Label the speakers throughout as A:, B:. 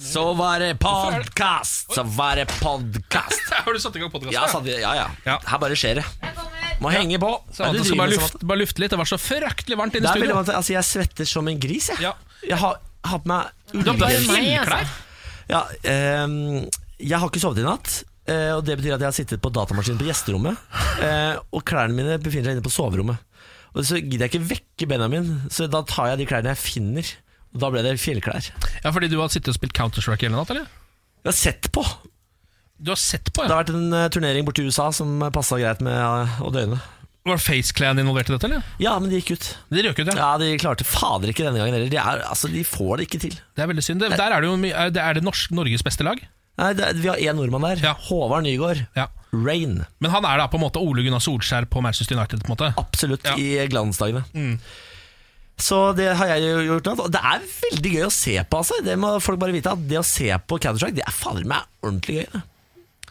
A: Så var det podkast! Så var det podkast!
B: Har du satt i gang podkasten?
A: Ja, sa de- ja, ja.
B: Ja.
A: Her bare skjer det. Må henge på.
B: Så
A: Nei,
B: Anton
A: du
B: Sånn skal
A: driver
B: bare
A: med
B: lufte, bare lufte litt. Det var så fryktelig varmt
A: Det
B: inne i
A: er veldig
B: studio.
A: vant til- Altså, jeg svetter som en gris, jeg.
B: Ja.
A: Jeg har har på meg
B: Du har på deg
A: ullgenser.
C: Meg, altså.
B: fjellklær.
A: Ja, ehm, jeg har ikke sovet i natt. eh, og Det betyr at jeg har sittet på datamaskinen på gjesterommet. eh, og klærne mine befinner seg inne på soverommet. Og Så gidder jeg ikke vekke Benjamin, så da tar jeg de klærne jeg finner. Og Da ble det fjellklær.
B: Ja, fordi du har sittet og spilt Counter-Strike hele natt, eller?
A: Jeg har sett på.
B: Du har sett på,
A: Det
B: ja.
A: har vært en eh, turnering borti USA som passa greit med eh, å døgne.
B: Var FaceClan involvert i dette, eller?
A: Ja, men det gikk ut.
B: Det røk ut, ja.
A: Ja, De klarte fader ikke denne gangen heller. De, er, altså, de får det ikke til.
B: Det er veldig synd. Det, der er det jo mye Er det, er det norsk, Norges beste lag.
A: Nei, det, Vi har én nordmann der.
B: Ja.
A: Håvard Nygaard.
B: Ja.
A: Rain.
B: Men han er da på en måte Ole Gunnar Solskjær på Manchester United, på en måte.
A: Absolutt,
B: Ja. Mm.
A: i glansdagene. Så det har jeg jo gjort. nå. Og Det er veldig gøy å se på. Altså. Det må folk bare vite at Det å se på Counter-Strike Det er fader meg ordentlig gøy. det.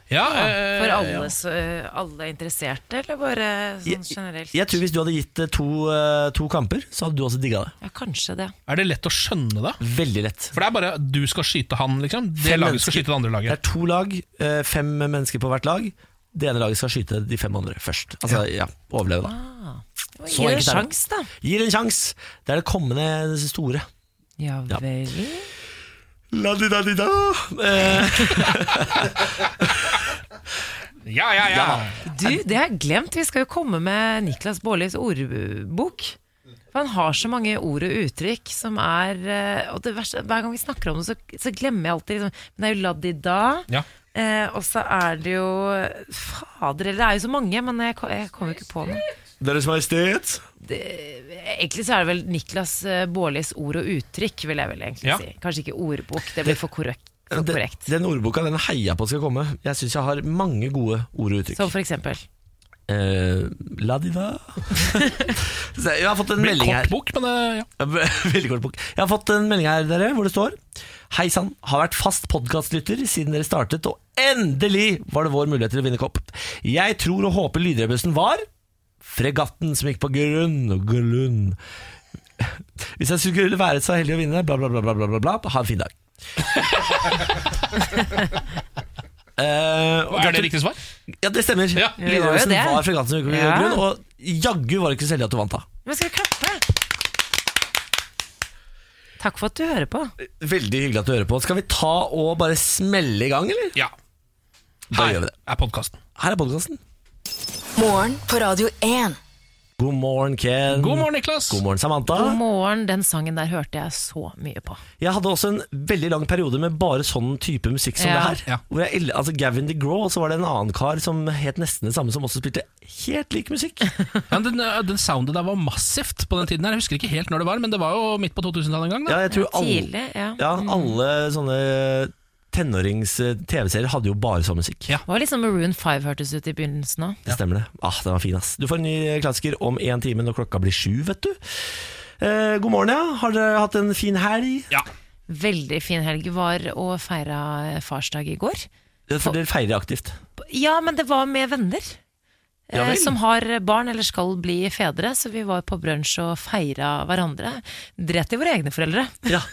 B: Ja,
C: For
B: eh,
C: alle, s- eh, alle interesserte, eller bare sånn generelt?
A: Jeg tror Hvis du hadde gitt eh, to, eh, to kamper, så hadde du også digga det.
C: Ja, kanskje det.
B: er det lett å skjønne det?
A: Veldig lett.
B: For det er bare du skal skyte han, liksom. Det
A: Fem
B: laget skal
A: mennesker.
B: skyte det andre
A: Det er
B: laget.
A: to lag, eh, fem mennesker på hvert lag. Det ene laget skal skyte de fem andre først. Altså, ja, Overleve, da.
C: Gi det en
A: Så enkelt er det.
C: sjans, da.
A: Gir en sjanse! Det er det kommende store.
C: Ja
A: Ja.
C: vel.
A: La-di-da-di-da eh,
B: Ja, ja, ja.
C: Du, det har jeg glemt. Vi skal jo komme med Niklas Baarlis ordbok. For han har så mange ord og uttrykk som er eh, Og det verste, hver gang vi snakker om det, så, så glemmer jeg alltid liksom, Men det er jo laddi-da.
B: Ja.
C: Eh, og så er det jo Fader, eller det er jo så mange, men jeg, ko- jeg kommer jo ikke på noe.
A: Deres Majestet.
C: Egentlig så er det vel Niklas eh, Baarlis ord og uttrykk, vil jeg vel egentlig
B: Ja.
C: si. Kanskje ikke ordbok, det blir for korrekt. For
A: Den-
C: korrekt.
A: Den ordboka den heier jeg på skal komme. Jeg syns jeg har mange gode ord og uttrykk.
C: Som for eksempel.
A: Eh, la de da Så Jeg har fått en
B: Det blir
A: melding her
B: kort bok, men eh, ja.
A: Veldig kort bok. Jeg har fått en melding her dere, hvor det står Hei sann, har vært fast podkastlytter siden dere startet, og endelig var det vår mulighet til å vinne kopp. Jeg tror og håper lydrebussen var fregatten som gikk på grunn og grunn. Hvis jeg skulle være så heldig å vinne, bla, bla, bla, bla, bla, bla, bla. Ha en fin dag. Eh, og
B: Er
A: gratu-
B: det riktig svar?
A: Ja, det stemmer.
B: Ja.
C: Ja, det var jo
A: Lydrebussen
C: det.
A: var fregatten som gikk på grunn,
C: Ja.
A: og grunn, og jaggu var det ikke så heldig at du vant, da.
C: Men skal vi klappe? Takk for at du hører på.
A: Veldig hyggelig at du hører på. Skal vi ta og bare smelle i gang, eller?
B: Ja.
A: Da gjør vi det.
B: er podkasten.
A: Her er podkasten.
D: Morgen på Radio 1.
A: God morgen, Ken.
B: God morgen, Niklas.
A: God morgen, Samantha.
C: God morgen, den sangen der hørte jeg så mye på.
A: Jeg hadde også en veldig lang periode med bare sånn type musikk som
C: Ja.
A: det her.
B: Ja.
A: Hvor jeg, el- altså Gavin DeGraw, og så var det en annen kar som het nesten det samme, som også spilte helt lik musikk.
B: Ja, men den, eh, den sounden der var massivt på den tiden. her Jeg husker ikke helt når det var, men det var jo midt på 2000-tallet en gang. Da.
A: Ja, jeg tror alle,
C: Tidlig, ja.
A: ja, alle sånne tenårings-TV-serier hadde jo bare sånn musikk.
B: Ja.
C: Det var litt sånn Maroon 5 hørtes ut i begynnelsen òg.
A: Det stemmer det. Ah, den var fin, ass. Du får en ny eh, klassiker om én time når klokka blir sju, vet du. Eh, god morgen, ja. Har dere hatt en fin helg?
B: Ja.
C: Veldig fin helg var å feire farsdag i går.
A: For dere feirer aktivt.
C: Ja, men det var med venner.
A: Ja
C: eh,
A: vel.
C: Som har barn eller skal bli fedre, så vi var på brunsj og feira hverandre. Dret i våre egne foreldre.
A: Ja.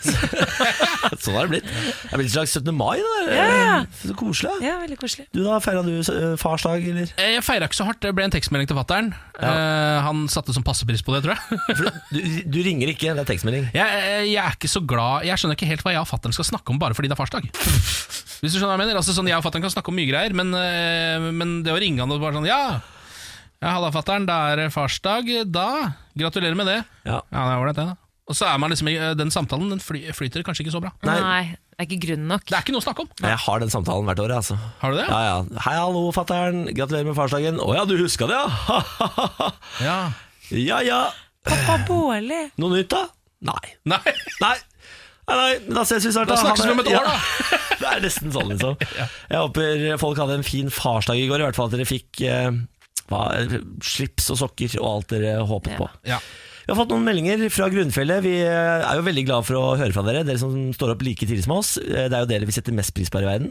A: sånn har det blitt. Det er blitt en slags 17. mai, det der. Eh,
C: Ja.
A: Så koselig.
C: Ja, veldig koselig.
A: Du da, feira du eh, farsdag, eller?
B: Eh, Jeg feira ikke så hardt. Det ble en tekstmelding til fattern. Eh, han satte som passepris på det, tror jeg.
A: For du, du ringer ikke, det er tekstmelding.
B: jeg. eh, Jeg er ikke så glad Jeg skjønner ikke helt hva jeg og fattern skal snakke om bare fordi det er farsdag. Hvis du skjønner hva Jeg mener Altså sånn Jeg og fattern kan snakke om mye greier, men, eh, men det å ringe han og bare sånn Ja, ja halla, fattern, det er farsdag. Da Gratulerer med det.
A: Ja.
B: Ja, det er ålreit, det. da Og så er man liksom i- Den samtalen den fly, flyter kanskje ikke så bra.
A: Nei.
C: Nei. det er ikke grunn nok.
B: Det er ikke noe å snakke om.
A: Nei, Jeg har den samtalen hvert år, jeg, altså.
B: Har du det?
A: Ja, ja. Hei, hallo, fatter'n. Gratulerer med farsdagen. Å ja, du huska det, ja?
B: Ja.
A: ja ja.
C: Pappa Bårli!
A: Noe nytt, da? Nei.
B: Nei.
A: Nei. Nei, nei, men da ses vi snart.
B: Da snakkes
A: Ha det.
B: vi om et år, da.
A: Ja. Det er nesten sånn, liksom. Jeg håper folk hadde en fin farsdag i går, i hvert fall at dere fikk eh, hva, slips og sokker og alt dere håpet
C: Ja.
A: på.
B: Ja.
A: Vi har fått noen meldinger fra grunnfjellet. Vi eh, er jo veldig glad for å høre fra dere, dere som står opp like tidlig som oss. Eh, Det er jo dere vi setter mest pris på her i verden.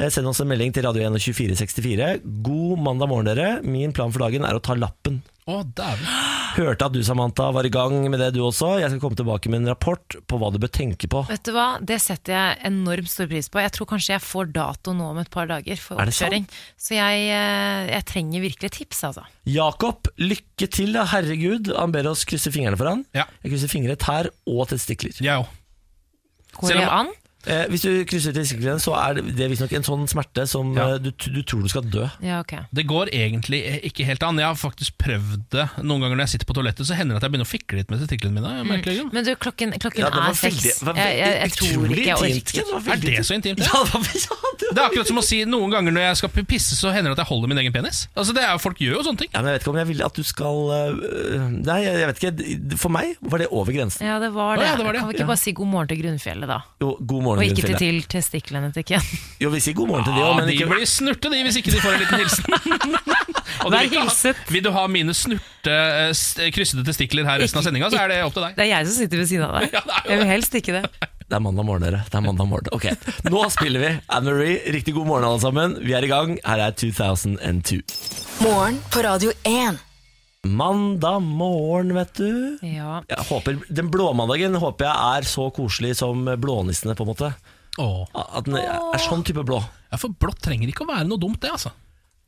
A: Eh, Send oss en melding til radio 1 og 2464. God mandag morgen, dere. Min plan for dagen er å ta lappen.
B: Å, dæven.
A: Hørte at du, Samantha, var i gang med det du også. Jeg skal komme tilbake med en rapport på hva du bør tenke på.
C: Vet du hva, Det setter jeg enormt stor pris på. Jeg tror kanskje jeg får dato nå om et par dager for
A: Er det sant?
C: oppkjøring. Så jeg, eh, jeg trenger virkelig tips, altså.
A: Jakob, lykke til, da. Herregud. Han ber oss krysse fingrene for han.
B: Ja.
A: Jeg krysser fingre, tær og testikler.
B: Jeg òg.
C: Går
B: Selv om-
C: det an?
A: Eh, hvis du krysser testiklene, så er det- det er visstnok en sånn smerte som
B: Ja.
A: eh, du, du tror du skal dø.
C: Ja, ok.
B: Det går egentlig ikke helt an. Jeg har faktisk prøvd det. Noen ganger når jeg sitter på toalettet, så hender det at jeg begynner å fikle litt med testiklene mine. liksom. av merkelige grunner.
C: Men du, klokken, klokken
A: Ja, det var
C: er seks.
A: veldig- det var
C: Jeg, jeg, jeg
A: veldig-
C: tror
A: utrolig
C: ikke jeg
A: intimt, Ken.
C: orker.
A: var
B: Er
A: veldig
B: det så intimt?
A: Ja, det var, ja, det
B: Det er akkurat som å si noen ganger når jeg skal pisse, så hender det at jeg holder min egen penis. Altså det er jo Folk gjør jo sånne ting.
A: Ja, men Jeg vet ikke om jeg vil at du skal øh, Nei, jeg jeg vet ikke. For meg var det over grensen.
C: Ja, det var
B: Å,
C: det.
B: ja, det var det,
C: Kan vi
B: ja.
C: ikke bare si god morgen til grunnfjellet, da?
A: Jo, god morgen,
C: Og ikke til,
A: Gunnfjellet.
C: til testiklene til Ken.
A: Jo, vi sier god morgen til de
B: Ja,
A: òg, men
B: de
A: ikke
B: blir snurte, de, hvis ikke de får en liten hilsen. Og du
C: Vær
B: vil ikke ha-
C: hilset.
B: Vil du ha mine snurte, eh, s- kryssede testikler her resten av sendinga, så er det opp til deg.
C: Det er jeg som sitter ved siden av deg.
B: Ja, det er jo
C: Jeg vil helst ikke det.
A: Det er mandag morgen, dere. Det er mandag morgen. Ok, Nå spiller vi Anne-Marie. Riktig god morgen, alle sammen. Vi er i gang. Her er 2002.
D: Morgen på Radio 1.
A: Mandag morgen, vet du.
C: Ja.
A: Jeg håper, Den blåmandagen håper jeg er så koselig som blånissene, på en måte.
B: Åh.
A: At den er sånn type blå.
B: Ja, for blått trenger ikke å være noe dumt, det, altså.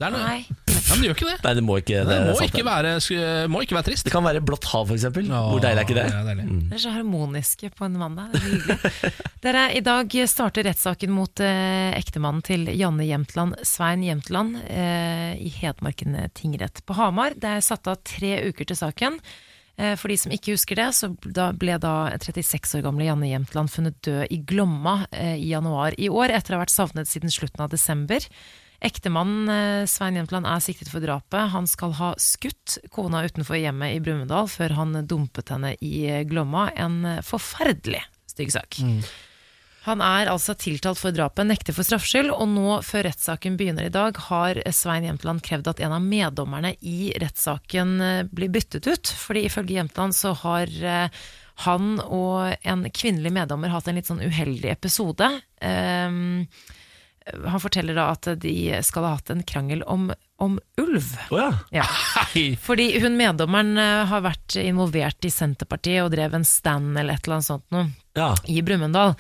B: Det er noe,
C: Nei.
B: Ja, men det gjør ikke det.
A: Nei, det må ikke
B: Det
A: er
B: må
A: sant,
B: ikke, være, sk- eh, må ikke være trist.
A: Det kan være blått hav, for eksempel. Hvor deilig er ikke det? Mm.
B: Ja, deilig.
C: Dere er så harmoniske på en mandag. Det er hyggelig. Dere, I dag starter rettssaken mot eh, ektemannen til Janne Jemtland, Svein Jemtland, eh, i Hedmarken tingrett på Hamar. Det er satt av tre uker til saken. Eh, for de som ikke husker det, så da ble da 36 år gamle Janne Jemtland funnet død i Glomma eh, i januar i år, etter å ha vært savnet siden slutten av desember. Ektemannen eh, Svein Jemtland er siktet for drapet. Han skal ha skutt kona utenfor hjemmet i Brumunddal før han dumpet henne i eh, Glomma. En eh, forferdelig stygg sak. Han er altså tiltalt for drapet, nekter for straffskyld, og nå før rettssaken begynner i dag, har Svein Jemtland krevd at en av meddommerne i rettssaken eh, blir byttet ut. Fordi ifølge Jemtland så har eh, han og en kvinnelig meddommer hatt en litt sånn uheldig episode. Ehm, han forteller da at de skal ha hatt en krangel om, om ulv.
A: Å ja.
C: Ja.
B: Hei.
C: Fordi hun meddommeren eh, har vært involvert i Senterpartiet og drev en stand eller et eller annet sånt noe
A: ja.
C: i Brumunddal,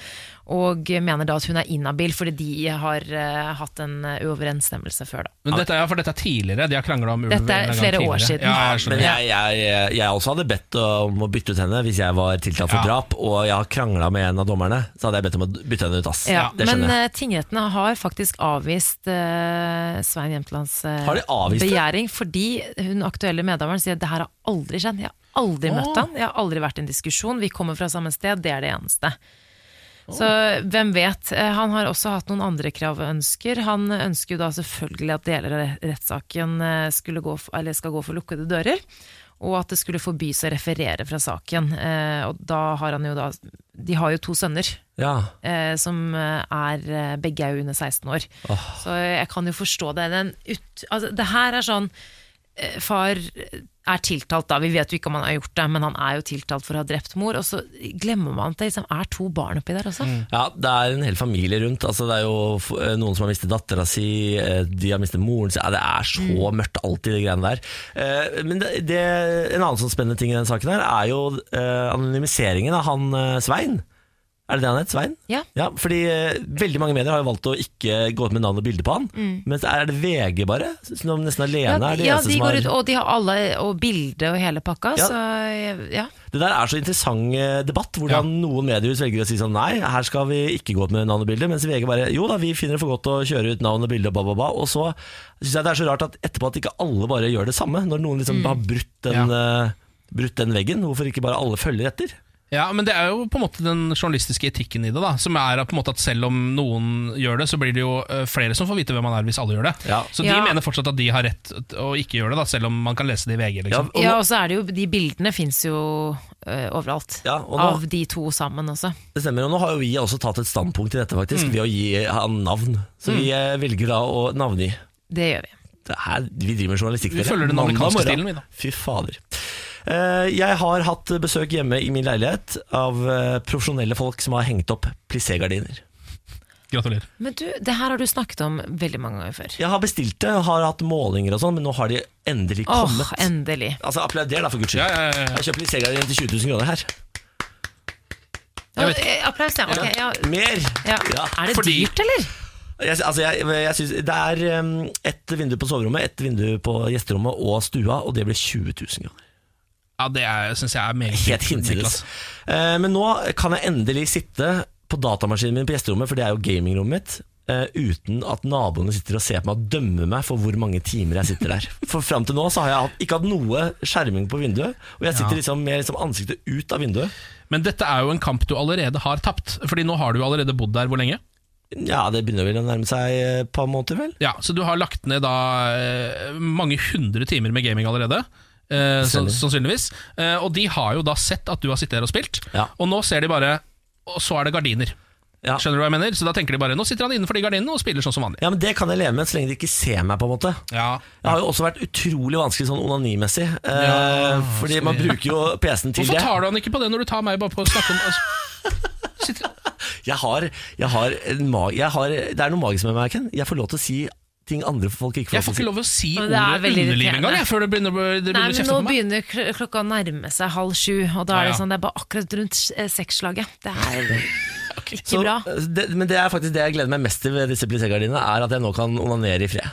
C: og mener da at hun er inhabil fordi de har eh, hatt en eh, uoverensstemmelse før, da.
B: Men dette er, for dette er tidligere, de har krangla om ulv.
C: Dette er
B: en gang
C: flere år
B: tidligere.
C: siden.
B: Ja, jeg
A: Men
B: skjønner.
A: jeg, jeg, jeg også hadde bedt om å bytte ut henne hvis jeg var tiltalt for
B: Ja.
A: drap, og jeg har krangla med en av dommerne, så hadde jeg bedt om å bytte henne ut, ass.
C: Ja,
A: det
C: men
A: skjønner jeg.
C: eh, tingrettene har faktisk avvist eh, Svein Jemtlands eh,
A: Har de avvist det?
C: begjæring, fordi hun aktuelle meddommeren sier det her har aldri skjedd. Jeg har aldri møtt han, jeg har aldri vært i en diskusjon, vi kommer fra samme sted, det er det eneste. Så hvem vet. Eh, Han har også hatt noen andre krav og ønsker. Han ønsker jo da selvfølgelig at deler av rettssaken eh, skulle gå, f- eller skal gå for lukkede dører. Og at det skulle forbys å referere fra saken. Eh, Og da har han jo da De har jo to sønner
A: Ja.
C: eh, som eh, er eh, begge er jo under 16 år. Så jeg kan jo forstå det. Den ut, altså, det her er sånn eh, Far er tiltalt, da. Vi vet jo ikke om han har gjort det, men han er jo tiltalt for å ha drept mor. Og så glemmer man at det liksom er to barn oppi der også.
A: ja, det er en hel familie rundt. Altså, det er jo f- eh, noen som har mistet dattera si, eh, de har mistet moren sin ja, Det er så
C: Mm.
A: mørkt alltid, de greiene der. Eh, Men det, det, en annen sånn spennende ting i den saken her, er jo eh, anonymiseringen av han eh, Svein. Er det det han het? Svein?
C: Ja.
A: Ja, fordi eh, Veldig mange medier har jo valgt å ikke gå ut med navn og bilde på han. Men er det VG bare? Som nesten alene
C: Mm. Ja,
A: er det
C: ja,
A: eneste
C: de
A: som har
C: går ut, og de har alle, og bilde og hele pakka,
A: Ja.
C: så jeg- ja.
A: Det der er så interessant eh, debatt, hvordan noen mediehus velger å si sånn nei, her skal vi ikke gå ut med navn og bilde, mens VG bare jo da, vi finner det for godt å kjøre ut navn og bilde og ba, ba, ba. Og så syns jeg det er så rart at etterpå at ikke alle bare gjør det samme, når noen liksom har brutt den, eh, brutt den veggen. Hvorfor ikke bare alle følger etter?
B: Ja, men det er jo på en måte den journalistiske etikken i det, da. Som er at på en måte at selv om noen gjør det, så blir det jo eh, flere som får vite hvem man er hvis alle gjør det.
A: Ja.
B: Så de
C: Ja.
B: mener fortsatt at de har rett t- å ikke gjøre det, da, selv om man kan lese det i VG.
A: Ja,
B: liksom.
A: og
C: ja,
A: nå,
C: og så er det jo De bildene fins jo eh, overalt.
A: Ja, og nå-
C: av de to sammen også.
A: det stemmer, og nå har jo vi også tatt et standpunkt til dette, faktisk, ved å gi han navn. Så vi eh, velger da å navngi.
C: Det gjør vi.
A: det her, vi driver med journalistikk.
B: Vi
A: dere.
B: følger den
A: Mandag
B: amerikanske
A: morgen.
B: stilen, vi, da.
A: Fy fader. Eh, Jeg har hatt besøk hjemme i min leilighet av eh, profesjonelle folk som har hengt opp plissé-gardiner.
B: Gratulerer.
C: Men du, det her har du snakket om veldig mange ganger før.
A: Jeg har bestilt det, har hatt målinger og sånn, men nå har de endelig
C: Åh,
A: kommet.
C: endelig.
A: Altså, Applauder, da, for guds skyld.
B: Ja, ja, ja, ja.
A: Jeg kjøper Liselia igjen til 20 000 kroner her.
C: Ja,
B: vet-
C: eh, Applaus, ja. Ok, ja.
A: Mer!
C: ja.
A: Ja.
C: Er det
B: Fordi-
C: dyrt, eller?
A: Jeg, altså, jeg, jeg synes, det er um, ett vindu på soverommet, ett vindu på gjesterommet og stua, og det ble 20 000 kroner.
B: Ja, det syns jeg er meget
A: Helt
B: fint,
A: hinsides.
B: Niklas.
A: Eh, men nå kan jeg endelig sitte på datamaskinen min på gjesterommet, for det er jo gamingrommet mitt, eh, uten at naboene sitter og ser på meg og dømmer meg for hvor mange timer jeg sitter der. For fram til nå så har jeg hatt, ikke hatt noe skjerming på vinduet, og jeg sitter liksom med liksom ansiktet ut av vinduet.
B: Men dette er jo en kamp du allerede har tapt. Fordi nå har du jo allerede bodd der hvor lenge?
A: Ja, det begynner vel å nærme seg eh, et par måneder, vel?
B: Ja, Så du har lagt ned da eh, mange hundre timer med gaming allerede. Eh, sann- sannsynligvis. Eh, og de har jo da sett at du har sittet der og spilt,
A: Ja.
B: og nå ser de bare Og så er det gardiner.
A: Ja.
B: Skjønner du hva jeg mener? Så da tenker de bare nå sitter han innenfor de gardinene og spiller sånn som vanlig.
A: Ja, men Det kan jeg leve med så lenge de ikke ser meg. på en måte
B: Ja,
A: Det har jo også vært utrolig vanskelig sånn onanimessig. Eh,
B: Ja,
A: fordi man
B: sorry.
A: bruker jo PC-en til
B: Hvorfor
A: det.
B: tar du han ikke på det når du tar meg bare på å snakke om altså, sitter,
A: Jeg har, jeg har, en ma- jeg har Det er noe magisk med meg, Ken. Jeg får lov til å si ting andre folk ikke
B: Jeg
A: får
B: får
A: lov
B: ikke
A: til å si.
B: lov å si
C: Men det er
B: ordet
C: veldig
B: underliv
C: irriterende.
B: engang, jeg, før det begynner, det
C: Nei,
B: begynner å
C: men
B: kjefte
C: Nå
B: på meg.
C: begynner kl- klokka å nærme seg halv sju, og da
B: Ja,
C: er
B: ja.
C: det sånn, det er bare akkurat rundt eh, seksslaget. Det er ikke
A: Så,
C: bra.
A: det, men det er faktisk det jeg gleder meg mest til ved disse plissegardinene, er at jeg nå kan onanere i fred.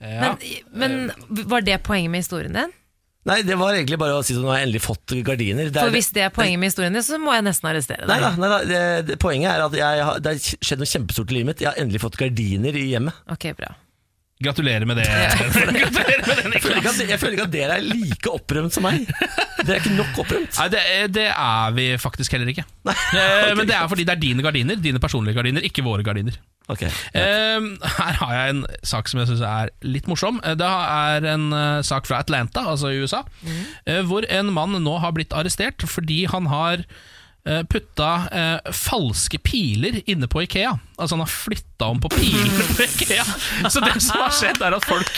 B: Ja.
C: Men, men var det poenget med historien din?
A: Nei, det var egentlig bare å si at nå har jeg endelig fått gardiner. Det er-
C: For hvis det er poenget med historien din, så må jeg nesten arrestere
A: Nei
C: deg.
A: da, nei da det, det, poenget er at jeg, har- det har skjedd noe kjempestort i livet mitt. Jeg har endelig fått gardiner i hjemmet.
C: Ok, bra.
B: Gratulerer med det. Gratulerer med det,
A: Jeg føler,
B: Niklas.
A: ikke at, jeg føler ikke at dere er like opprømt som meg. Dere er ikke nok opprømt.
B: Nei, det, er- det er vi faktisk heller ikke. Eh, Men det er fordi det er dine gardiner, dine personlige gardiner, ikke våre gardiner.
A: Ok.
B: Eh, Her har jeg en sak som jeg syns er litt morsom. Eh, Det er en eh, sak fra Atlanta, altså i USA, eh, hvor en mann nå har blitt arrestert fordi han har eh, putta eh, falske piler inne på Ikea. Altså han har flytta om på pilene på Ikea. Så det som har skjedd, er at folk,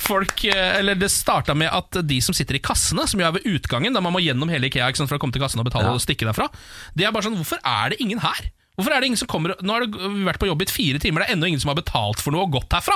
B: folk eh, Eller det starta med at de som sitter i kassene, som jo er ved utgangen, da man må gjennom hele Ikea ikke sant, for å komme til kassen og betale og stikke derfra, de er bare sånn Hvorfor er det ingen her? Hvorfor er det ingen som kommer Nå har det vært på jobb i fire timer, det er ennå ingen som har betalt for noe og gått herfra.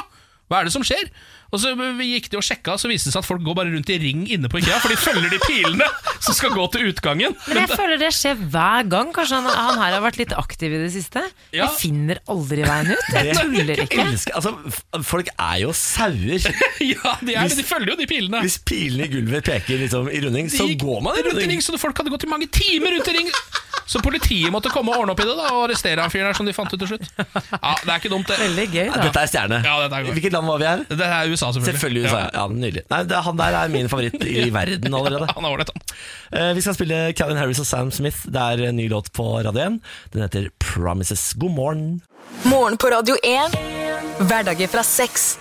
B: Hva er det som skjer? Og så vi gikk de og sjekka, så viste det seg at folk går bare rundt i ring inne på Ikea, for de følger de pilene som skal gå til utgangen.
C: Men jeg føler det skjer hver gang. Kanskje han, han her har vært litt aktiv i det siste.
B: Ja.
C: Jeg finner aldri veien ut. Jeg tuller ikke.
A: elsker, altså, f- folk er jo sauer.
B: Ja, de, er, det, de
A: Hvis-
B: følger jo de pilene.
A: Hvis pilene i gulvet peker liksom, i runding, så
B: gikk
A: går man i
B: rundt i
A: runding.
B: ring, så folk hadde gått i mange timer rundt i ring. Så politiet måtte komme og ordne opp i det da og arrestere han fyren her, som de fant ut til slutt. Ja, Det er ikke dumt, det.
C: Veldig gøy,
A: Ja,
C: da.
A: Dette er stjerne.
B: Ja, dette er godt.
A: Hvilket land var vi her?
B: Det er USA, selvfølgelig.
A: Selvfølgelig USA.
B: Ja.
A: Ja, ja nydelig. Nei, det, Han der er min favoritt i verden allerede.
B: Han er ålreit, han.
A: Eh, vi skal spille Calvin Harris og Sam Smith. Det er en ny låt på Radio 1. Den heter Promises. God morgen.
D: Morgen på Radio 1. Hverdager fra seks.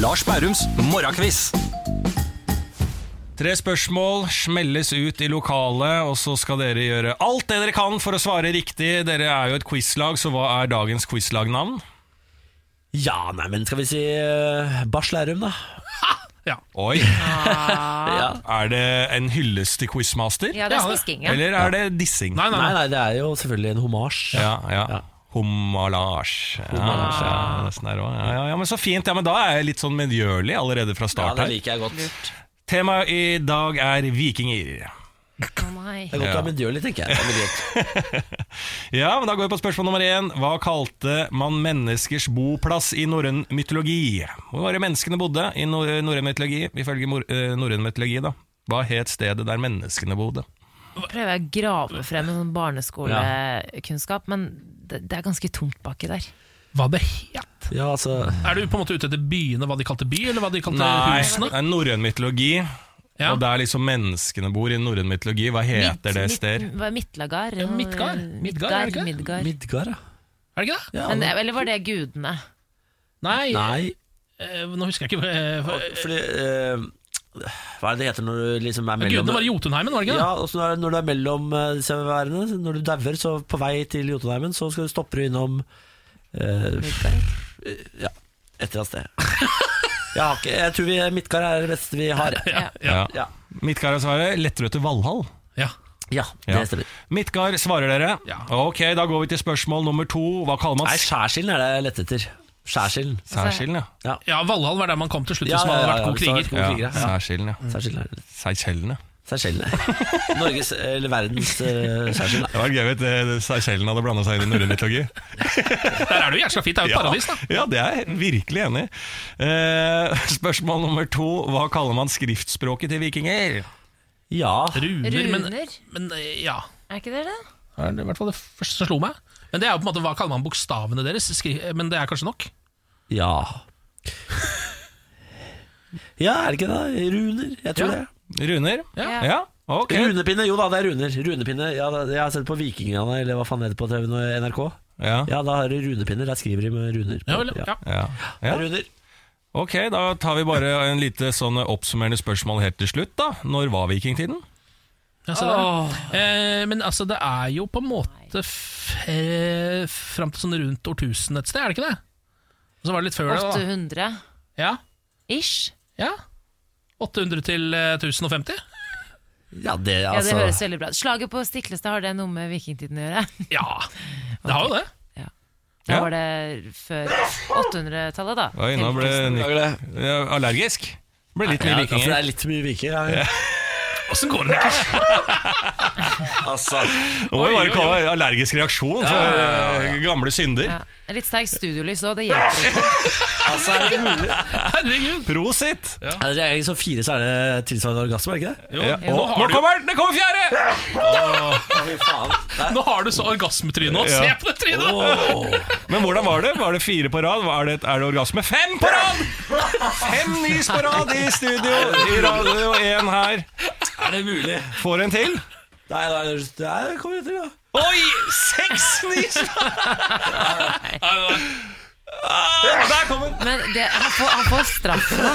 E: Lars Bærums morgenquiz. Tre spørsmål smelles ut i lokalet, og så skal dere gjøre alt det dere kan for å svare riktig. Dere er jo et quizlag, så hva er dagens quizlagnavn?
A: Ja, nei, men skal vi si uh, Bars Lærum, da?
B: Ja.
E: Oi,
A: Ja.
E: er det en hyllest til quizmaster?
C: Ja, det er snisking, ja.
E: Eller er det dissing?
B: Nei, nei,
A: Nei,
B: nei.
A: nei, det er jo selvfølgelig en homasj.
E: Ja, ja. Homalage.
A: Homalage,
E: ja. nesten der også. Ja, ja, ja, men så fint. Ja, men da er jeg litt sånn medgjørlig allerede fra
A: Ja,
E: start
A: det
E: her.
A: liker jeg godt. Det
E: Temaet i dag er vikinger.
C: Å, nei.
A: er godt å
E: Ja.
A: ha medgjørlig, tenker jeg. Det er veldig godt.
E: Ja, men Da går vi på spørsmål nummer én. Hva kalte man menneskers boplass i norrøn mytologi? Hvor var det menneskene bodde i nor- norrøn mytologi, ifølge mor- eh, norrøn mytologi? da? Hva het stedet der menneskene bodde?
C: prøver jeg å grave frem en sånn barneskolekunnskap, men det, det er ganske tomt baki der.
B: Hva det het?
A: Ja, altså,
B: Er du på en måte ute etter byene, hva de kalte by, eller hva de kalte
E: det
B: husene?
E: er norrøn mytologi.
B: Ja.
E: Og der liksom menneskene bor i norrøn mytologi. Hva heter det sted?
C: Hva er Midtlagard?
B: Ja, Midgard. Midgard, er det ikke det?
C: Midgard.
A: Midgard, ja.
B: Er det ikke det?
A: ja.
C: Men, eller var det gudene?
B: Nei,
A: Nei,
B: eh, nå husker jeg ikke. eh, for-
A: fordi eh, Hva er det det heter når du liksom er mellom
B: eh, Gudene var i Jotunheimen, var det ikke det?
A: Ja, og så når- når du er mellom eh, disse værene, så når du dauer, så på vei til Jotunheimen, så skal du stoppe du innom eh,
C: Midgard.
A: Ja, et eller annet sted. Jeg, har ikke, jeg tror vi Midtgard er det beste vi har.
B: Ja.
E: Ja.
A: Ja.
E: Mitt kar er svaret Letterød til Valhall.
B: Ja.
A: Ja,
E: Ja.
A: det stemmer.
E: Midtgard, svarer dere?
B: Ja.
E: Ok, da går vi til spørsmål nummer to. Hva kaller man
A: Nei, skjærsilden er det jeg lette etter. Skjærsilden.
E: Særskillen, ja.
B: Ja, Valhall var der man kom til slutt,
A: Ja,
B: hvis man hadde
A: ja,
B: vært
A: ja,
B: god
A: hvis man hadde
B: kriger.
E: ja.
A: vært god kriger,
E: Særskillen,
A: ja.
E: ja.
A: Skjærsilden er det lette.
E: Seychellen, ja.
A: Seychellene. Norges, eh, eller verdens uh, skjærsild.
E: Det var gøy hvis Seychellen hadde blanda seg inn i norrøn mytologi.
B: Der er det jo jævla fint, det er jo et paradis, da.
E: Ja, det er jeg virkelig enig i. Eh, spørsmål nummer to. Hva kaller man skriftspråket til vikinger?
A: Ja.
B: Runer,
C: Runer?
B: Men, men eh, ja.
C: Er ikke det det?
B: Det er i hvert fall det første som slo meg. Men det er jo på en måte, Hva kaller man bokstavene deres? Skri eh, men det er kanskje nok?
A: Ja. Ja, er det ikke det? Runer? Jeg tror
B: Ja.
A: det.
E: Runer?
C: Ja.
E: ja. Ok.
A: Runepinne, jo da, det er runer. Runepinne, ja, da- Jeg har sett på Vikingene, eller hva faen det heter på TV nå, NRK.
E: Ja.
A: Ja, da har du runepinner. Der skriver de med runer. på.
B: Ja, vel, ja.
E: Ja.
A: Ja.
E: Ja.
A: Runer.
E: Ok, da tar vi bare en lite sånn oppsummerende spørsmål helt til slutt. da Når var vikingtiden?
B: Ja, se der, ja. Eh, men altså, det er jo på en måte f- eh, fram til sånn rundt årtusen et sted, er det ikke det? Og så var det litt før det, da.
C: 800
B: Ja,
C: ish.
B: ja. 800 til eh, 1050?
A: Ja, det,
C: Ja, det
A: altså.
C: høres veldig bra ut. Slaget på Stiklestad, har det noe med vikingtiden å gjøre?
B: Ja, det har jo det.
C: Da
E: Ja.
C: var det før 800-tallet, da.
E: Oi, nå ble Nick
A: Lager det.
E: ja, allergisk. Ble litt
A: Ja,
E: mye
B: altså,
A: ja, for det
E: vikinger.
A: er litt mye vikinger. Ja.
B: Åssen går det? Niklas?
A: Altså.
E: Det må jo bare kalle det allergisk reaksjon for eh, gamle synder.
C: Ja. Litt sterkt studiolys òg, det hjelper ikke.
A: altså er det mulig?
B: Herregud.
E: Prosit!
A: Er det regning som fire, så er det tilsvarende orgasme, er det ikke det?
B: Jo,
E: Ja.
B: nå,
E: Og, nå
B: har du,
E: kommer den! Det kommer fjerde!
A: Å, fy faen. Nei.
B: nå har du så orgasmetryne nå. Se
E: Ja.
B: på det trynet!
E: Men hvordan var det? Var det fire på rad? Er det, er det orgasme? Fem på rad! Fem nys på rad i studio i Radio 1 her.
A: Er det mulig?
E: Får en til.
A: Nei, nei, det er- det kommer jeg til, da.
E: Oi! Seks nys! Ah, Der kom den!
C: Men det, han, får, han får straff, da.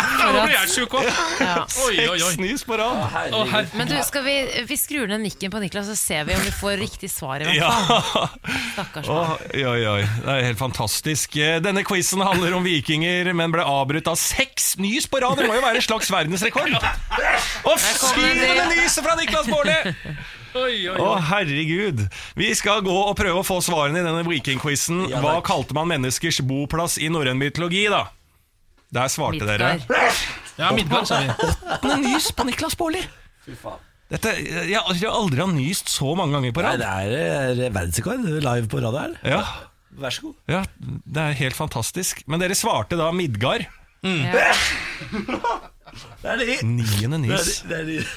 B: Nå
C: For
B: blir
C: at,
B: jeg sjuk òg.
C: ja.
B: Oi, oi, oi.
E: Seks nys på rad.
B: Å,
A: Herregud.
B: her.
C: Men du, skal vi, vi skrur ned nikken på Niklas, så ser vi om vi får riktig svar. i hvert
E: Ja.
C: fall. Stakkars mann.
E: Oi, oi, oi. Det er helt fantastisk. Eh, Denne quizen handler om vikinger, men ble avbrutt av seks nys på rad. Det må jo være en slags verdensrekord. Og syvende nyset fra Niklas Baarli!
B: Oi, oi,
E: Å,
B: oi.
E: herregud. Vi skal gå og prøve å få svarene i denne vikingquizen. Hva kalte man menneskers boplass i norrøn mytologi, da? Der svarte dere.
C: Midtgard.
B: Ja, Midgard, sa vi.
E: Åttende nys på Niklas Baarli! Dette, jeg, altså, jeg har aldri har nyst så mange ganger på
A: Nei,
E: rad.
A: det er eh, verdensrekord live på radio her.
E: Ja,
A: Vær så god.
E: ja, det er helt fantastisk. Men dere svarte da Midgard.
C: Ja.
A: Det er det.
E: Niende
A: Det
E: nys.
A: er det. det, er det.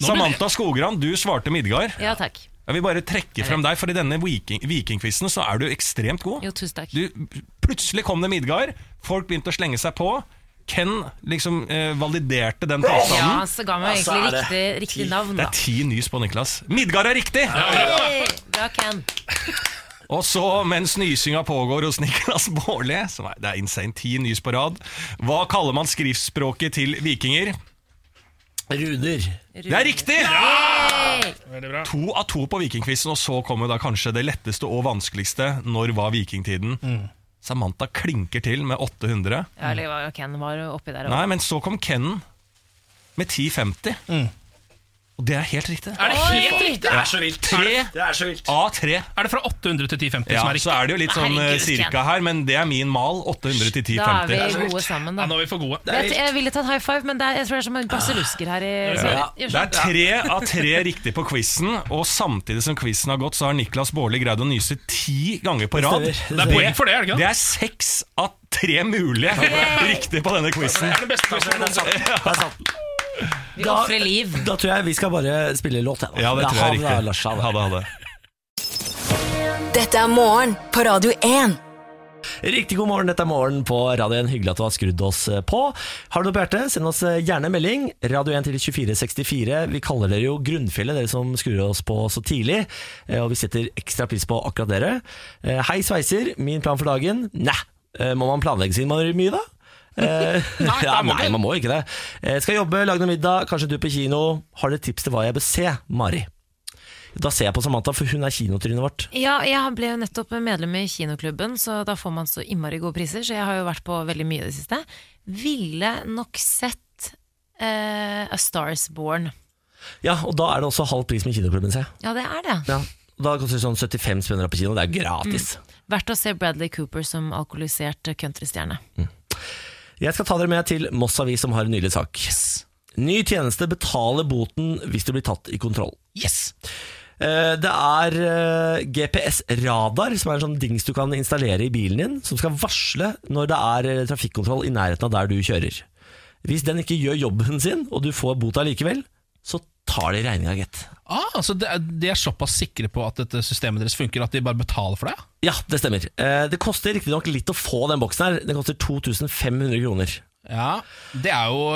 E: Samantha Skogran, du svarte Midgard.
C: ja takk.
E: Jeg vil bare trekke frem deg, for i denne viking- vikingquizen så er du ekstremt god.
C: Jo, tusen takk.
E: Du, plutselig kom det Midgard, folk begynte å slenge seg på. Ken liksom eh, validerte den
C: Ja, sånn
E: påstanden.
C: han så ga meg
A: Altså,
C: egentlig
A: er
C: riktig,
A: det
C: riktig navn,
E: Det
C: da.
E: er ti nys på Niklas. Midgard er riktig!
C: Hey, bra, Ken.
E: Og så, mens nysinga pågår hos Niklas Baarli, som er, det er insane, ti nys på rad, hva kaller man skriftspråket til vikinger?
A: Runer.
E: Det er riktig!
C: Hey.
E: To av to på vikingquizen, og så kommer da kanskje det letteste og vanskeligste. Når var vikingtiden? Samantha klinker til med 800.
C: Ja, eller var- Ken var jo oppi der
E: Nei,
C: òg.
E: men så kom Kennen med 1050. Og det er helt riktig.
B: Er det helt riktig?
A: Det er så vilt.
E: Tre
A: Det er så vilt.
E: av tre.
B: Er det fra 800 til 1050
E: Ja,
B: som er riktig?
E: så er det jo litt sånn eh,
C: Herregud,
E: cirka
C: Ken.
E: her, men det er min mal. 800 til
C: Da er
E: 1050.
C: vi gode sammen, da.
B: Ja, nå er vi for gode.
C: Jeg, jeg ville tatt high five, men det er, jeg tror det er som en basillusker her i
E: Det er tre av tre riktig på quizen, og samtidig som quizen har gått, så har Niklas Baarli greid å nyse ti ganger på rad.
A: Det
B: Det
A: stemmer.
B: er poeng for det, er det ikke
E: Det
B: det?
E: er seks av tre mulige riktige på denne quizen.
B: Det er det beste quizen jeg noensinne har
A: Der satt den.
C: Vi ofrer liv.
A: Da tror jeg vi skal bare spille låt. jeg, da.
E: Ja, det tror jeg er
A: Ha det, da,
E: riktig.
A: Lars, ha det.
E: Ha det, ha det.
D: Dette er morgen på Radio 1.
A: Riktig god morgen, dette er morgen på radioen. Hyggelig at du har skrudd oss eh, på. Har du noe på hjertet, send oss eh, gjerne en melding. Radio 1 til 2464. Vi kaller dere jo Grunnfjellet, dere som skrur oss på så tidlig. eh, Og vi setter ekstra pris på akkurat dere. Eh, Hei, sveiser. Min plan for dagen? Næ. Eh, Må man planlegge siden man gjør mye, da? Eh, ja, nei, man må ikke det. Eh, Skal jobbe, lage noe middag, kanskje du på kino. Har dere tips til hva jeg bør se? Mari. Da ser jeg på Samantha, for hun er kinotrynet vårt.
C: Ja, jeg ble jo nettopp medlem i kinoklubben, så da får man så innmari gode priser. Så jeg har jo vært på veldig mye i det siste. Ville nok sett eh, A Stars Born.
A: Ja, og da er det også halv pris med kinoklubben, ser jeg.
C: Ja, det er det.
A: Ja. Da koster det sånn 75 spenner på kino. Det er jo gratis.
C: Verdt å se Bradley Cooper som alkoholisert countrystjerne.
A: Jeg skal ta dere med til Moss Avis, som har en nylig sak. Ny tjeneste betaler boten hvis du blir tatt i kontroll.
B: Yes!
A: Eh, Det er eh, GPS-radar, som er en sånn dings du kan installere i bilen din, som skal varsle når det er eh, trafikkontroll i nærheten av der du kjører. Hvis den ikke gjør jobben sin, og du får bota likevel, så tar de regninga, gitt.
B: Ah, så de, de er såpass sikre på at dette systemet deres funker at de bare betaler for det? ja?
A: Ja, det stemmer. Eh, Det koster riktignok litt å få den boksen her. Den koster 2500 kroner.
B: Ja, Det er jo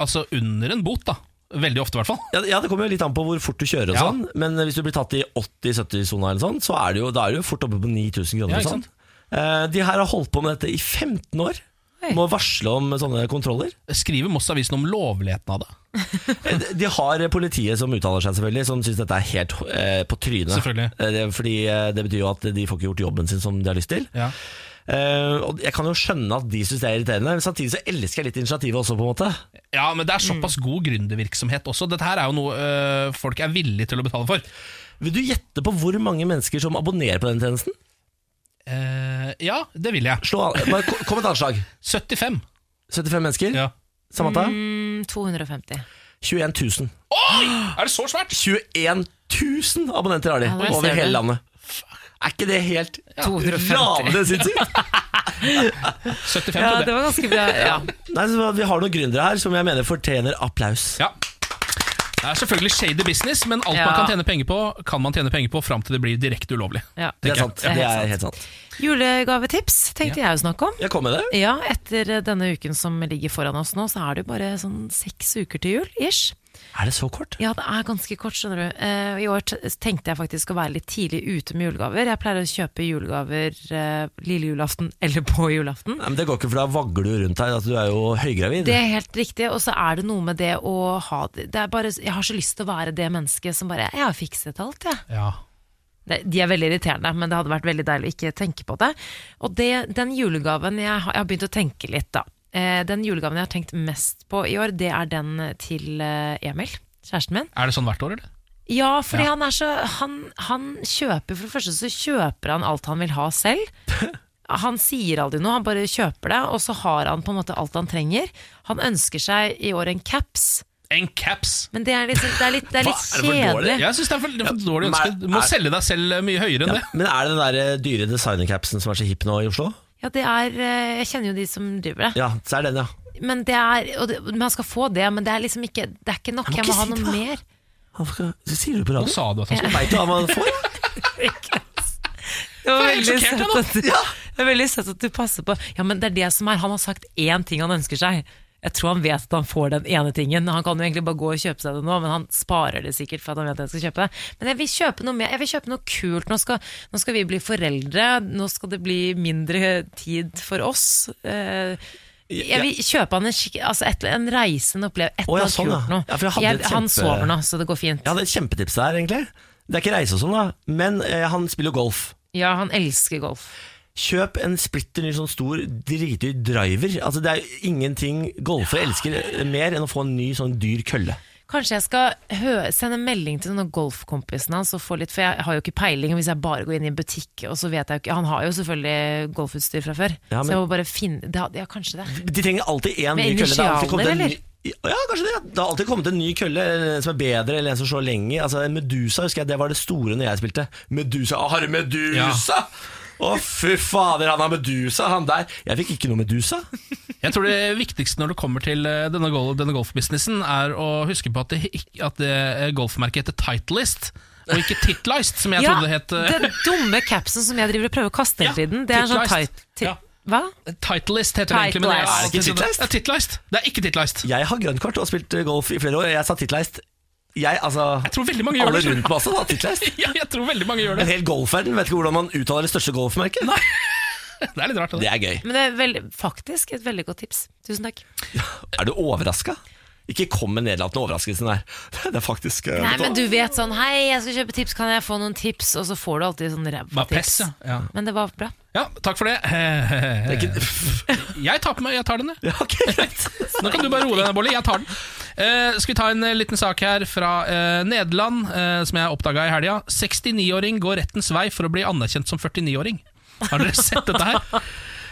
B: altså under en bot, da. Veldig ofte, i hvert fall.
A: Ja, ja, det kommer jo litt an på hvor fort du kjører og
B: Ja.
A: sånn, men hvis du blir tatt i 80-70-sona eller sånn, så er det jo, da er du jo fort oppe på 9000 kroner
B: Ja,
A: og
B: ikke
A: sånn.
B: sant?
A: Eh, De her har holdt på med dette i 15 år.
C: Oi.
A: Må varsle om sånne kontroller.
B: Skriver Moss Avisen om lovligheten av det?
A: Eh, De har politiet som uttaler seg, selvfølgelig, som syns dette er helt eh, på trynet.
B: Selvfølgelig.
A: Eh, det- Fordi eh, det betyr jo at de får ikke gjort jobben sin som de har lyst til.
B: Ja.
A: Eh, og jeg kan jo skjønne at de syns det er irriterende, men samtidig så elsker jeg litt initiativet også, på en måte.
B: ja, men det er såpass god gründervirksomhet også. Dette her er jo noe øh, folk er villige til å betale for.
A: Vil du gjette på hvor mange mennesker som abonnerer på den tjenesten?
B: Eh, ja, det vil jeg.
A: Slå, an- bare kom- kom et anslag.
B: 75.
A: 75 mennesker?
B: Ja.
A: Samantha?
C: Mm, 250.
A: 21 000.
B: Er det så svært?
A: 21 000 abonnenter har de
C: Ja, der
A: over
C: ser
A: hele
C: du.
A: landet. Er ikke det helt
C: 250.
A: ravende sinnssykt?
B: 75
C: Ja,
B: trodde
C: det
B: jeg.
C: var ganske bra. Ja.
A: Nei, så Vi har noen gründere her som jeg mener fortjener applaus.
B: Ja. Det er selvfølgelig shady business, men alt
C: Ja.
B: man kan tjene penger på, kan man tjene penger på fram til det blir direkte ulovlig.
C: Ja.
B: Tenker
A: Det er
B: jeg.
A: sant. Det er helt sant.
C: Julegavetips tenkte jeg å snakke om.
A: Jeg kom med det.
C: Ja, etter denne uken som ligger foran oss nå, så er det jo bare sånn seks uker til jul, ish.
A: Er det så kort?
C: Ja, det er ganske kort, skjønner du. Eh, I år t tenkte jeg faktisk å være litt tidlig ute med julegaver. Jeg pleier å kjøpe julegaver eh, lille julaften eller på julaften.
A: Nei, men Det går ikke, for da vagler du rundt her. Altså, du er jo høygravid.
C: Det er helt riktig, og så er det noe med det å ha det, det er bare, Jeg har så lyst til å være det mennesket som bare Jeg har fikset alt, jeg.
B: Ja.
C: Det- De er veldig irriterende, men det hadde vært veldig deilig å ikke tenke på det. Og det, den julegaven jeg har, jeg har begynt å tenke litt, da. Eh, den julegaven jeg har tenkt mest på i år, det er den til eh, Emil, kjæresten min.
B: Er det sånn hvert år, eller?
C: Ja, fordi
B: Ja.
C: han er så han, han kjøper For det første så kjøper han alt han vil ha selv. Han sier aldri noe, han bare kjøper det, og så har han på en måte alt han trenger. Han ønsker seg i år en caps,
B: En caps!
C: men det er litt, det er litt, det er litt
A: Hva, er det for dårlig?
C: kjedelig.
B: Jeg syns det er for, det er for dårlig
A: men
B: ønske. Du må
A: er-
B: selge deg selv mye høyere enn det.
A: Men er det den der eh, dyre designercapsen som er så hip nå i Oslo?
C: Ja, det er eh, Jeg kjenner jo de som driver det.
A: Ja, så er den, ja.
C: Men det er, og det, man skal få det, men det er liksom ikke Det er ikke nok,
A: må
C: jeg
A: ikke
C: må ha
A: si det,
C: noe
A: da.
C: mer.
A: Hva skal- hva sier du på
B: Nå
A: radioen?
B: sa du at han skulle
A: Veit du hva man får?
C: Det var
B: Jeg er
C: veldig
B: helt
C: søtt
B: sjokkert, jeg nå.
C: at du, det er veldig søtt at du passer på. Ja, men det er det som er. Han har sagt én ting han ønsker seg. Jeg tror han vet at han får den ene tingen. Han kan jo egentlig bare gå og kjøpe seg det nå, men han sparer det sikkert for at han vet at jeg skal kjøpe det. Men jeg vil kjøpe noe mer. Jeg vil kjøpe noe kult. Nå skal, nå skal vi bli foreldre. Nå skal det bli mindre tid for oss. Eh, jeg vil kjøpe han en, skikk- altså et, en reisende opplevelse. Et
A: Å,
C: eller
A: ja,
C: annet
A: sånn, ja.
C: kult noe.
A: Ja, for jeg hadde et
C: Han
A: kjempe-
C: sover nå, så det går fint.
A: Jeg hadde et kjempetips der, egentlig. Det er ikke reise og sånn, da, men eh, han spiller jo golf.
C: Ja, han elsker golf.
A: Kjøp en splitter ny sånn stor dritdyr driver. Altså Det er jo ingenting golfere elsker mer enn å få en ny sånn dyr kølle.
C: Kanskje jeg skal hø sende en melding til noen av golfkompisene hans og få litt, for jeg har jo ikke peiling hvis jeg bare går inn i en butikk, og så vet jeg jo ikke Han har jo selvfølgelig golfutstyr fra før,
A: Ja, men-
C: så jeg må bare finne det, hadde- Ja, kanskje det.
A: De trenger alltid én
C: Med
A: ny kølle. Det har
C: initialer,
A: alltid kommet en ny-
C: eller?
A: Ja, kanskje det. Det har alltid kommet en ny kølle eller en som er bedre eller en som slår lenger. Altså en Medusa husker jeg, det var det store når jeg spilte. Medusa, Å, Har du Medusa? Å, fy fader, han har Medusa, han der. Jeg fikk ikke noe Medusa.
B: Jeg tror det viktigste når det kommer til eh, denne, gol denne golfbusinessen, er å huske på at det, ikk- at det eh, golfmerket heter Titleist, og ikke Titleist, som jeg
C: ja,
B: trodde det het. eh,
C: den dumme capsen som jeg driver og prøver å kaste hele
B: Ja,
C: tiden, det er en sånn
B: Titleist.
C: tight ti-
B: Ja.
C: Hva?
B: Titleist heter det egentlig, men det
C: Titleist.
A: Er det ikke Titleist?
B: Det er Titleist. Det er ikke Titleist.
A: Jeg har grønt kort og har spilt golf i flere år. Jeg sa tittleist. Jeg, altså
B: Jeg tror veldig mange gjør
A: Alle
B: det. selv.
A: rundt meg også, da. Tittleist.
B: Ja, jeg tror veldig mange gjør
A: En
B: det.
A: hel golfverden vet ikke hvordan man uttaler det største golfmerket.
B: Det er litt rart. det.
A: Det er gøy.
C: Men det er veldig, faktisk et veldig godt tips. Tusen takk.
A: Er du overraska? Ikke kom med nedlatende overraskelsen her. Det er faktisk eh,
C: Nei,
A: vet du
C: men
A: hva?
C: du vet sånn Hei, jeg skal kjøpe tips, kan jeg få noen tips? Og så får du alltid sånn ræva
B: Bare pess,
C: tips.
B: ja. ja.
C: Men det var bra.
B: Ja, takk for det.
A: Det er ikke-
B: Jeg tar på meg, jeg tar den, jeg.
A: Ja, ok, greit.
B: Nå kan du bare roe deg ned, Bolli. Jeg tar den. Eh, skal vi ta en eh, liten sak her fra eh, Nederland, eh, som jeg oppdaga i helga. 69-åring går rettens vei for å bli anerkjent som 49-åring. Har dere sett dette her?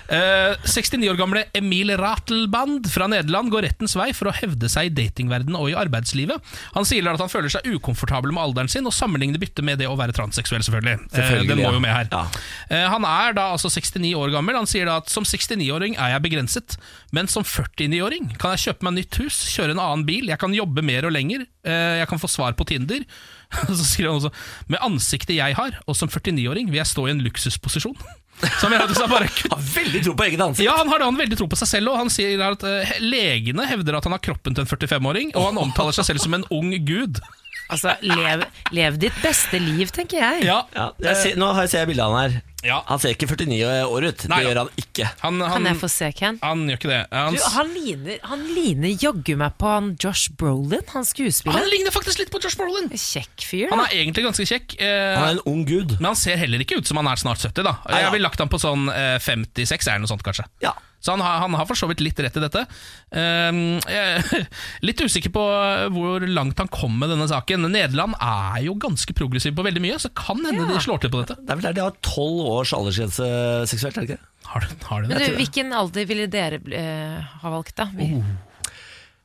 B: Eh, 69 år gamle Emil Ratelband fra Nederland går rettens vei for å hevde seg i datingverdenen og i arbeidslivet. Han sier at han føler seg ukomfortabel med alderen sin, og sammenligner byttet med det å være transseksuell, selvfølgelig. Eh,
A: Selvfølgelig,
B: den må
A: ja.
B: jo med her.
A: Ja.
B: Eh, Han er da altså 69 år gammel. Han sier da at som 69-åring er jeg begrenset, men som 49-åring kan jeg kjøpe meg nytt hus, kjøre en annen bil, jeg kan jobbe mer og lenger, eh, jeg kan få svar på Tinder. Og Så skriver han også med ansiktet jeg har, og som 49-åring vil jeg stå i en luksusposisjon. Så han mener at hvis han bare kutter
A: Har veldig tro på eget ansikt.
B: ja, han har det, han har veldig tro på seg selv, og han sier at eh, legene hevder at han har kroppen til en 45-åring, og han omtaler seg selv som en ung gud.
C: Altså, lev, lev ditt beste liv, tenker jeg.
B: Ja,
A: Ja, jeg ser, nå har jeg- ser jeg bildet av han her.
B: Ja.
A: Han ser ikke 49 år ut.
B: Nei,
A: det
B: ja.
A: gjør han ikke.
B: han, han,
C: Kan jeg få se, Ken?
B: han gjør ikke det. Han,
C: Du, han ligner, han ligner jaggu meg på han Josh Brolin, han
B: han
C: skuespilleren.
B: ligner faktisk litt på Josh Brolin.
C: Kjekk fyr.
B: Han
C: da.
B: er egentlig ganske kjekk, eh,
A: Han er en ung gud.
B: men han ser heller ikke ut som han er snart 70. da
A: Nei, ja.
B: Jeg ville lagt han på sånn eh, 56 eller noe sånt, kanskje.
A: Ja.
B: Så han har, han har for så vidt litt rett i dette. Ehm, jeg er litt usikker på eh, hvor langt han kom med denne saken. Nederland er jo ganske progressiv på veldig mye, så kan hende de slår til på dette.
A: Det er vel der de har tolv års aldersgrense seksuelt, er det ikke det?
B: Har du, har du
C: Men
B: det?
C: du, hvilken alder ville dere bli- eh, ha valgt, da? Vi-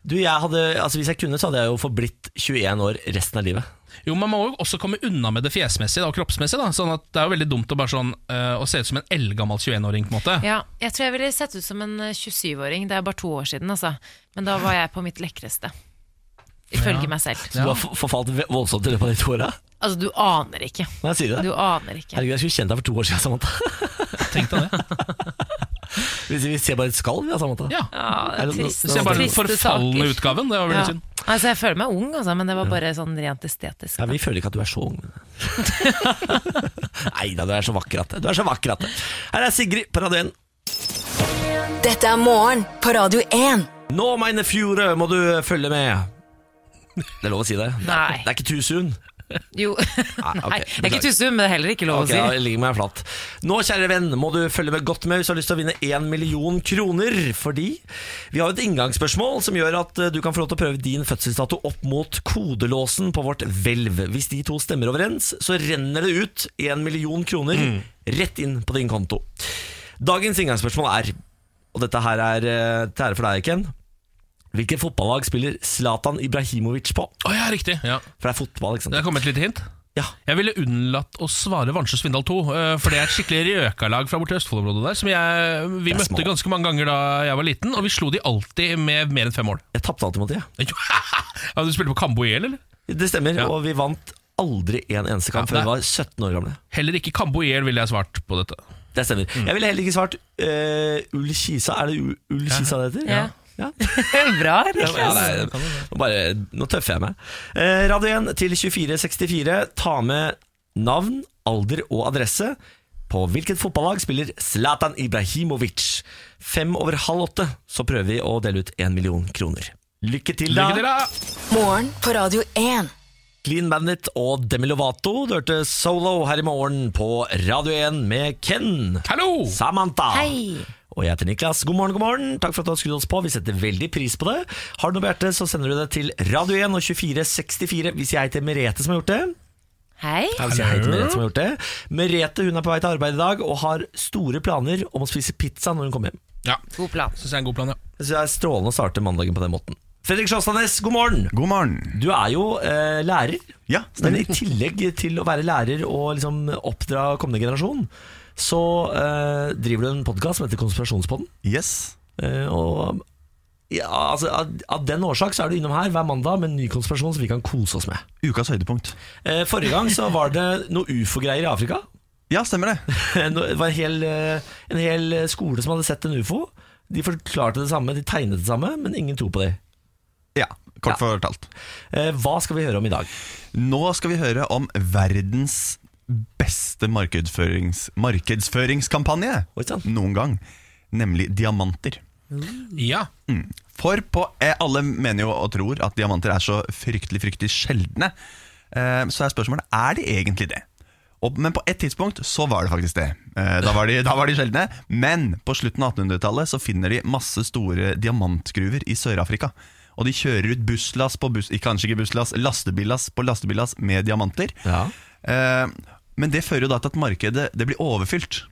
A: Du, jeg hadde, altså Hvis jeg kunne, så hadde jeg jo forblitt 21 år resten av livet.
B: Jo, Man må jo også komme unna med det fjesmessige da, og kroppsmessige. da Sånn at Det er jo veldig dumt å bare sånn eh, Å se ut som en eldgammel 21-åring. på en måte
C: Ja, jeg tror jeg ville sett ut som en eh, 27-åring. Det er bare to år siden, altså. Men da var jeg på mitt lekreste. Ifølge meg selv.
A: Så Du har f- forfalt ve- voldsomt i løpet av de to åra.
C: Altså, du aner ikke.
A: Nei, jeg sier det.
C: Du aner ikke.
A: Herregud, jeg skulle kjent deg for to år siden, Samantha.
B: Tenk deg det.
A: Vi vi ser bare et skall, vi, Samantha.
B: Ja.
C: Ja, Ah, det er
A: Eller-
C: trist.
A: Så
B: Se bare den
C: Triste
B: forfalne
C: saker.
B: utgaven. Det var veldig
C: Ja.
B: synd.
C: Altså, jeg føler meg ung, altså, men det var bare sånn rent estetisk.
A: Ja, vi føler ikke at du er så ung. Nei da, du er så vakker at det. Du er så vakker at det. Her er Sigrid på Radio 1.
D: Dette er morgen på Radio 1.
A: Nå, mine fjore, må du følge med. Det er lov å si det?
C: Nei.
A: Det er ikke too soon.
C: Jo, nei,
A: ok,
C: det er ikke tusen, men det er heller ikke lov
A: Ok, da
C: å si.
A: ligger meg flatt Nå, kjære venn, må du følge med godt med hvis du har lyst til å vinne 1 million kroner. Fordi vi har et inngangsspørsmål som gjør at eh, du kan få lov til å prøve din fødselsdato opp mot kodelåsen på vårt hvelv. Hvis de to stemmer overens, så renner det ut 1 million kroner
C: Mm.
A: rett inn på din konto. Dagens inngangsspørsmål er, og dette her er eh, til ære for deg, Ken. Hvilket fotballag spiller Zlatan Ibrahimovic på?
B: Å ja, riktig. Ja.
A: For det er fotball, ikke
B: Det
A: sant?
B: er kommet et lite hint.
A: Ja.
B: Jeg ville unnlatt å svare Vansjø Svindal 2, eh, for det er et skikkelig røkalag fra borti Østfoldområdet der, som jeg, vi
A: er
B: møtte
A: små.
B: ganske mange ganger da jeg var liten, og vi slo de alltid med mer enn fem mål.
A: Jeg tapte alltid mot det, jeg.
B: ja, du spilte på Kambo IL, eller?
A: Det stemmer,
B: Ja.
A: og vi vant aldri en eneste kamp
B: Ja,
A: før
B: det-
A: vi var 17 år gamle.
B: Heller ikke Kambo IL ville jeg svart på dette.
A: Det stemmer. Jeg ville heller ikke svart uh, Ull Kisa. Er det U- Ull Kisa det heter?
C: Ja.
A: Ja.
C: Bra,
A: Ja,
C: Niklas.
A: det er- nå, bare, nå tøffer jeg meg. Eh, Radio 1 til 2464. Ta med navn, alder og adresse. På hvilket fotballag spiller Zlatan Ibrahimovic? Fem over halv åtte så prøver vi å dele ut én million kroner. Lykke til, da!
B: Lykke til, da!
D: Morgen på Radio 1.
A: Clean Bandit og Demi Lovato. Du hørte Solo her i morgen på Radio 1 med Ken.
B: Hallo!
A: Samantha.
C: Hei.
A: Og jeg heter Niklas. God morgen, god morgen. Takk for at du har skrudd oss på. Vi setter veldig pris på det. Har du noe på hjertet, så sender du det til Radio 1 og 2464 hvis jeg heter Merete som har gjort det.
C: Hei.
A: Ja, hvis jeg heter Merete som har gjort det. Merete hun er på vei til arbeid i dag og har store planer om å spise pizza når hun kommer hjem.
B: Ja,
C: God plan.
B: synes jeg er en god plan, ja.
A: Så det er strålende å starte mandagen på den måten. Fredrik Sjåstadnes, god morgen.
F: God morgen.
A: Du er jo eh, lærer.
F: Ja,
A: Men i
F: stemmer.
A: tillegg til å være lærer og liksom oppdra kommende generasjon, så eh, driver du en podkast som heter Konspirasjonspodden.
F: Yes.
A: Eh, og ja, altså, av, av den årsak så er du innom her hver mandag med en ny konspirasjon som vi kan kose oss med.
F: Ukas høydepunkt.
A: Eh, forrige gang så var det noe ufo-greier i Afrika.
F: Ja, stemmer det.
A: No- Det var en hel, eh, en hel skole som hadde sett en ufo. De forklarte det samme, de tegnet det samme, men ingen tror på det.
F: Ja,
A: Ja.
F: Kort fortalt.
A: Eh, hva skal vi høre om i dag?
F: Nå skal vi høre om verdens beste markedsførings markedsføringskampanje
A: Oi sann.
F: noen gang. Nemlig diamanter.
B: Ja,
F: For på eh, Alle mener jo og tror at diamanter er så fryktelig fryktelig sjeldne. Eh, Så er spørsmålet er de egentlig det. Og, men på et tidspunkt så var det faktisk det. Eh, Da var de, da var de sjeldne. Men på slutten av 1800-tallet så finner de masse store diamantgruver i Sør-Afrika. Og de kjører ut busslass på buss, kanskje ikke busslass, lastebillass på lastebillass med diamanter.
A: Ja.
F: Eh, Men det fører jo da til at markedet det blir overfylt.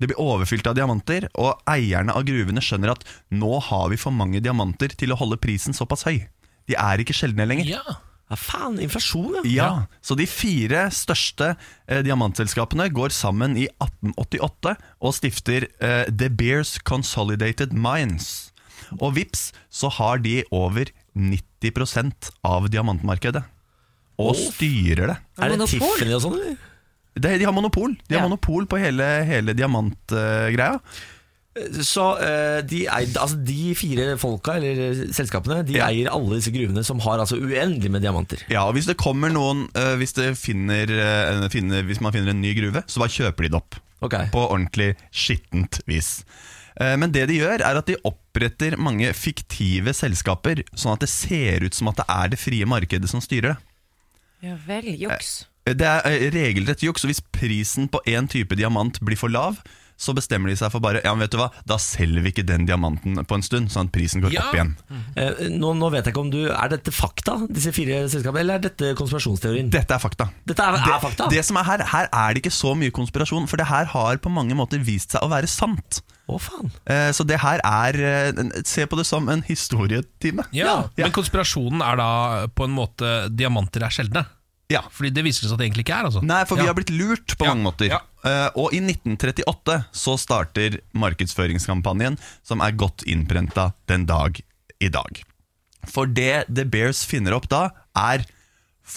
F: Det blir overfylt av diamanter, og eierne av gruvene skjønner at nå har vi for mange diamanter til å holde prisen såpass høy. De er ikke sjeldne lenger.
B: Ja.
A: ja, faen, inflasjon, ja.
F: Ja, Så de fire største eh, diamantselskapene går sammen i 1888 og stifter eh, The Bears Consolidated Mines. Og vips, så har de over 90 av diamantmarkedet. Og styrer det.
A: Er det
C: Monopol?
A: Tiffany og sånn, eller?
F: Det, de har monopol De har
C: Ja.
F: monopol på hele, hele diamantgreia.
A: Så eh, de, eide, altså, de fire folka, eller eh, selskapene, de
F: Ja.
A: eier alle disse gruvene som har altså uendelig med diamanter.
F: ja, og hvis det kommer noen eh, hvis, det finner, eh, finner, hvis man finner en ny gruve, så bare kjøper de det opp.
A: Ok.
F: På ordentlig skittent vis. Eh, Men det de gjør, er at de oppretter mange fiktive selskaper, sånn at det ser ut som at det er det frie markedet som styrer det.
C: Ja vel, juks.
F: Det er eh, regelrett juks, og hvis prisen på én type diamant blir for lav, så bestemmer de seg for bare Ja, men vet du hva, da selger vi ikke den diamanten på en stund, sånn at prisen går
B: Ja.
F: opp igjen.
A: Eh, nå, nå vet jeg ikke om du Er dette fakta, disse fire selskapene, eller er dette konspirasjonsteorien?
F: Dette er fakta.
A: Dette er,
F: det,
A: er fakta?
F: Det som er her, her er det ikke så mye konspirasjon, for det her har på mange måter vist seg å være sant.
A: Å, faen.
F: Eh, Så det her er eh, Se på det som en historietime.
B: Ja.
F: Ja.
B: Men konspirasjonen er da eh, på en måte diamanter er sjeldne.
F: Ja.
B: Fordi det viser det seg at det egentlig ikke er. altså
F: Nei, for vi
B: Ja.
F: har blitt lurt på
B: Ja,
F: mange måter.
B: ja.
F: Eh, Og i 1938 så starter markedsføringskampanjen, som er godt innprenta den dag i dag. For det The Bears finner opp da, er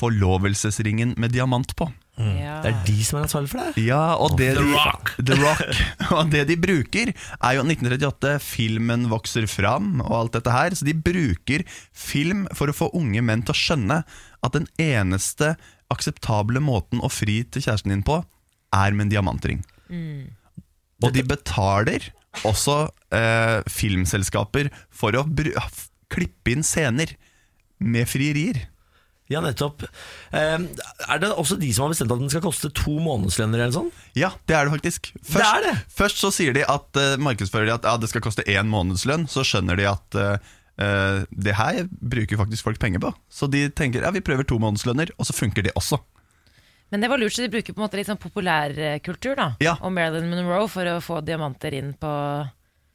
F: forlovelsesringen med diamant på.
C: Ja.
A: Det er de som er ansvarlig for det?
F: Ja, og det
B: The
F: de,
B: Rock.
F: The Rock. Og det de bruker, er jo 1938, filmen vokser fram og alt dette her. Så de bruker film for å få unge menn til å skjønne at den eneste akseptable måten å fri til kjæresten din på, er med en diamantring. Og de betaler også eh, filmselskaper for å bru f- klippe inn scener med frierier.
A: Ja, nettopp. Eh, er det også de som har bestemt at den skal koste to månedslønner eller sånn?
F: Ja, det er det faktisk. Først,
A: Det er det!
F: først så sier de at eh, markedsfører de at ja, det skal koste én månedslønn. Så skjønner de at eh, eh, det her bruker faktisk folk penger på. Så de tenker ja, vi prøver to månedslønner, og så funker det også.
C: Men det var lurt, så de bruker på en måte litt sånn populærkultur da
F: Ja.
C: og Marilyn Monroe for å få diamanter inn på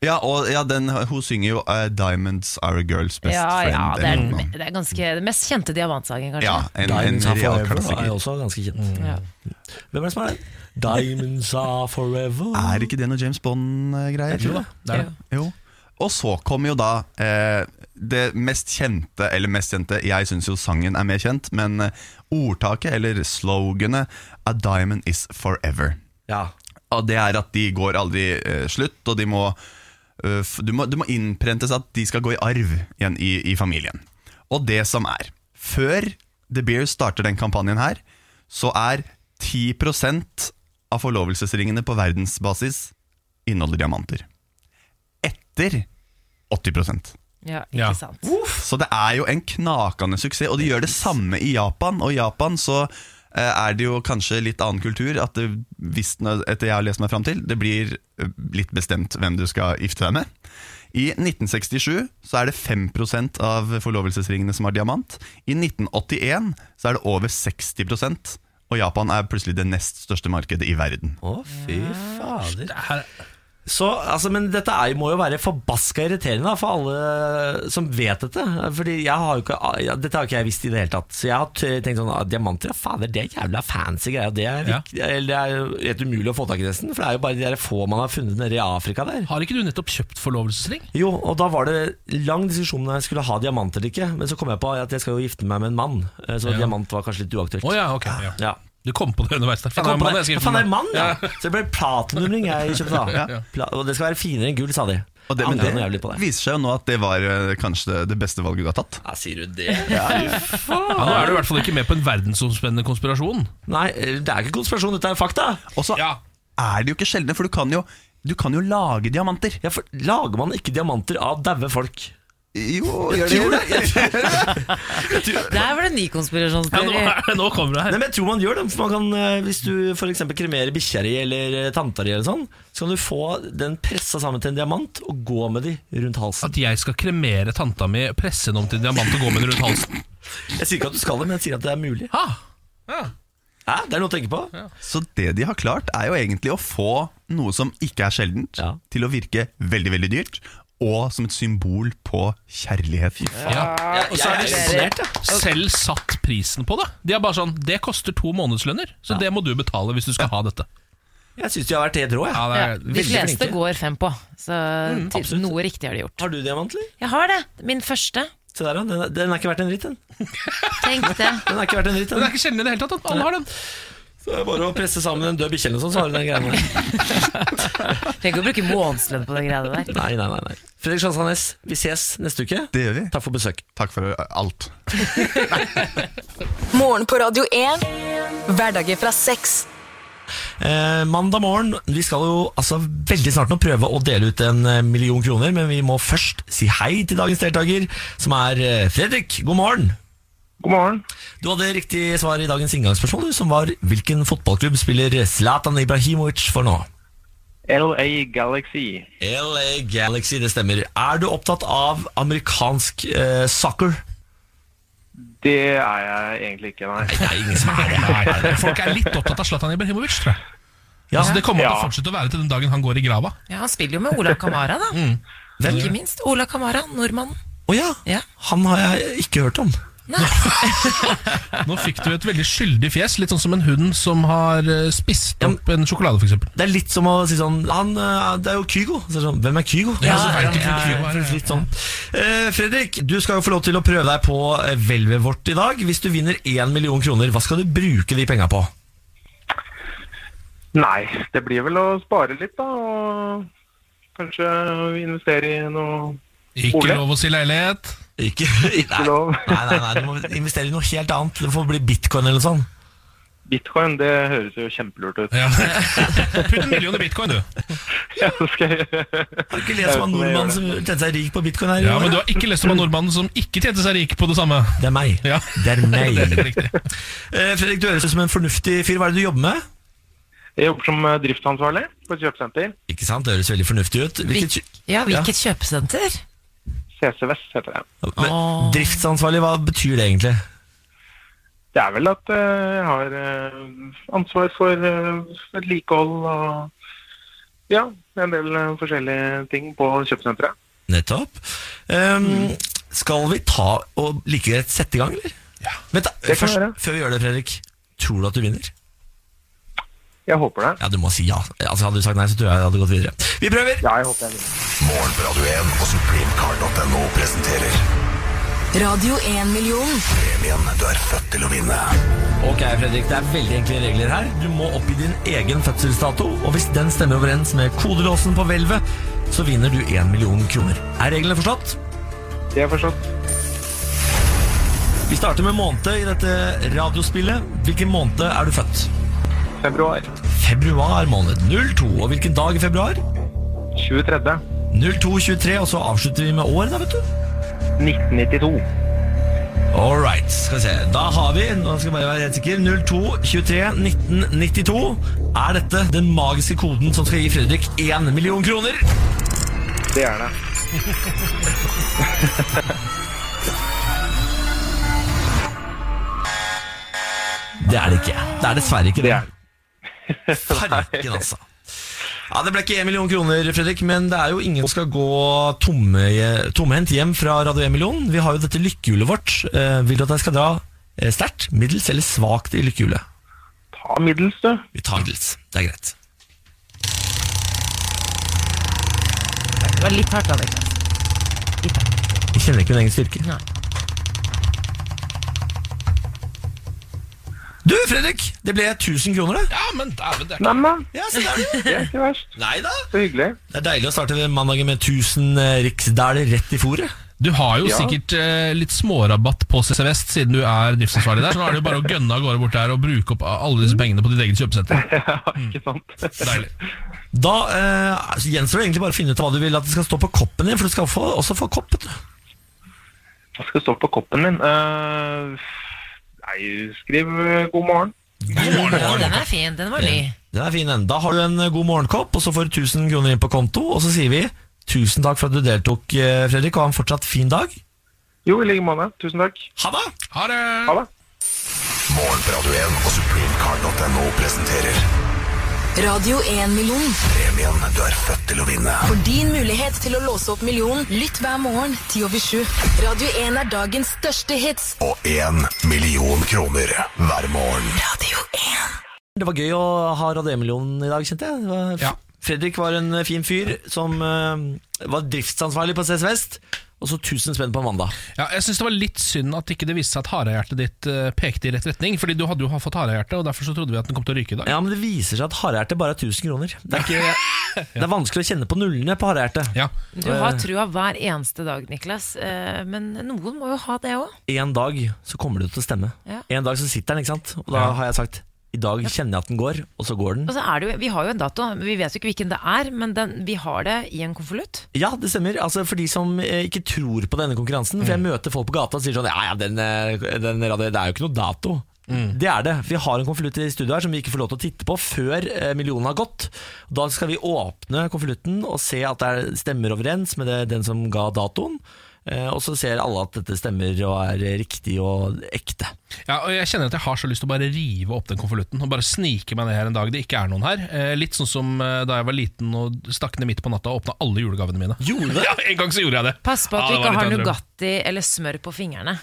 F: Ja, og ja, den, hun synger jo eh, 'Diamonds Are a Girl's Best
C: Ja,
F: Friend'.
C: ja, det er,
F: eller noe
C: den-
F: sånt.
C: det er ganske den mest kjente diamantsangen, kanskje.
F: ja, en, en
A: Diamonds Are
F: real
A: Forever er
F: klassiker.
A: jo også ganske kjent.
C: Ja.
A: Hvem er det som er den? Diamonds Are Forever.
F: Er ikke det noe James Bond-greier?
B: Jo da, det er det.
F: Jo. Og så kommer jo da eh, det mest kjente, eller mest kjente, jeg syns jo sangen er mer kjent, men eh, ordtaket, eller sloganet, 'A diamond is forever'.
A: Ja.
F: Og det er at de går aldri eh, slutt, og de må, eh, f- du må, du må innprentes at de skal gå i arv igjen i, i familien. Og det som er, før The Bears starter den kampanjen her, så er 10 av forlovelsesringene på verdensbasis inneholder diamanter. Etter 80
C: Ja, ikke
B: Ja.
C: sant
F: så det er jo en knakende suksess, og de gjør det samme i Japan. Og i Japan så eh, er det jo kanskje litt annen kultur, at det, hvis den- etter jeg har lest meg fram til, det blir eh, litt bestemt hvem du skal gifte deg med. I 1967 så er det 5 av forlovelsesringene som har diamant. I 1981 så er det over 60 og Japan er plutselig det nest største markedet i verden.
A: Å, fy fader.
B: Mm. Det her,
A: Så, altså, men dette er, må jo være forbaska irriterende da, for alle som vet dette. Fordi jeg har jo ikke, ja, Dette har ikke jeg visst i det hele tatt. Så jeg har t- tenkt sånn ah, Diamanter, ja fader, det er jævla fancy greier. Det er,
B: Ja.
A: viktig, eller det er jo helt umulig å få tak i nesten. For det er jo bare de der få man har funnet nede i Afrika der.
B: har ikke du nettopp kjøpt forlovelsesring?
A: Jo, og da var det lang diskusjon om jeg skulle ha diamant eller ikke. Men så kom jeg på at jeg skal jo gifte meg med en mann, eh, så
B: Ja.
A: diamant var kanskje litt uaktuelt.
B: Å ja, ok. Ja.
A: Ja.
B: Du kom på det underveis der.
A: Jeg
B: Faen,
A: kom
B: det
A: på
B: er mann,
A: det.
B: jeg skal
A: Ja,
B: gifte
A: faen,
B: meg
A: det er
B: med.
A: mann, ja. Så det ble platinumring jeg kjøpte da. Pla og det skal være finere enn gull, sa de.
F: Og det, men
A: Angrer noe jævlig
F: det
A: på det.
F: viser seg jo nå at det var eh, kanskje det- det beste valget du har tatt.
A: Ja, sier du det?
B: Ja, nå er du i hvert fall ikke med på en verdensomspennende konspirasjon.
A: Nei, eh, det er ikke konspirasjon, dette er fakta.
F: Og så
B: Ja.
F: er de jo ikke sjeldne, for du kan jo, du kan jo lage diamanter.
A: Ja, for lager man ikke diamanter av daue folk?
F: Jo, gjør det, gjør det.
C: Der var det en ny
B: Ja, nå,
C: konspirasjonsteori.
B: er- nå kommer det her.
A: Nei, men jeg tror man gjør det. For man kan, eh, hvis du f.eks. kremerer bikkja di eller eh, tanta di, eller sånn, så kan du få den pressa sammen til en diamant og gå med de rundt halsen.
B: At jeg skal kremere tanta mi, presse henne om til en diamant og gå med den rundt halsen.
A: Jeg sier ikke at du skal det, men jeg sier at det er mulig.
B: Ha!
A: Ja, det er noe å tenke på.
F: Så det de har klart, er jo egentlig å få noe som ikke er sjeldent,
A: Ja.
F: til å virke veldig, veldig dyrt, og som et symbol på kjærlighet.
B: Ja.
A: Jeg, jeg, er imponert, jeg.
B: Selv satt prisen på det. De er bare sånn Det koster to månedslønner, så det må du betale hvis du skal ha dette.
A: Jeg syns de har vært helt rå.
B: Ja,
A: Jeg.
C: Ja,
B: det er
C: de
A: veldig
C: fleste
A: flinke.
C: går fem på, så ty-
A: absolutt.
C: noe riktig har de gjort.
A: Har du diamant, eller?
C: Jeg har det! Min første.
A: Se der, ja. Den, er- den er ikke verdt en dritt, den.
C: Tenk det.
A: Den er ikke verdt en dritt,
B: Men det er
A: den.
B: ikke sjelden i det hele tatt. at Alle har den.
A: Så det er bare å presse sammen en død bikkje eller noe sånt, så har du den greia der.
C: Tenk å bruke månedslønn på de greiene der.
A: Nei, nei, nei. nei. Fredrik Sjanshanes, vi ses neste uke.
F: Det gjør vi.
A: Takk for besøk.
F: Takk for alt.
D: Morgen på Radio 1. Hverdager fra seks.
A: Eh, mandag morgen, vi skal jo altså veldig snart nå prøve å dele ut en eh, million kroner, men vi må først si hei til dagens deltaker, som er eh, Fredrik. God morgen!
G: God morgen.
A: Du hadde riktig svar i dagens inngangsspørsmål, du, som var hvilken fotballklubb spiller Zlatan Ibrahimovic for nå?
G: LA Galaxy.
A: LA Galaxy, det stemmer. Er du opptatt av amerikansk eh, soccer?
G: Det er jeg egentlig ikke, nei.
A: Det er ingen som er det.
B: Nei, folk er litt opptatt av Zlatan Ibrahimovic, tror jeg.
A: Ja.
B: Altså, det kommer
G: Ja.
B: til å fortsette å være til den dagen han går i grava.
C: Ja, han spiller jo med Ola Kamara, da.
A: Hvem?
C: Ikke minst. Ola Kamara, nordmannen.
A: Å ja.
C: Ja.
A: han har jeg ikke hørt om.
B: Nå fikk du et veldig skyldig fjes, litt sånn som en hund som har eh, spist
A: Ja, men-
B: opp en sjokolade, f.eks.
A: Det er litt som å si sånn han, eh, Det er jo Kygo. Så er det sånn, Hvem er Kygo?
B: Ja,
A: Altså,
B: ja,
A: det
B: ja,
A: er jo
B: ja, ja, ja.
A: Litt sånn. Eh, Fredrik, du skal jo få lov til å prøve deg på eh, hvelvet vårt i dag. Hvis du vinner én million kroner, hva skal du bruke de penga på?
G: Nei, det blir vel å spare litt, da. Og kanskje investere i noe
B: Ikke
G: Ole?
B: lov å si leilighet.
A: Ikke, nei,
G: lov.
A: nei, nei, nei, du må investere i noe helt annet. Det får bli bitcoin eller noe sånt.
G: bitcoin. Det høres jo kjempelurt ut.
B: Ja. Putt en million i bitcoin, du.
G: Ja, det skal jeg gjøre.
A: Har du ikke lest om han
G: Jeg vet
A: nordmannen
G: ikke
A: som tjente seg rik på bitcoin her?
B: Ja, Men du har ikke lest om han nordmannen som ikke tjente seg rik på det samme.
A: Det er meg.
B: Ja.
A: Det er meg.
B: Det er helt riktig.
A: Eh, Fredrik, du høres ut som en fornuftig fyr. Hva er det du jobber med?
G: Jeg jobber som eh, driftsansvarlig på et kjøpesenter.
A: Ikke sant, Det høres veldig fornuftig ut. Hvilket,
C: Ja, hvilket kjøpesenter?
G: CC Vest heter det.
A: men, driftsansvarlig, hva betyr det egentlig?
G: Det er vel at eh, jeg har eh, ansvar for eh, vedlikehold og ja, en del eh, forskjellige ting på kjøpesenteret.
A: Nettopp. Ehm, Skal vi ta og like greit sette i gang, eller? Ja. Vent, da,
G: Det kan vi
A: først,
G: gjøre.
A: før vi gjør det, Fredrik. Tror du at du vinner?
G: Jeg håper det.
A: Ja, du må si ja. Altså, hadde du sagt nei, så tror jeg jeg hadde gått videre. Vi prøver!
G: Ja, jeg håper jeg vinner.
H: Morgen på Radio 1 og supremecard.no presenterer
D: Radio 1 million.
H: premien du er født til å vinne.
A: Ok, Fredrik, det er veldig enkle regler her. Du må oppgi din egen fødselsdato, og hvis den stemmer overens med kodelåsen på hvelvet, så vinner du én million kroner. Er reglene forstått?
G: Det er forstått.
A: Vi starter med måned i dette radiospillet. Hvilken måned er du født?
G: Februar.
A: Februar måned 02. Og hvilken dag i februar?
G: 23.
A: 0223, og så avslutter vi med år, da, vet du.
G: 1992.
A: All right, skal vi se. Da har vi nå skal jeg bare være helt sikker, 02231992. Er dette den magiske koden som skal gi Fredrik 1 million kroner?
G: Det er det.
A: Det er det ikke. Det er dessverre ikke det.
G: Det er det.
A: Farken, altså. Ja, Det ble ikke 1 million kroner, Fredrik, men det er jo ingen som skal gå tomme, tomhendt hjem fra Radio 1 million. Vi har jo dette lykkehjulet vårt. Eh, vil du at jeg skal dra eh, sterkt, middels eller svakt i lykkehjulet?
G: Ta middels, du.
A: Vi tar middels. Det er greit.
C: Det var litt hardt av deg, Klas. Litt hardt.
A: Jeg kjenner ikke min egen styrke.
C: Nei.
A: Du, Fredrik! Det ble 1000 kroner, det.
B: Ja, men dæven, det er
G: Nei, men
A: Ja, se der.
G: det er ikke verst.
A: Nei da.
G: Så hyggelig.
A: Det er deilig å starte mandagen med 1000 eh, riksdaler rett i fòret.
B: Du har jo
G: Ja.
B: sikkert eh, litt smårabatt på CC Vest siden du er driftsansvarlig der, så nå er det jo bare å gønne av gårde bort der og bruke opp alle disse pengene på ditt eget kjøpesenter.
G: Ja, ikke sant?
B: Deilig.
A: Da eh, altså, gjenstår det egentlig bare å finne ut hva du vil at det skal stå på koppen din, for du skal få, også få kopp. vet du.
G: Hva skal det stå på koppen min? Eh, nei, skriv eh, god morgen.
C: Ja, den er fin. Den var ny.
A: Den er fin, den. Da har du en eh, god morgenkopp, og så får du 1000 kroner inn på konto. Og så sier vi tusen takk for at du deltok, eh, Fredrik, og ha en fortsatt fin dag.
G: Jo, i like måte. Tusen takk.
A: Ha det!
B: Ha det!
G: Ha det.
H: Morgen på Radio 1 og supremecard.no presenterer
D: Radio 1 million.
H: premien du er født til å vinne.
D: For din mulighet til å låse opp millionen, lytt hver morgen 10 over 7. Radio 1 er dagens største hits.
H: Og én million kroner hver morgen.
D: Radio 1.
A: Det var gøy å ha Rademillionen i dag, kjente jeg. Det var,
B: Ja.
A: Fredrik var en fin fyr som eh, var driftsansvarlig på CS Vest, og så 1000 spenn på mandag.
B: Ja, jeg synes det var litt synd at ikke det viste seg at harehjertet ditt eh, pekte i rett retning. Fordi du hadde jo fått harehjerte, og derfor så trodde vi at den kom til å ryke i dag.
A: Ja, men det viser seg at harehjerte bare er 1000 kroner. Det er, ikke, det er vanskelig å kjenne på nullene på harehjerte.
B: Ja.
C: Du har trua hver eneste dag, Niklas. Eh, Men noen må jo ha det òg.
A: En dag så kommer det til å stemme.
C: Ja.
A: En dag så sitter den, ikke sant? Og da har jeg sagt i dag kjenner jeg at den går, og så går den.
C: Og så Altså, er det jo, vi har jo en dato, men vi vet jo ikke hvilken det er, men den, vi har det i en konvolutt.
A: Ja, det stemmer. Altså, for de som eh, ikke tror på denne konkurransen. For jeg møter folk på gata og sier sånn Ja, ja, den, eh, den radio, det er jo ikke noe dato. Det er det. Vi har en konvolutt i studio her som vi ikke får lov til å titte på før eh, millionen har gått. Da skal vi åpne konvolutten og se at det er- stemmer overens med det, den som ga datoen. Eh, Og så ser alle at dette stemmer og er riktig og ekte.
B: Ja, og Jeg kjenner at jeg har så lyst til å bare rive opp den konvolutten og bare snike meg ned her en dag det ikke er noen her. Eh, litt sånn som eh, da jeg var liten og stakk ned midt på natta og åpna alle julegavene mine.
A: Gjorde du det?
B: Ja, En gang så gjorde jeg det.
C: Pass på at
B: Ja,
C: du
B: det
C: ikke
B: var
C: har
B: litt av en drøm.
C: Nugatti eller smør på fingrene.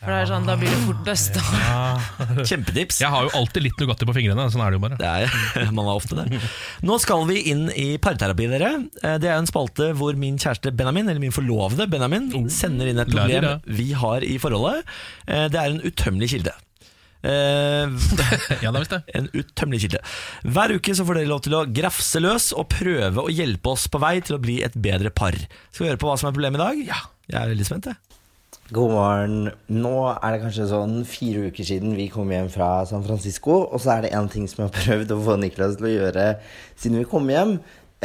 C: For det er sånn, Da blir det fort døst.
A: Ah. Kjempetips.
B: Jeg har jo alltid litt Nugatti på fingrene. Sånn er det jo bare.
A: Det er, man er ofte det. Nå skal vi inn i parterapi, dere. Eh, Det er jo en spalte hvor min kjæreste Benjamin, eller min forlovede Benjamin, sender inn et
B: la de
A: problem
B: da.
A: vi har i forholdet. Eh, Det er en utømmelig kilde. Eh,
B: Ja, det er visst det.
A: en utømmelig kilde. Hver uke så får dere lov til å grafse løs og prøve å hjelpe oss på vei til å bli et bedre par. Skal vi høre på hva som er problemet i dag? Ja, jeg er veldig spent, jeg.
I: God morgen. Nå er det kanskje sånn fire uker siden vi kom hjem fra San Francisco, og så er det én ting som jeg har prøvd å få Niklas til å gjøre siden vi kom hjem,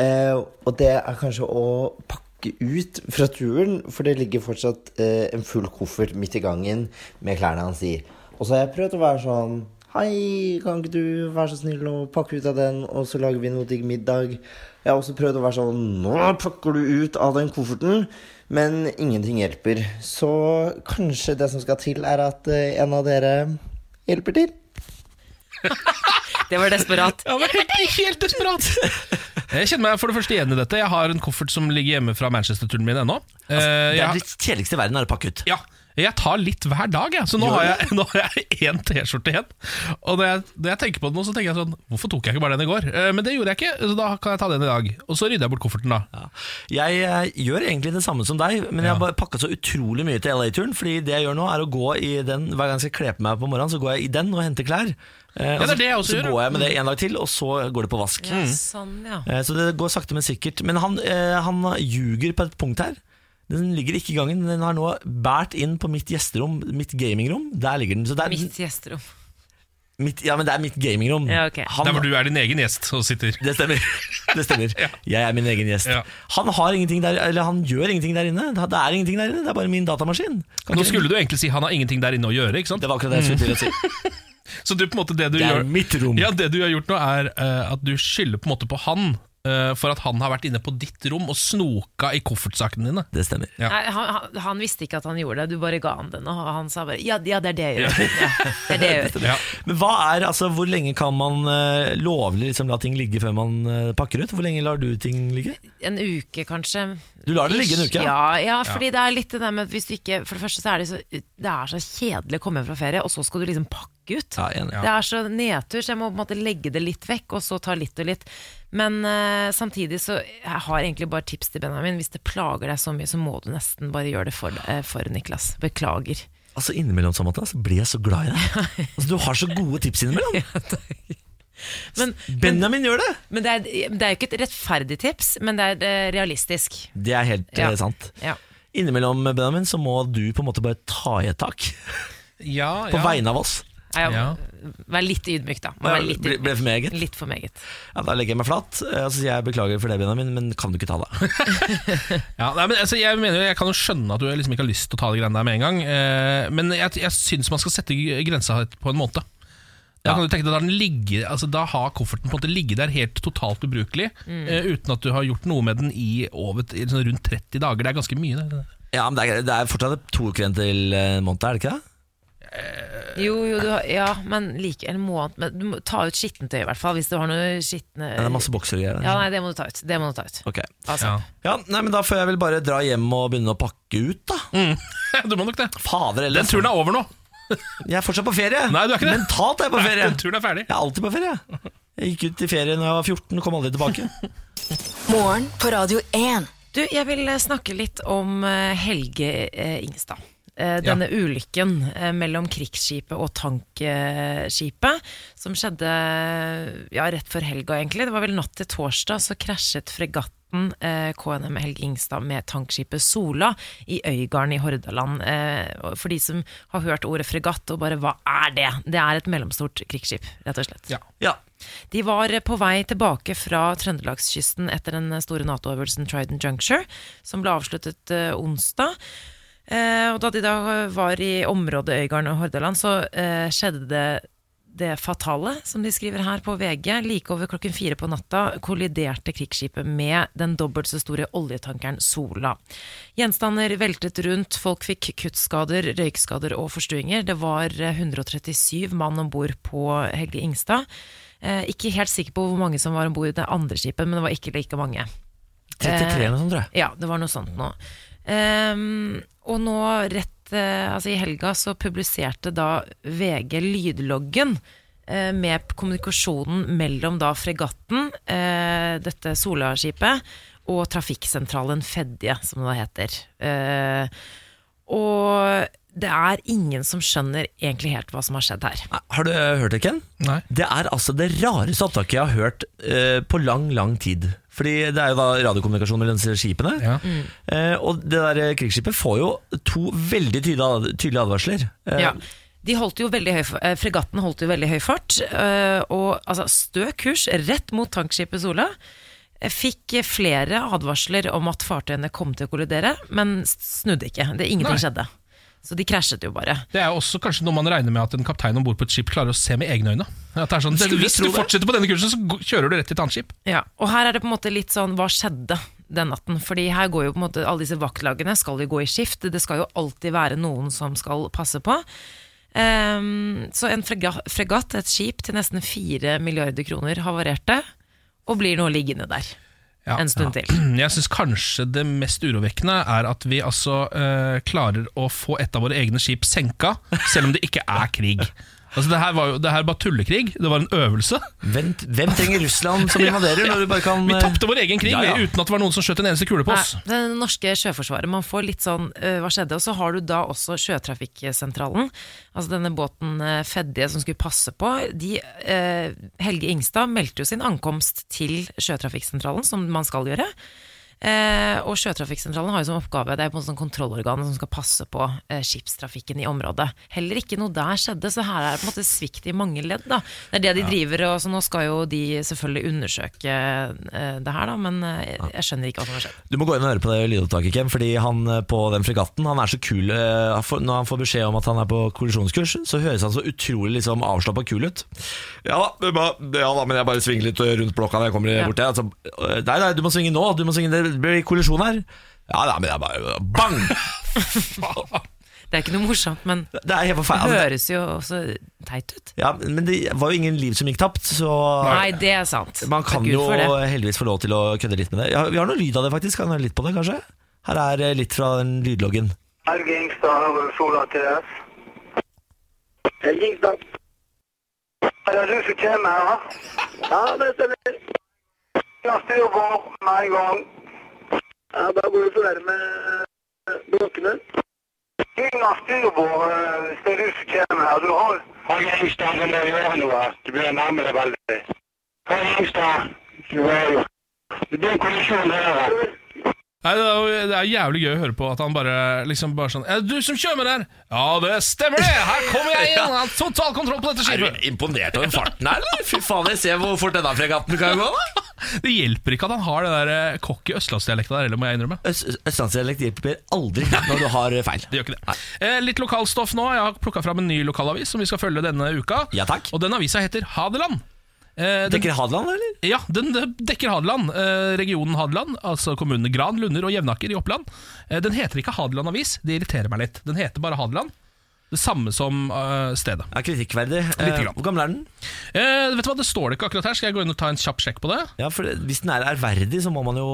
I: eh, og det er kanskje å pakke ut fra turen, for det ligger fortsatt eh, en full koffert midt i gangen med klærne hans i. Og så har jeg prøvd å være sånn Hei, kan ikke du være så snill å pakke ut av den, og så lager vi noe digg middag? Jeg har også prøvd å være sånn Nå pakker du ut av den kofferten. Men ingenting hjelper. Så kanskje det som skal til, er at eh, en av dere hjelper til?
C: Det var desperat.
B: Ja, men helt, helt desperat Jeg kjenner meg for det første igjen i dette Jeg har en koffert som ligger hjemme fra Manchester-turen min ennå Eh,
A: Altså, Det er
B: jeg,
A: det kjedeligste i verden er å pakke ut.
B: ja, jeg tar litt hver dag jeg. Så nå har jeg, nå har jeg en t-skjorte igjen Og når jeg, når jeg tenker på det nå Så tenker jeg sånn, hvorfor tok jeg ikke bare den i går? Eh, men det gjorde jeg ikke, så da kan jeg ta den i dag Og så rydder jeg bort kofferten da
A: Ja. Jeg eh, gjør egentlig det samme som deg, men jeg har bare pakka så utrolig mye til LA-turen. Fordi det jeg gjør nå, er å gå i den hver gang jeg skal kle på meg på morgenen, så går jeg i den og henter klær. Eh, og
B: det er det jeg
A: så,
B: også
A: så
B: gjør,
A: går jeg med det en dag til, og så går det på vask.
B: Mm.
C: Ja, sånn, ja.
A: Eh, så det går sakte, men sikkert. Men han, eh, han ljuger på et punkt her. Den ligger ikke i gangen, den har nå båret inn på mitt gjesterom, mitt gamingrom. Der ligger den. Så det er
C: Mitt gjesterom.
A: mitt, ja, men det er mitt gamingrom.
C: Ja, ok.
A: Han-
B: Der hvor du er din egen gjest og sitter
A: det stemmer. Det stemmer. Jeg er min egen gjest.
B: Ja.
A: Han, har ingenting der, eller han gjør ingenting der inne. Det er ingenting der inne, det er bare min datamaskin. Kan
B: Nå
A: ikke-
B: skulle du egentlig si, han har ingenting der inne å gjøre, ikke sant?
A: Det var akkurat det jeg skulle til å si.
B: Så du på en måte det Mm. du
A: Det er
B: gjør
A: mitt rom.
B: Ja, det du har gjort nå er eh, at du skylder på en måte på han eh, for at han har vært inne på ditt rom og snoka i koffertsakene dine.
A: Det stemmer.
B: Ja.
C: Nei, han, han- han visste ikke at han gjorde det, du bare ga han den. Og han sa bare ja, ja, det er det jeg gjør. Ja, det er det jeg gjør.
B: Ja.
A: Men hva er, altså, Hvor lenge kan man eh, lovlig liksom, la ting ligge før man eh, pakker ut? Hvor lenge lar du ting ligge?
C: En uke, kanskje.
A: Du lar det ligge en uke?
C: Ja, ja fordi det er litt det der med at hvis du ikke For det første så er det så, det er så kjedelig å komme hjem fra ferie, og så skal du liksom pakke ut.
A: Ja, enig.
C: Det er så nedtur, så jeg må på en måte legge det litt vekk, og så ta litt og litt. Men eh, samtidig så jeg har egentlig bare tips til Benjamin. Hvis det plager deg så mye, så må du nesten bare gjøre det for, eh, for Niklas. Beklager.
A: Altså Innimellom sånn, Mathias, blir jeg så glad i deg. Altså, du har så gode tips innimellom.
C: Men, men,
A: Benjamin gjør det!
C: men det, er, det er jo ikke et rettferdig tips, men det er eh, realistisk.
A: Det er helt eh,
C: Ja.
A: sant.
C: Ja.
A: Innimellom, Benjamin, så må du på en måte bare ta i et tak.
B: Ja,
A: På vegne av oss.
C: Nei, ja.
B: Ja.
C: Vær litt ydmyk, da. Må være litt,
A: Ble- ble det for meget?
C: ydmyk. litt for meget.
A: Ja, da legger jeg meg flat, eh, og så sier jeg beklager for det, Benjamin, men kan du ikke ta det?
B: Ja, nei, men altså, jeg, mener, jo- jeg kan jo skjønne at du liksom ikke har lyst til å ta de greiene der med en gang, eh, men jeg, jeg syns man skal sette g- grensa på en måned. Da
A: Ja.
B: kan du tenke deg, da, den ligger, altså, da har kofferten på en måte ligget der helt totalt ubrukelig, eh, uten at du har gjort noe med den i over i sånn rundt 30 dager. Det er ganske mye. Det.
A: Ja, men det er, det er fortsatt to uker igjen til eh, måned, er det ikke det?
C: Jo, jo, du har, ja, men like en måned men Du må ta ut skittentøy, i hvert fall, hvis du har noe skitne
A: Ja, det er masse bokser og greier.
C: Ja, nei, det må du ta ut. Det må du ta ut.
A: Ok.
C: Altså.
B: Ja.
A: Ja, nei, men da får jeg vel bare dra hjem og begynne å pakke ut, da.
B: du må nok det. Mm.
A: Fader
B: Den
A: heller.
B: turen er over nå.
A: Jeg er fortsatt på ferie.
B: Nei, du er ikke det.
A: Mentalt er jeg på ferie.
B: Den turen er ferdig.
A: Jeg er alltid på ferie. Jeg gikk ut i ferie da jeg var 14 og kom aldri tilbake.
D: Morgen på Radio 1.
C: Du, jeg vil eh, snakke litt om eh, Helge eh, Ingstad. Eh, Denne ulykken eh, mellom krigsskipet og tankskipet som skjedde ja, rett før helga, egentlig. Det var vel natt til torsdag så krasjet fregatten eh, KNM Helge Ingstad med tankskipet Sola i Øygarden i Hordaland. Eh, og For de som har hørt ordet fregatt og bare hva er det? Det er et mellomstort krigsskip, rett og slett.
B: Ja.
A: Ja,
C: De var på vei tilbake fra Trøndelagskysten etter den store Nato-øvelsen Trident Juncture, som ble avsluttet eh, onsdag. Eh, og da de da var i området Øygarden og Hordaland, så eh, skjedde det det fatale, som de skriver her på VG. Like over klokken fire på natta kolliderte krigsskipet med den dobbelt så store oljetankeren Sola. Gjenstander veltet rundt, folk fikk kuttskader, røykskader og forstuinger. Det var eh, 137 mann om bord på Helge Ingstad. Eh, ikke helt sikker på hvor mange som var om bord i det andre skipet, men det var ikke like mange.
A: 33 eller noe sånt, tror jeg.
C: Ja, det var noe sånt nå. Ehm, og nå rett eh, altså i helga så publiserte da VG lydloggen eh, med kommunikasjonen mellom da fregatten, eh, dette Sola-skipet, og trafikksentralen Fedje, som det da heter. Eh, og det er ingen som skjønner egentlig helt hva som har skjedd her.
A: Nei, Har du eh, hørt det, Ken?
B: Nei.
A: Det er altså det rareste opptaket jeg har hørt eh, på lang, lang tid. Fordi det er jo da radiokommunikasjon mellom disse skipene.
B: Ja.
A: Eh, og det der eh, krigsskipet får jo to veldig tydelige, tydelige advarsler. Eh,
C: Ja. De holdt jo veldig høy, eh, fregatten holdt jo veldig høy fart, eh, og altså, stø kurs rett mot tankskipet Sola. Jeg Fikk eh, flere advarsler om at fartøyene kom til å kollidere, men s- snudde ikke. Det, ingenting
B: Nei.
C: skjedde. Så de krasjet jo bare.
B: Det er jo også kanskje noe man regner med at en kaptein om bord på et skip klarer å se med egne øyne. At det er sånn,
A: Skulle
B: Hvis
A: tro
B: du
A: det.
B: fortsetter på denne kursen, så g- kjører du rett til et annet skip.
C: Ja, og her er det på en måte litt sånn Hva skjedde den natten? Fordi her går jo på en måte Alle disse vaktlagene skal jo gå i skift Det skal jo alltid være noen som skal passe på Ehm, Så en frega- fregatt, et skip til nesten 4 milliarder kroner Havarerte Og blir nå liggende der
B: Ja.
C: en stund til
B: Jeg syns kanskje det mest urovekkende er at vi altså eh, klarer å få et av våre egne skip senka, selv om det ikke er krig. Altså Det her var jo det her var tullekrig, det var en øvelse.
A: Hvem, hvem trenger Russland som invaderer, når du bare kan
B: Vi
A: eh,
B: tapte vår egen krig
A: Ja, ja.
B: vi, uten at det var noen som skjøt en eneste kule på oss.
C: Nei, det er det norske sjøforsvaret, man får litt sånn øh, hva skjedde? Og så har du da også sjøtrafikksentralen, altså denne båten øh, Fedje som skulle passe på. De, øh, Helge Ingstad meldte jo sin ankomst til sjøtrafikksentralen, som man skal gjøre. Eh, og Sjøtrafikksentralen har jo som oppgave Det er på en måte sånn kontrollorganet som skal passe på eh, skipstrafikken i området. Heller ikke noe der skjedde, så her er det på en måte svikt i mange ledd. Da. Det er det de driver, og så nå skal jo de selvfølgelig undersøke eh, det her, da, men eh, jeg, jeg skjønner ikke hva som har skjedd.
A: Du må gå inn og høre på det lydopptaket, Ken, fordi han eh, på den fregatten Han er så kul. eh, han får- Når han får beskjed om at han er på kollisjonskurs, så høres han så utrolig liksom, avslappa kul ut. Ja da, det er bare- ja da, men jeg bare svinger litt eh, rundt blokka når jeg kommer bort der. Altså, eh, nei, nei, du må svinge nå. Du må svinge, det blir kollisjon her. Ja, nei, men jeg bare Bang!
C: Det er ikke noe morsomt, men
A: Det er helt
C: det
A: forferdelig.
C: høres jo også teit ut.
A: Ja, men det var jo ingen liv som gikk tapt, så
C: Nei, det er sant.
A: man kan
C: Takk Gud
A: jo
C: for det.
A: heldigvis få lov til å kødde litt med det. Ja, vi har noe lyd av det, faktisk. Kan vi høre litt på det, kanskje? Her er eh, litt fra den lydloggen.
G: Helge Ingstad, Sola TS. Helge Ingstad. Er det du som kommer her? Ja, det stemmer. Ja, styr på med en gang. Ja, da går vi for nærme eh, blokkene. Unna styrbord, eh, hvis det er du som kommer her. Du har Helge Ingstad, du må gjøre noe. Du begynner å nærme deg veldig. Helge Ingstad, du er jo Det blir en kollisjon her.
B: Nei, det, er jo, det er jævlig gøy å høre på at han bare liksom bare sånn Er det du som kjører med der? Ja, det stemmer det! Her kommer jeg inn! Jeg har total kontroll på dette
A: Er
B: skipet!
A: du imponert over farten her, eller? Fy faen, jeg ser hvor fort denne fregatten kan gå, da.
B: Det hjelper ikke at han har det der eh, cocky østlandsdialekta der heller, må jeg innrømme.
A: Øst- Østlandsdialekt hjelper aldri når du har feil.
B: Det gjør ikke det. Eh, litt lokalstoff nå. Jeg har plukka fram en ny lokalavis som vi skal følge denne uka.
A: Ja, takk.
B: Og den avisa heter Hadeland. Eh, den,
A: Tenker Hadeland, eller?
B: ja, den eh, dekker Hadeland. Eh, regionen Hadeland, altså kommunene Gran, Lunder og Jevnaker i Oppland. Eh, den heter ikke Hadeland Avis, det irriterer meg litt. Den heter bare Hadeland. Det samme som eh, stedet.
A: Ja, kritikkverdig.
B: Lite
A: Eh,
B: grann.
A: Hvor gammel er den?
B: Eh, vet du hva, Det står det ikke akkurat her, skal jeg gå inn og ta en kjapp sjekk på det?
A: Ja, for Hvis den er ærverdig, så må man jo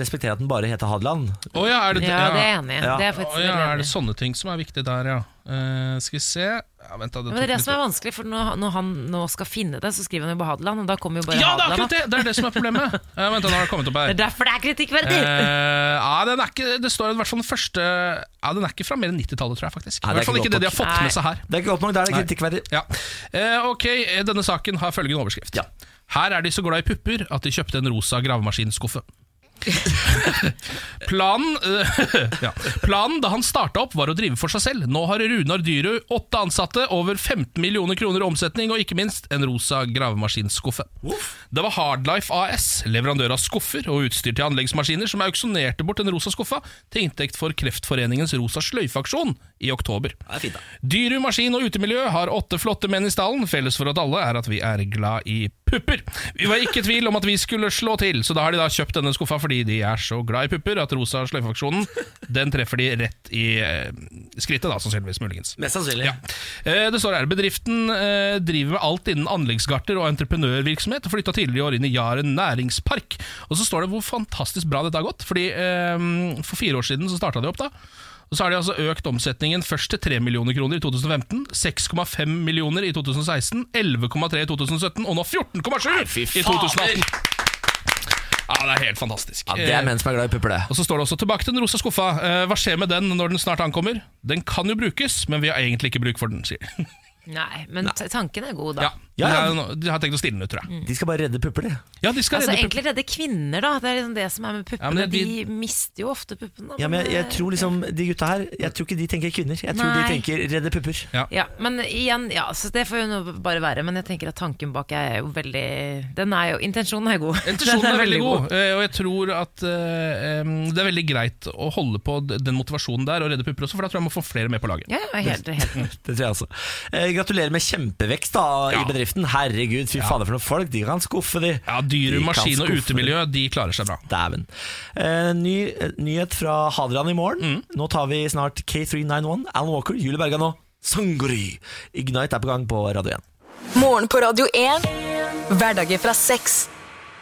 A: respektere at den bare heter Hadeland.
B: Å ja, er det
C: Ja, det er jeg enig i.
A: Ja.
C: Det er jeg faktisk
B: Å ja,
C: veldig
B: er det
C: enig i.
B: sånne ting som er viktig der, ja. Eh, skal vi se ja, vent da,
C: Ja, Men det er det som er vanskelig, for når, når han nå skal finne det, så skriver han jo bare Hadeland, og da kommer jo bare
B: Ja, det
C: Hadeland.
B: er akkurat det! Det er det som er problemet. Eh, vent, da, nå har det kommet opp
C: da.
B: her.
C: Det er derfor det er kritikkverdig!
B: Eh, ja, den er ikke, det står i hvert fall den første ja, Den er ikke fra mer enn 90-tallet, tror jeg. faktisk I
A: Nei, det er
B: hvert fall
A: ikke
B: ikke det de
A: godt
B: har fått
C: nok.
B: med seg her.
A: Det er ikke godt nok, da er det
B: Nei.
A: kritikkverdig.
B: Ja. Eh, ok, eh, Denne saken har følgende overskrift.
A: Ja.
B: Her er de så glad i pupper at de kjøpte en rosa gravemaskinskuffe. Planen, eh, ja. Planen da han starta opp, var å drive for seg selv. Nå har Runar Dyrud åtte ansatte, over 15 millioner kroner i omsetning og ikke minst en rosa gravemaskinskuffe. Det var Hardlife AS, leverandør av skuffer og utstyr til anleggsmaskiner, som auksjonerte bort den rosa skuffa til inntekt for Kreftforeningens Rosa sløyfeaksjon i oktober.
A: Det er fint, da.
B: Dyru maskin og utemiljø har åtte flotte menn i stallen. Felles for at alle er at vi er glad i pupper. Vi var ikke i tvil om at vi skulle slå til, så da har de da kjøpt denne skuffa fordi de er så glad i pupper at rosa sløyfeaksjonen den treffer de rett i eh, skrittet, da, sannsynligvis. Muligens.
A: Mest sannsynlig.
B: Ja. Eh, Det står her bedriften eh, driver med alt innen anleggsgarter og entreprenørvirksomhet. og Flytta tidligere i år inn i Jaren næringspark. Og så står det hvor fantastisk bra dette har gått. Fordi eh, For fire år siden så starta de opp. da og så har de altså økt omsetningen først til 3 millioner kroner i 2015, 6,5 millioner i 2016, 11,3 i 2017 og nå 14,7
A: fy
B: i 2018! Ja, Det er helt fantastisk.
A: Ja, det
B: Eh,
A: er menn som er glad i pupper, det.
B: og så står det også tilbake til den rosa skuffa. Eh, hva skjer med den når den snart ankommer? Den kan jo brukes, men vi har egentlig ikke bruk for den, sier de.
C: Nei, men t- tanken er god, da.
B: ja. De, har, de har tenkt å stille den ut, tror jeg.
A: De skal bare redde pupper, de.
B: Ja, de skal
C: Altså
B: redde pupp-
C: Egentlig redde kvinner, da. Det er liksom det som er med
B: Ja,
C: puppene.
B: men
C: de...
B: det-
C: mister jo ofte puppene.
A: Ja, men jeg, jeg tror liksom De gutta her, jeg tror ikke de tenker kvinner. Jeg tror de
C: eh, Nei.
A: tenker redde pupper.
C: ja, men igjen, ja, så det får jo nå bare være. Men jeg tenker at tanken bak er jo veldig Den er jo Intensjonen er god.
B: Intensjonen er veldig god, eh, og jeg tror at eh, em, det er veldig greit å holde på d- den motivasjonen der og redde pupper også, for da tror jeg man får flere med på laget.
C: Ja, ja, helt, helt.
A: Det tror jeg altså. Eh, gratulerer med kjempevekst da i
B: Ja.
A: bedriften. Herregud, fy fader for noen folk. De kan skuffe, de.
B: Ja, Dyre
A: De kan
B: maskin og
A: skuffe, de.
B: utemiljø, de klarer seg bra.
A: Dæven. Eh, ny eh, nyhet fra Hadeland i morgen. Nå tar vi snart K391, Alan Walker, Julie Berga nå. Sangry! Ignite er på gang på Radio 1.
D: Morgen på Radio 1. Hverdager fra seks.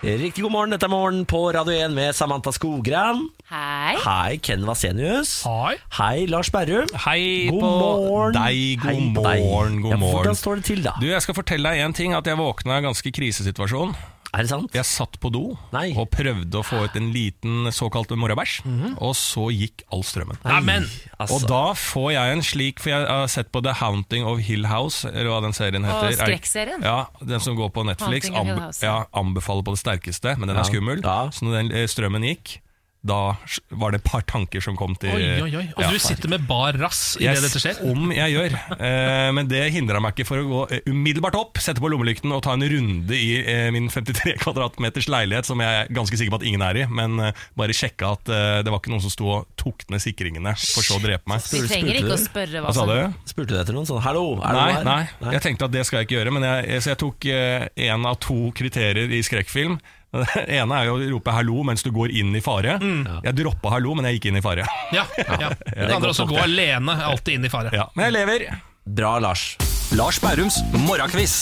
A: Riktig god morgen, dette er Morgen på Radio 1 med Samantha Skogran.
C: Hei.
A: Hei, Ken Vasenius.
B: Hei.
A: Hei, Lars Berrum.
E: Hei
A: God
E: på
A: morgen.
E: deg, god
A: Hei på deg.
E: morgen, god
A: ja,
E: morgen.
A: Hvordan står det til, da?
E: Du, jeg skal fortelle deg en ting, at jeg våkna i en ganske krisesituasjon.
A: Er det sant?
E: Jeg satt på do
A: Nei.
E: og prøvde å få ut en liten såkalt morabæsj, og så gikk all strømmen.
A: Nei,
B: Amen.
A: Altså,
E: Og da får jeg en slik, for jeg har sett på The Haunting of Hill House, eller hva den serien heter.
C: Og skrekkserien.
E: Ja, den som går på Netflix.
C: Haunting of Hill
E: Anbe
C: House.
E: ja, anbefaler på det sterkeste, men den
A: Ja.
E: er skummel.
A: Ja.
E: Så når den eh, strømmen gikk, da s- var det et par tanker som kom til
B: Oi, oi, oi. Og
E: Ja.
B: du sitter med bar rass
E: Jeg
B: idet dette skjer?
E: Om jeg gjør. Eh, men det hindra meg ikke for å gå eh, umiddelbart opp, sette på lommelykten og ta en runde i eh, min 53 kvadratmeters leilighet, som jeg er ganske sikker på at ingen er i, men eh, bare sjekke at eh, det var ikke noen som sto og tok ned sikringene, for så å drepe meg.
C: Vi
A: Spurte
C: trenger ikke
A: du?
C: å spørre hva
E: Hva sa
C: som
E: du?
A: Spurte du etter noen sånn 'hallo'? Er det
E: Nei,
A: noe her?
E: nei, jeg tenkte at det skal jeg ikke gjøre, men jeg, så jeg tok én av to kriterier i skrekkfilm. Det ene er jo å rope 'hallo' mens du går inn i fare.
B: Mm.
E: Jeg droppa 'hallo', men jeg gikk inn i fare.
B: Ja. ja. Det
A: godt
B: andre også
A: nok,
B: gå alene, er alltid inn i fare.
E: Ja. Men jeg lever.
A: Bra, Lars.
E: Lars Bærums morgenkviss.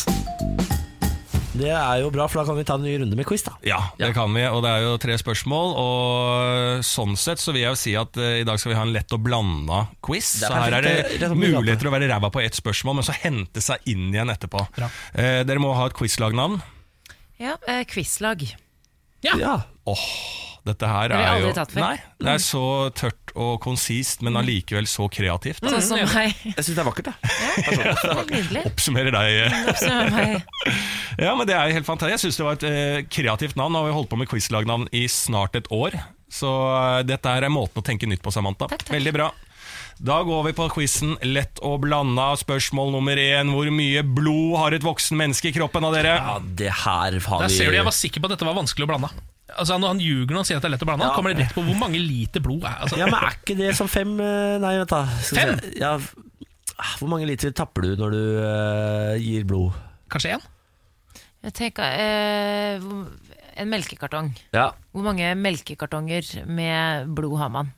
A: Det er jo bra, for da kan vi ta en ny runde med quiz, da.
E: Ja, det kan vi, og det er jo tre spørsmål. Og sånn sett så vil jeg jo si at eh, i dag skal vi ha en lett og blanda quiz.
A: Det er
E: Så her er
A: perfekt, det
E: det
A: er sånn vi
E: muligheter å være ræva på ett spørsmål, men så hente seg inn igjen etterpå. Eh, dere må ha et quizlagnavn.
C: Ja, eh, Quizlag.
A: Ja.
E: Dette her
C: Det har vi
E: er jo
C: aldri tatt før. Mm.
E: Nei, det er så tørt og konsist, men allikevel så kreativt.
C: Sånn som meg.
A: Jeg syns det er vakkert, jeg. Altså,
C: Helt Nydelig.
E: Oppsummerer deg. eh.
C: Oppsummer meg.
E: Ja, men det er jo helt fantastisk. Jeg syns det var et eh, kreativt navn. Nå har vi holdt på med quizlagnavn i snart et år. Så eh, dette er måten å tenke nytt på, Samantha.
C: Takk, takk.
E: Veldig bra. Da går vi på quizen Lett og blanda. Spørsmål nummer én. Hvor mye blod har et voksen menneske i kroppen av dere?
A: Ja, det her har
B: Der
A: vi
B: ser du, Jeg var sikker på at dette var vanskelig å blande. Altså Når han ljuger når han sier at det er lett å blande, kommer det rett på hvor mange liter blod er altså.
A: Ja, men er ikke det som fem eh, Nei, vent da. Skal vi
B: Fem?
A: se. Ja, f- ah, hvor mange liter tapper du når du eh, gir blod?
B: Kanskje én?
C: Jeg tenker, eh, hvor- en melkekartong.
A: Ja,
C: Hvor mange melkekartonger med blod har man?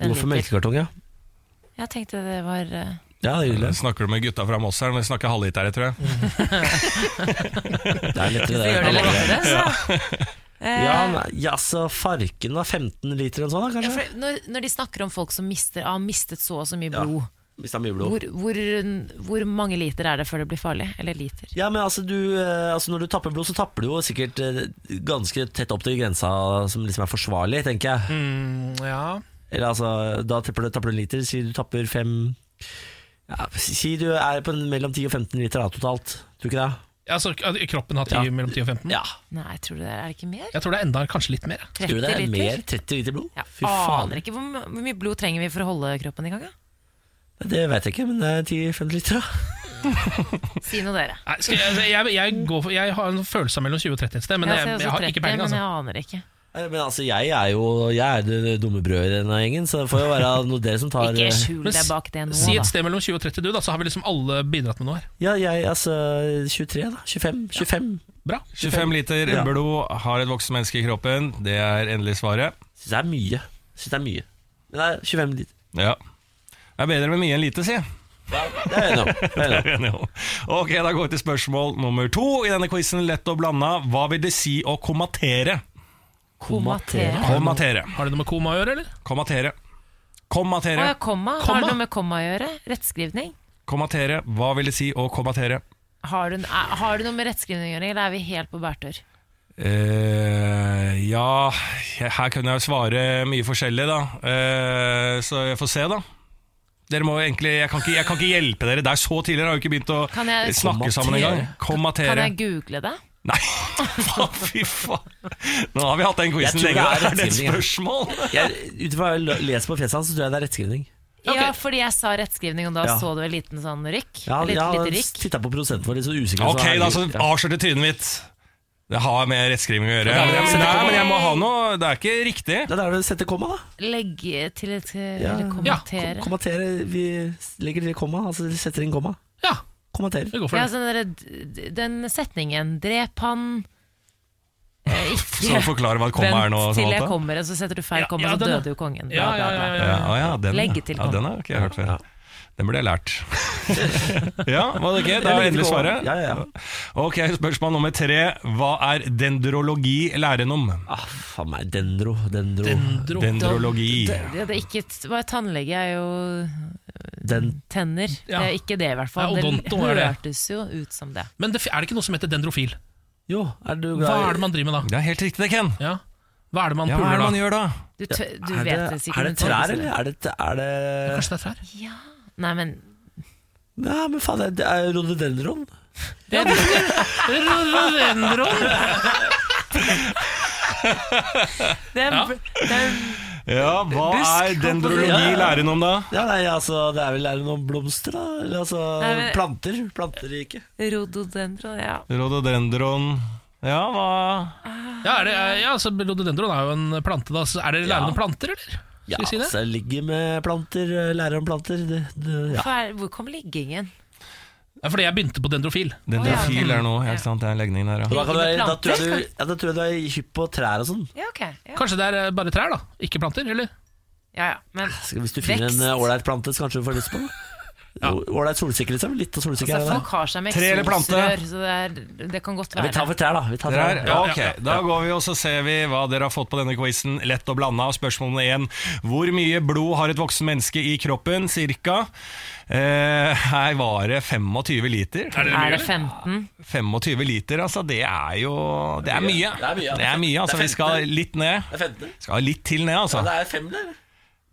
C: En
A: Hvorfor
C: liter.
A: melkekartong, ja?
C: Jeg tenkte det var eh,
A: Ja, det er hyggelig.
E: Snakker du med gutta fra Moss her? Men vi snakker halvlitere, tror jeg.
A: Det er lettere,
C: Det gjør det
A: det.
C: lettere, så. Eh,
A: Ja, nei, ja, så farken var 15 liter en sånn, da,
C: ja,
A: kanskje?
C: for når, når de snakker om folk som mister, har mistet så og så mye
A: Ja.
C: blod,
A: Hvis det er mye blod.
C: hvor, hvor, hvor mange liter er det før det blir farlig? Eller liter?
A: Ja, men altså, du, eh, altså Når du tapper blod, så tapper du jo sikkert eh, ganske tett opp til grensa som liksom er forsvarlig, tenker jeg.
B: ja.
A: Eller altså, Da tapper du, tapper du en liter, si du tapper fem ja, Si du er på en, mellom 10 og 15 liter da, totalt. Tror du ikke det?
B: Altså k- Kroppen har 10,
A: Ja.
B: mellom 10 og 15?
A: Ja.
C: Nei, tror du det er, er det ikke mer?
B: Jeg tror det er enda kanskje litt mer.
A: Tror
C: 30
A: du det er
C: liter? Ah.
A: mer 30 liter blod?
C: Jeg aner ikke. Hvor, my- hvor mye blod trenger vi for å holde kroppen i gang? da?
A: Det vet jeg ikke, men det er 10-15 liter, da.
C: Si noe, dere.
B: Nei, skal jeg, altså, jeg, jeg, går for, jeg har en følelse av mellom 20 og 30 et sted, men
C: Jeg
B: jeg,
C: ser
B: jeg,
C: også
B: har
C: 30,
B: ikke peiling.
C: Men
B: Altså.
C: jeg aner ikke.
A: Nei, Men altså, jeg er jo Jeg er det dumme brødet i denne gjengen, så det får jo være noe dere som tar
C: Ikke
A: eh,
C: skjul
B: Men
C: deg bak det nå,
B: si et
C: da.
B: sted mellom 20 og 30, du, da, så har vi liksom alle bidratt med noe her.
A: Ja, jeg, altså 23, da. 25. 25.
B: Bra.
E: 25 liter
A: Ja.
E: blod har et voksen menneske i kroppen. Det er endelig svaret.
A: Syns det er mye. Syns det er mye. Men det er 25 liter.
E: Ja. Det er bedre med mye enn lite, si.
A: Det er jeg enig om. Det er jeg enig om.
E: Enig om. Ok, Da går vi til spørsmål nummer to i denne quizen. Lett og blanda. Hva vil det si å kommatere?
C: Komatere.
E: Kommatere.
B: Har det noe med koma å gjøre, eller?
E: Kommatere.
C: Å
E: Kommatere.
C: ja, komma. Har
B: Komma.
C: det noe med komma å gjøre? Rettskrivning?
E: Kommatere. Hva vil det si å kommatere?
C: Har du, er, har du noe med rettskrivning å gjøre, eller er vi helt på bærtur?
E: eh ja Her kunne jeg jo svare mye forskjellig, da. Eh, så jeg får se, da. Dere må jo egentlig, jeg kan, ikke, jeg kan ikke hjelpe dere der så tidligere. Har jo ikke begynt å
C: Kan jeg-
E: snakke sammen engang. Kommatere.
C: Kan jeg google det?
E: Nei, faen, fy faen. Nå har vi hatt den
A: Jeg
E: quizen
A: tror
E: lenge. Er
A: det er
E: det et
A: rettskrivning, ja.
E: spørsmål?
A: Jeg- Ut ifra hva jeg l- leser på fjeset hans, så tror jeg det er rettskrivning.
C: Ja, fordi jeg sa rettskrivning, og da
A: Ja.
C: så du en liten sånn rykk.
A: Jeg har,
C: litt,
A: jeg har
C: lite rykk.
A: titta på prosenten vår, litt så usikker.
E: Ok,
A: så-
E: da så
A: altså, Ja.
E: avslørte trynet mitt. Det har med rettskriving å gjøre.
A: Ja, men jeg må sette
E: Nei,
A: komma.
E: men jeg må ha noe Det er ikke riktig.
A: Ja, da er det å sette komma, da.
C: Legge til et
A: Ja.
C: Eller kommentere.
A: Kom- Kommentere. Vi legger til komma, altså setter inn komma.
B: Ja,
A: Kommenterer.
B: vi går
C: Ja,
B: for det.
C: sånn derre d- d- den setningen 'drep han' eh,
E: Så
C: Ikke
E: forklare hva et komma er
C: vent
E: nå.
C: til jeg
E: Samantha.
C: kommer, og så setter du feil
B: Ja,
C: komma,
B: ja,
C: så
B: den, ja.
C: døde jo kongen. Bla,
B: Ja, ja,
C: bla,
B: ja,
C: bla.
B: ja,
E: Ja,
B: ja.
E: å ja, den,
C: Legge til
E: ja,
C: komma.
E: den har ikke jeg hørt før. Den burde jeg lært. ja, var det ikke? Da er endelig svaret.
A: Ja, ja, ja.
E: Ok, Spørsmål nummer tre. Hva er dendrologi læren om?
A: Ah, faen meg. Dendro, dendro.
B: Dendro.
E: Dendrologi.
C: Det, det, det er ikke, t- hva er tannlege er jo øh,
A: Den,
C: tenner.
B: Ja.
C: Det er ikke det, i hvert fall.
B: Ja, odonto er
C: det
B: det.
C: hørtes jo ut som det.
B: Men det, er det ikke noe som heter dendrofil?
A: jo, er du
B: Hva
A: glad
B: er det man driver med da?
E: Det er helt riktig, det, Ken.
B: Ja. Hva er det man
E: Ja, hva er
B: puler
E: det
B: da?
E: man gjør da?
C: Du, tø- du
A: er
C: vet
A: det,
C: det sikkert.
A: er det
C: men folk-
A: trær, eller er det, er det
B: Kanskje det er trær?
C: Ja. Nei, men
A: Nei, men faen, det er rhododendron.
B: Rhododendron!
C: det er, det er
E: Ja, Hva
C: Busk.
E: er dendrologi læren om, da?
A: Ja, nei, altså, det er vel er det noen blomster, da? Eller altså
C: Nei, men-
A: Planter. Planteriket.
C: Rododendron, ja.
E: Rododendron. Ja, hva
B: Ja, er det, eh, ja, så Rhododendron er jo en plante, da. Så er det læren om planter, eller?
A: Ja,
B: Skal vi si det?
A: altså, ligger med planter, eh, lærer om planter. Det, det, ja.
C: Hva er- Hvor kom liggingen?
B: Ja, fordi jeg begynte på dendrofil.
E: Dendrofil er noe. Helt sant, det er en legning der,
A: Og
E: ja.
A: Da, kan du,
C: Ligger med
A: være- da, tror jeg
C: planter,
A: du, ja, da tror jeg du er hypp på trær og sånn.
C: Ja, ok. Ja,
B: Kanskje det er eh, bare trær, da? Ikke planter, eller?
C: ja, ja. Men
A: Så Hvis du finner en
C: Vekst.
A: eh, ålreit plante, så kanskje du får lyst på den. Jo, Ålreit solsikke, liksom. Litt av
C: altså,
A: solsikke. her og der.
C: folk har seg med
E: Tre eller plante?
C: eksosrør, så det, er, det kan godt
A: Ja, vi
C: være.
A: tar for trær, da. Vi tar
E: Dere
A: trær.
E: er-
A: Ja.
E: ok, Da går vi og så ser vi hva dere har fått på denne quizen. Lett og blanda. Spørsmål nummer én. Hvor mye blod har et voksen menneske i kroppen? Cirka. Eh, her var det 25 liter.
B: Er det mye,
C: er det
B: eller?
C: 15?
E: 25 liter, altså. Det er jo Det er mye.
A: Det er mye, ja.
E: Det er mye, altså. Vi skal litt ned.
A: Det er 15.
E: Skal litt til ned, altså.
A: er fem, der.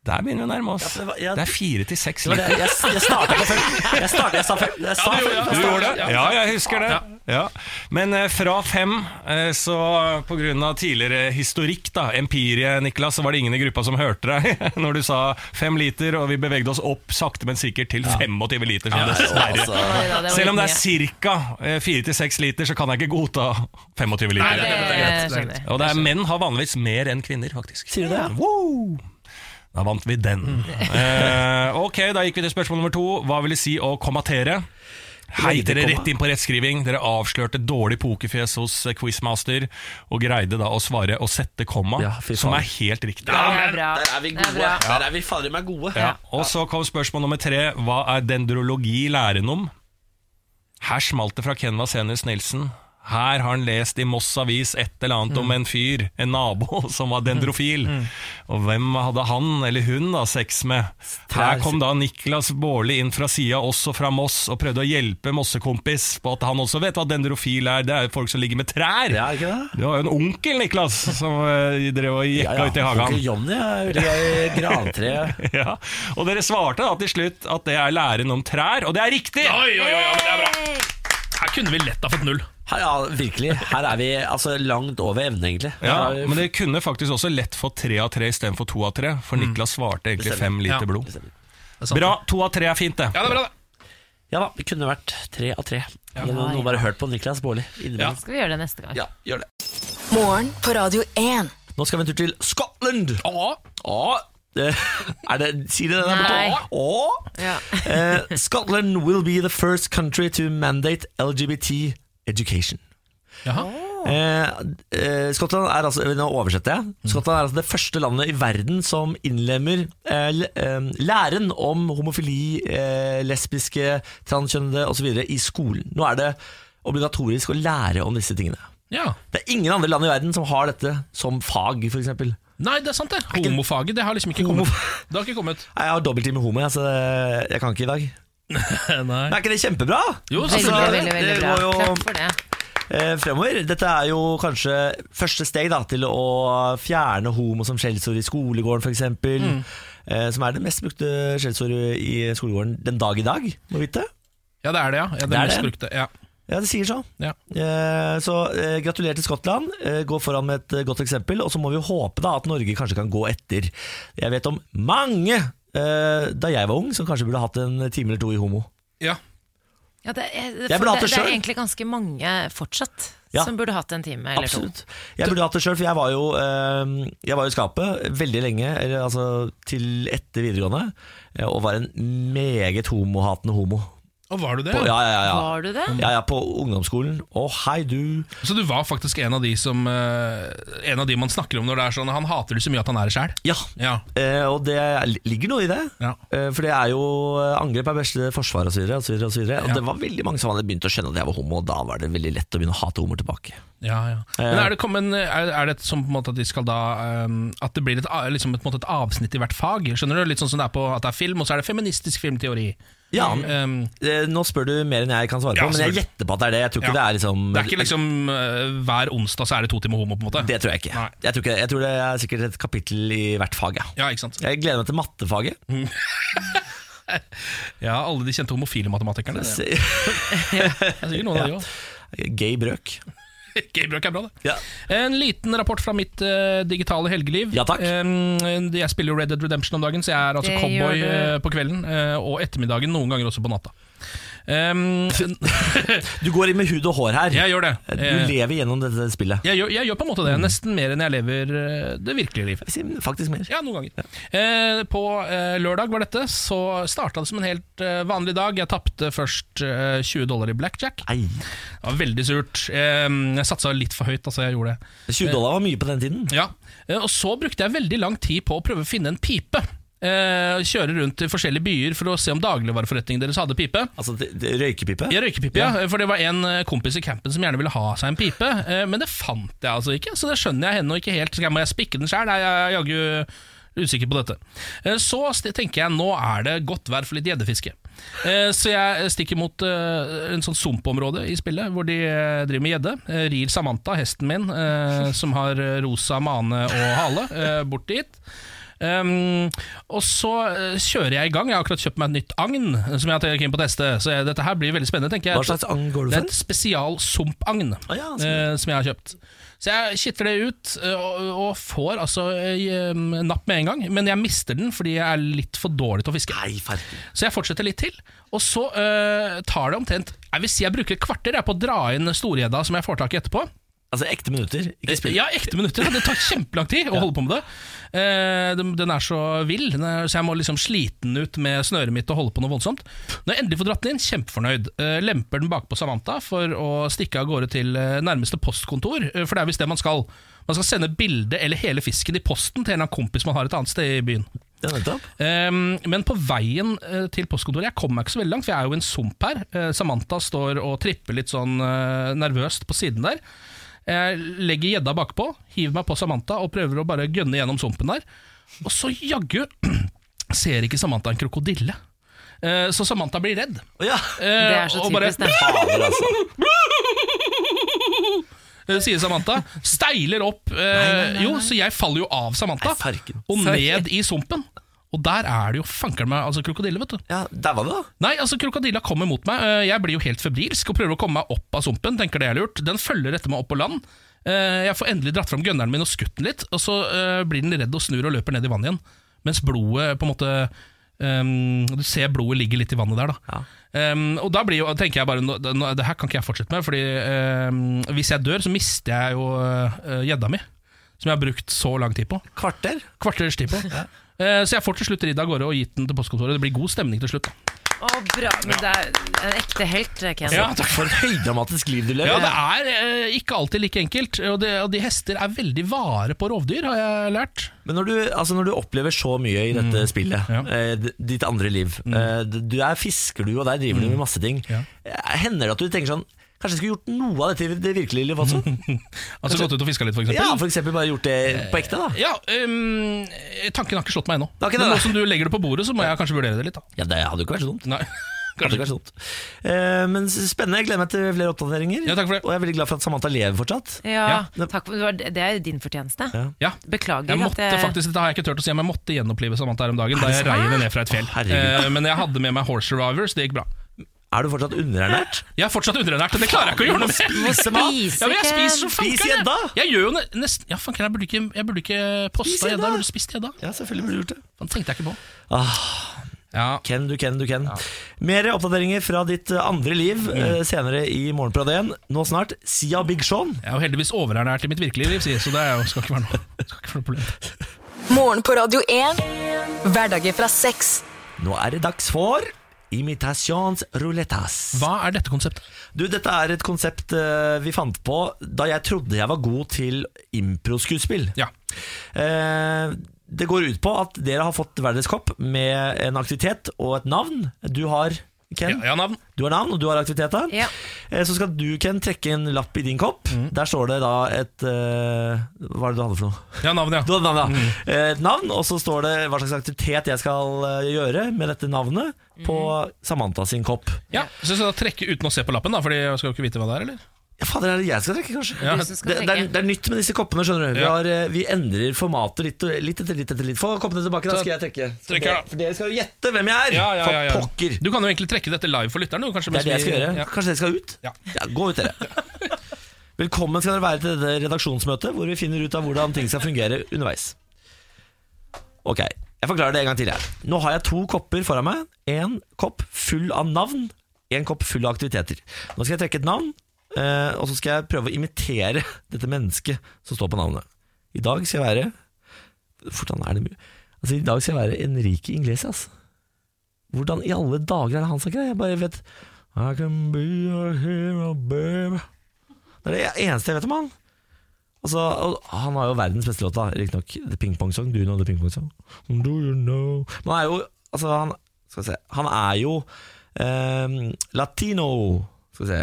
E: Der begynner vi å nærme oss.
A: det var- ja,
E: Det er fire til seks
A: Det var
E: liter.
A: det. Jeg, jeg starta på fem. Jeg, startet, jeg sa fem. Jeg sa fem.
E: Du gjorde det? Ja, jeg husker det.
B: Ja.
E: Ja. Men eh, fra fem, eh, så på grunn av tidligere historikk, da, empirie, Niklas, så var det ingen i gruppa som hørte deg når du sa fem liter, og vi bevegde oss opp sakte, men sikkert til 25 liter. Så dessverre.
C: Oi da, det var
E: Selv om det
C: litt mye.
E: er ca. fire til seks liter, så kan jeg ikke godta 25 liter.
B: det- det er greit,
C: Det
B: det er greit.
C: skjønner jeg.
E: Og det er menn har vanligvis mer enn kvinner, faktisk.
A: Sier du det? Mm.
E: Wow! Da vant vi den. Eh, ok, da gikk vi til spørsmål nummer to. Hva vil det si å kommatere? Hei, dere rett inn på rettskriving. Dere avslørte dårlig pokerfjes hos eh, quizmaster, og greide da å svare å sette komma,
A: Ja, fy faen.
E: som er helt riktig.
C: Det er bra.
A: Der er vi
C: Det er
A: gode.
C: bra.
A: Der er vi fader meg gode.
E: Ja. Og så kom spørsmål nummer tre. Hva er dendrologi læren om? Her smalt det fra Ken Vasenius Nilsen. Her har han lest i Moss Avis et eller annet
A: Mm.
E: om en fyr, en nabo, som var dendrofil. Og hvem hadde han eller hun da sex med? Her kom da Niklas Baarli inn fra sida, også fra Moss, og prøvde å hjelpe Mossekompis på at han også vet hva dendrofil er. Det er jo folk som ligger med trær.
A: Ja, ikke det?
E: Du har jo en onkel, Niklas, som eh, drev og jekka ut i hagen.
A: Onkel Johnny er ute i grantreet.
E: Ja, Og dere svarte da til slutt at det er læren om trær, og det er riktig!
B: Oi, oi, oi, men det er bra. Her kunne vi lett ha fått null.
A: Her, ja, virkelig. Her er vi altså, langt over evne, egentlig.
E: Ja,
A: Her er vi-
E: Men dere kunne faktisk også lett fått tre av tre istedenfor to av tre, for Niklas svarte egentlig
A: Bestemmer.
E: fem liter
B: Mm. Ja.
E: blod.
A: Bestemmer.
B: Det er sant.
E: Bra, to av tre er fint, det.
B: Ja, det er bra, det.
A: Ja da, det kunne vært tre av tre. Eller Noen bare hørt på Niklas Baarli. innimellom.
C: Skal vi gjøre det neste gang?
A: Ja, gjør det.
D: Morgen på Radio 1.
A: Nå skal vi en tur til Scotland. Å, å. Eh, Er det, sier de det der
C: Nei.
A: borte? Å, å.
C: Ja.
A: Eh, Scotland will be the first country to mandate LGBT education.
B: Jaha.
A: Eh, eh, Skottland er altså Nå oversetter jeg. Skottland er altså det første landet i verden som innlemmer eh, l- eh, læren om homofili, eh, lesbiske, transkjønnede osv. i skolen. Nå er det obligatorisk å lære om disse tingene.
B: Ja.
A: Det er ingen andre land i verden som har dette som fag, f.eks.
B: Nei, det er sant, det. Homofaget, det har liksom ikke kommet. Det har ikke kommet.
A: Jeg har dobbelttid med homo, jeg, så Eh, jeg kan ikke i dag. Men er ikke det kjempebra?
B: Jo,
C: Veldig,
A: Altså,
C: veldig, veldig
A: det
C: bra.
A: går jo-
C: Klapp for det.
A: eh, fremover. Dette er jo kanskje første steg da, til å fjerne homo som skjellsord i skolegården f.eks. eksempel Eh, som er det mest brukte skjellsordet i skolegården den dag i dag, må vite.
B: Ja, det er det, ja. ja det er
A: Det er
B: mest
A: det.
B: brukte. Ja.
A: Ja, det sier så.
B: Ja.
A: Eh, så eh, gratulerer til Skottland. Eh, gå foran med et eh, godt eksempel. Og så må vi håpe da at Norge kanskje kan gå etter. Jeg vet om mange eh, da jeg var ung, som kanskje burde hatt en time eller to i homo.
B: ja.
C: Ja, det, er, det,
A: Jeg burde hatt det
C: er
A: selv.
C: egentlig ganske mange fortsatt
A: Ja.
C: som burde hatt en time eller
A: Absolutt. Jeg burde hatt det sjøl, for jeg var jo eh, Jeg var jo i skapet veldig lenge, eller, altså til etter videregående, eh, og var en meget homohatende homo.
B: Og var du det?
C: Mm.
A: På, ja, ja,
C: to.
A: ja, ja.
C: Var du det?
A: Ja, ja, på ungdomsskolen. Å, hei, du.
B: Så du var faktisk en av de som eh, En av de man snakker om når det er sånn Han hater det så mye at han er det sjæl.
A: Ja.
B: Ja.
A: Eh, og det ligger noe i det.
B: Ja.
A: Eh, for det er jo eh, angrep er beste forsvar, og så videre. Og, så videre, og, så videre. og
B: Ja.
A: det var veldig mange som hadde begynt å skjønne at jeg var homo, og da var det veldig lett å begynne å hate homoer tilbake.
B: Ja, ja. Men er det, kommet, er, er det sånn på en måte at de skal da eh, At det blir et, a- liksom et, på en måte et avsnitt i hvert fag? Skjønner du? Litt sånn som det er på at det er film, og så er det feministisk filmteori.
A: Ja,
B: Eh,
A: eh, Nå spør du mer enn jeg kan svare på,
B: Ja,
A: men jeg
B: selvfølgelig.
A: gjetter på at det er det. Jeg tror ikke
B: Ja.
A: det er liksom
B: det er ikke liksom eh, hver onsdag så er det to timer homo, på en måte.
A: Det tror jeg ikke.
B: Nei.
A: Jeg tror, ikke det. jeg tror det er sikkert et kapittel i hvert fag. Ja.
B: Ja, ikke sant?
A: Jeg gleder meg til mattefaget.
B: Ja, alle de kjente homofile matematikerne. Det
A: Se-
B: er sikkert noen av de òg.
A: Gay brøk.
B: Gamebrøk er bra, det.
A: Ja.
B: En liten rapport fra mitt eh, digitale helgeliv.
A: Ja, takk.
B: Eh, jeg spiller jo Red Dead Redemption om dagen, så jeg er altså
C: Det
B: cowboy
C: gjør du.
B: eh, på kvelden eh, og ettermiddagen, noen ganger også på natta. Eh,
A: Du går inn med hud og hår her.
B: jeg gjør det.
A: Du
B: Eh,
A: lever gjennom dette spillet. Mm.
B: jeg, gjør, jeg gjør på en måte det, nesten mer enn jeg lever eh, det virkelige liv.
A: Jeg sier Faktisk mer.
B: Ja, noen ganger. Eh, på eh, lørdag var dette, så starta det som en helt eh, vanlig dag. Jeg tapte først eh, 20 dollar i blackjack.
A: Nei,
B: Det var veldig surt. Eh, jeg satsa litt for høyt, altså. Jeg gjorde det.
A: 20 dollar var mye på den tiden.
B: Ja, eh, og så brukte jeg veldig lang tid på å prøve å finne en pipe. Eh, kjøre rundt til forskjellige byer for å se om dagligvareforretningen deres hadde pipe.
A: Altså det- det- røykepipe.
B: Ja, røykepipe, ja. For det var en eh, kompis i campen som gjerne ville ha seg en pipe, eh, men det fant jeg altså ikke, så det skjønner jeg henne ikke helt. Skal jeg- Må jeg spikke den sjøl? Nei, jeg er jaggu usikker på dette. Eh, Så st- tenker jeg nå er det godt vær for litt gjeddefiske. Eh, Så jeg stikker mot eh, en sånn sumpområde i spillet, hvor de eh, driver med gjedde. Eh, Rir Samantha, hesten min, eh, som har eh, rosa mane og hale, eh, bort dit. Um, og så eh, kjører jeg i gang. Jeg har akkurat kjøpt meg et nytt agn eh, som jeg er keen på å teste. Så jeg, dette her blir veldig spennende, tenker jeg.
A: Hva slags agn går du
B: Det
A: for?
B: er et spesial sumpagn
A: Å ja, sånn.
B: eh, som jeg har kjøpt. Så jeg kitter det ut eh, og, og får altså eh, napp med en gang, men jeg mister den fordi jeg er litt for dårlig til å fiske.
A: Nei, farken.
B: Så jeg fortsetter litt til, og så eh, tar det omtrent Jeg vil si jeg bruker et kvarter jeg, på å dra inn storgjedda som jeg får tak i etterpå.
A: Altså ekte minutter, ikke spill.
B: Ja, ekte minutter. ja. Det tar kjempelang tid å holde på med det. Eh, den- den er så vill, den er, så jeg må liksom slite den ut med snøret mitt og holde på noe voldsomt. Når jeg endelig får dratt den inn, kjempefornøyd. Eh, lemper den bakpå Samantha for å stikke av gårde til eh, nærmeste postkontor, eh, for det er visst det man skal. Man skal sende bilde eller hele fisken i posten til en eller annen kompis man har et annet sted i byen.
A: Ja, nettopp.
B: Ehm, men på veien eh, til postkontoret Jeg kommer meg ikke så veldig langt, for jeg er jo i en sump her. Eh, Samantha står og tripper litt sånn eh, nervøst på siden der. Jeg legger gjedda bakpå, hiver meg på Samantha og prøver å bare gønne gjennom sumpen der. Og så jaggu ser ikke Samantha en krokodille. Eh, Så Samantha blir redd.
A: Å, ja.
B: Eh,
C: Det er så
B: og bare-
C: typisk, det.
A: Fader, altså.
B: Eh, sier Samantha. Steiler opp. Eh, Jo, så jeg faller jo av Samantha,
A: Nei, farken.
B: og ned i sumpen. Og der er det jo fanker'n meg altså krokodille, vet du.
A: Ja, Daua du, da?
B: Nei, altså krokodilla kommer mot meg. Eh, Jeg blir jo helt febrilsk og prøver å komme meg opp av sumpen. Tenker det er lurt Den følger etter meg opp på land. Eh, Jeg får endelig dratt fram gunneren min og skutt den litt. Og så eh, blir den redd og snur og løper ned i vannet igjen. Mens blodet på en måte ehm, Du ser blodet ligger litt i vannet der, da.
A: Ja.
B: Ehm, og da blir jo, tenker jeg bare nå, nå, Det her kan ikke jeg fortsette med, Fordi ehm, hvis jeg dør, så mister jeg jo eh, gjedda mi. Som jeg har brukt så lang tid på.
A: Kvarter?
B: Kvarters tid på. Eh, Så jeg får til slutt ridd av gårde og gitt den til postkontoret. Det blir god stemning til slutt. da
C: Å, bra. Men det er en ekte helt, eh, Ken.
B: Ja,
A: takk for et høydramatisk liv du lever.
B: Ja, det er eh, ikke alltid like enkelt. Og, det, og de hester er veldig vare på rovdyr, har jeg lært. Mm.
A: Men når du, altså når du opplever så mye i dette spillet,
B: Ja.
A: eh, d- ditt andre liv eh, d- Du er fisker du, og der driver du med masse ting.
B: Ja.
A: Eh, Hender det at du tenker sånn Kanskje jeg skulle gjort noe av dette i det virkelige livet også?
B: Altså gått ut og fiska litt, for eksempel. Eh,
A: ja, for eksempel bare gjort det på ekte, da.
B: Ja, ehm, tanken har ikke slått meg ennå.
A: har ikke det,
B: Men
A: nei.
B: nå som du legger det på bordet, så må jeg kanskje vurdere det litt. da
A: Ja, Det hadde jo ikke vært så dumt.
B: Nei,
A: Hadde
B: kanskje
A: ikke
B: ikke.
A: vært så dumt. Eh, Men s- spennende. Jeg gleder meg til flere oppdateringer.
B: Ja, takk for det.
A: Og jeg er veldig glad for at Samantha lever fortsatt.
C: Ja,
A: Ja.
C: takk for, det var- det er din fortjeneste.
A: Ja.
B: Ja.
C: Beklager
B: Jeg
C: at
B: måtte
C: jeg-
B: faktisk, Dette har jeg ikke tørt å si, men jeg måtte gjenopplive Samantha her om dagen da jeg
A: sant?
B: rei henne ned fra et fjell.
A: Å, herregud.
B: Eh, men jeg hadde med meg Horse Survivors, det gikk bra.
A: Er du fortsatt underernært?
B: Jeg er fortsatt underernært, og det klarer jeg ikke å gjøre noe med.
C: Du må spise,
B: Ja, men jeg
C: Ken.
B: spiser som
A: Spis
B: fankeren, jeg.
A: gjedda.
B: Jeg gjør jo ne- nesten Ja, fankeren, jeg burde ikke, jeg burde ikke
A: Spis
B: posta gjedda.
A: gjedda.
B: Jeg burde spist gjedda.
A: Ja, selvfølgelig burde du gjort det.
B: Den tenkte jeg ikke på. Ja, Mm.
A: Ken, du Ken, du Ken. Mer oppdateringer fra ditt eh, andre liv eh, senere i Morgen på Radio 1. Nå snart Sia Big Sean.
B: jeg er jo heldigvis overernært i mitt virkelige liv, sier, så det er jo, skal ikke være noe, skal ikke være noe problem.
D: Morgen på Radio 1. Hverdager fra seks.
A: Nå er det dags for Imitations roulettas.
B: Hva er dette konseptet?
A: Du, dette er et konsept eh, vi fant på da jeg trodde jeg var god til improskuespill.
B: Ja.
A: Eh, det går ut på at dere har fått hver deres kopp med en aktivitet og et navn. Du har Ken,
B: Ja, ja, navn.
A: du har navn, og du har aktivitet. da.
C: Ja.
A: Eh, Så skal du, Ken, trekke en lapp i din kopp.
B: Mm.
A: Der står det da et eh, Hva er det du hadde for noe?
B: Ja, navn, ja.
A: Du hadde navn, ja. Eh, Et navn, og så står det hva slags aktivitet jeg skal eh, gjøre med dette navnet på
C: Mhm.
A: Samantha sin kopp.
B: ja. Så skal jeg trekke uten å se på lappen, da, Fordi jeg skal jo ikke vite hva det er, eller?
A: Ja, fader, er det jeg skal trekke, kanskje?
B: Ja.
C: Du som skal
A: Det, det, er,
C: trekke.
A: det er nytt med disse koppene, skjønner du. Vi,
B: Ja.
A: har, eh, vi endrer formatet litt, og- litt etter litt etter litt. Få koppene tilbake, da skal jeg trekke. Så
B: Trekker, da.
A: dere- For dere skal jo gjette hvem jeg er! For pokker!
B: Du kan jo egentlig trekke dette live for lytteren, du. Kanskje,
A: Det er det jeg
B: mens
A: skal
B: vi-
A: gjøre.
B: Ja.
A: Kanskje dere skal ut?
B: Ja.
A: Gå ut, dere. Velkommen skal dere være til dette redaksjonsmøtet, hvor vi finner ut av hvordan ting skal fungere underveis. Ok, jeg forklarer det en gang til her. Nå har jeg to kopper foran meg. En kopp full av navn, en kopp full av aktiviteter. Nå skal jeg trekke et navn, eh, og så skal jeg prøve å imitere dette mennesket som står på navnet. I dag skal jeg være Hvordan er det mye? Altså, I dag skal jeg være Enrique Iglesias. Hvordan i alle dager er det han snakker? Jeg bare vet I can be a hero, babe Det er det eneste jeg vet om han. Altså, og han har jo verdens beste låt, da, riktignok. The Ping Pong Song. Do you know the Ping Pong Song? Do you know Men han er jo Altså, han Skal vi se. Han er jo ehm, latino. Skal vi se.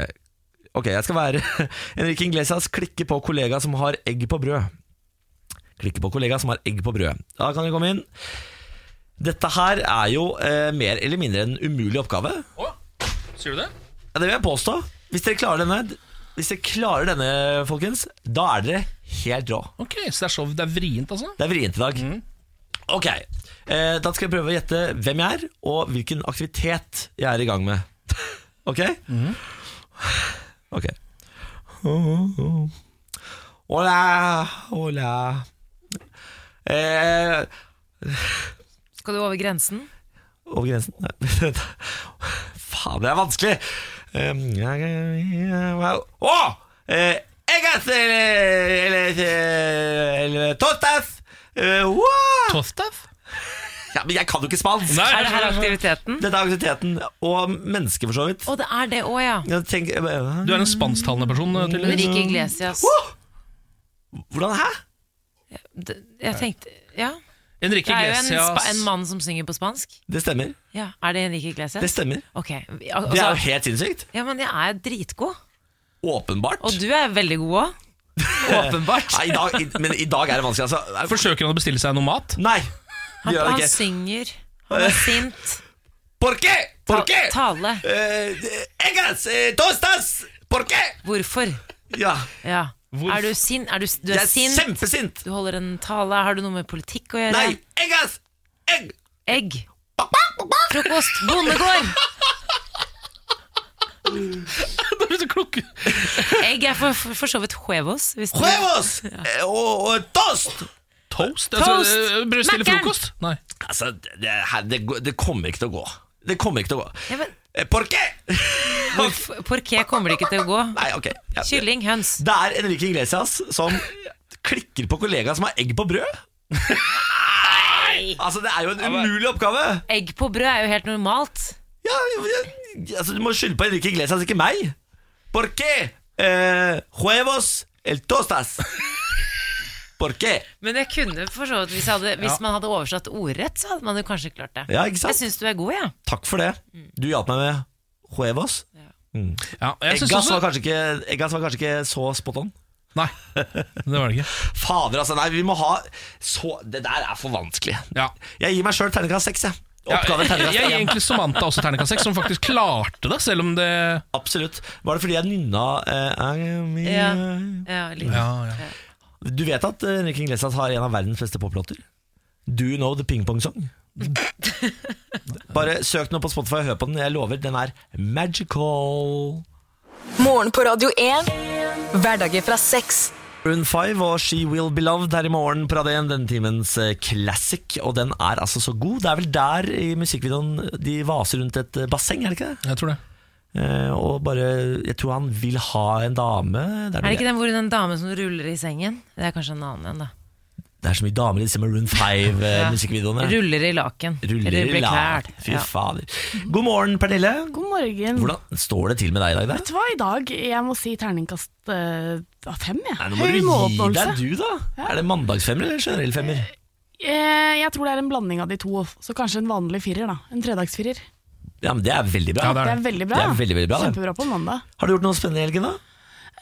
A: Ok, jeg skal være Enrique Iglesias klikke på kollega som har egg på brød. Klikke på kollega som har egg på brød. Da kan dere komme inn. Dette her er jo eh, mer eller mindre en umulig oppgave.
B: Å, sier du det?
A: Ja, det vil jeg påstå. Hvis dere klarer denne, hvis dere klarer denne folkens, da er dere helt rå.
B: Ok, så det er show. Det er vrient, altså.
A: Det er vrient i dag. Ok, eh, da skal jeg prøve å gjette hvem jeg er, og hvilken aktivitet jeg er i gang med. Ok? Ok. Hola, hola. Eh,
C: Skal du over grensen?
A: over grensen? Nei, vent. Faen, det er vanskelig! Um, jeg- jeg- jeg- Å! Eh, Eggas eh, eller- eller- eller tostas! Eh, wow!
B: Toftaf?
A: Ja, men jeg kan jo ikke spansk!
B: Nei,
C: Er det her aktiviteten?
A: Dette er aktiviteten, og mennesker for så vidt.
C: Å, det er det òg, ja.
A: Jeg tenker,
B: Du er en spansktalende person, eh, tydeligvis.
C: Enrique Iglesias.
A: hvordan, hæ?
C: D- Jeg tenkte Ja.
B: Enrique
C: Det er jo en, spa
B: Iglesias
C: en mann som synger på spansk.
A: Det stemmer.
C: Ja, Er det Enrique Iglesias?
A: Det stemmer.
C: Ok. vi-
A: Det er
C: Altså,
A: jo helt sinnssykt.
C: ja, men jeg er dritgod.
A: Åpenbart.
C: Og du er veldig god òg. Åpenbart.
A: Nei, i dag, i, men i dag er det vanskelig, altså.
B: Forsøker han å bestille seg noe mat?
A: Nei!
C: Han,
A: Det gjør
C: han
A: det ikke.
C: synger. Han er sint.
A: Por qué? Por
C: Ta-
A: qué?
C: Tale.
A: Eh, eggas, eh, tostas! Por qué?
C: Hvorfor?
A: Ja,
C: Ja.
B: Hvorfor?
C: Er du sint? Er du, du
A: jeg
C: er
A: er
C: sint?
A: kjempesint.
C: Du holder en tale. Har du noe med politikk å gjøre?
A: Nei, eggas! Egg!
C: Egg. Frokost. Bondegård.
B: Det er så klok.
C: Egg er for, for, for så vidt huevos. Hvis du-
A: Huevos! Eh, Og, og toast!
B: Toast?
C: Toast!
B: Altså, eh, brød- stille
C: Mackeren!
B: frokost? Nei.
A: Altså, det, her- det, går- det kommer ikke til å gå. Det kommer ikke til å gå.
C: Ja, men
A: Eh, Por qué?
C: hvorfor- Porqué kommer det ikke til å gå.
A: Nei, ok. Ja.
C: Kylling, høns.
A: Det er Enrique Iglesias som klikker på kollegaen som har egg på brød. altså, det er jo en umulig oppgave.
C: Egg på brød er jo helt normalt.
A: Ja, ja, altså, du må skylde på Enrique Iglesias, ikke meg. Por qué? Eh, huevos el tostas. Por qué?
C: Men jeg kunne for så vidt Hvis, jeg hadde, hvis man hadde oversatt ordrett, så hadde man jo kanskje klart det.
A: Ja,
C: Jeg
A: ikke sant?
C: syns du er god, jeg. Ja.
A: Takk for det.
B: Mm.
A: Du hjalp meg med huevos.
B: Ja, jeg synes
A: Eggas var
C: altså.
B: også
A: kanskje ikke, eggas var kanskje ikke så spot on.
B: Nei, det var det ikke.
A: Fader, altså. Nei, vi må ha så Det der er for vanskelig.
B: Ja.
A: Jeg gir meg sjøl terningkast seks, jeg.
B: Ja,
A: Oppgave
B: jeg,
A: terningkast
B: jeg gir
A: én.
B: egentlig Samantha også terningkast seks, som faktisk klarte det, selv om det
A: Absolutt. Var det fordi jeg nynna eh,
C: Ja. Ja, litt.
B: ja.
A: Du vet at eh, Enrique Iglesias har en av verdens beste poplåter? Do you know the ping pong song? Bare søk den opp på Spotify og hør på den. Jeg lover, den er magical.
D: Morgen på Radio 1. Hverdager fra seks.
A: Rune 5 og She Will Be Loved her i morgen på Radio 1, denne timens eh, classic. Og den er altså så god. Det er vel der i musikkvideoen de vaser rundt et eh, basseng, er det ikke det?
B: Jeg tror det.
A: Eh, og bare Jeg tror han vil ha en dame. Det
C: Er det ikke
A: det?
C: den hvor den dame som ruller i sengen? Det er kanskje en annen en, da.
A: det er så mye damer i disse Maroon 5-musikkvideoene.
C: Ruller i laken.
A: Ruller
C: Eller
A: i
C: blir
A: lag.
C: kvalt.
A: Fy
C: Ja.
A: fader. God morgen, Pernille.
J: God morgen.
A: Hvordan står det til med deg i dag? Da?
J: Vet du hva, i dag jeg må si terningkast eh, av fem, jeg.
A: Nei, nå må
J: Høy
A: du gi
J: måloppnåelse.
A: deg, du, da. Er det mandagsfemmer eller generell femmer?
J: Eh, jeg tror det er en blanding av de to, så kanskje en vanlig firer, da. En tredagsfirer.
A: Ja, men Det er veldig bra.
B: Ja, det
J: Det
B: er
J: er veldig bra.
A: Det er veldig, veldig bra, det.
J: Kjempebra på mandag.
A: Har du gjort noe spennende i helgen, da?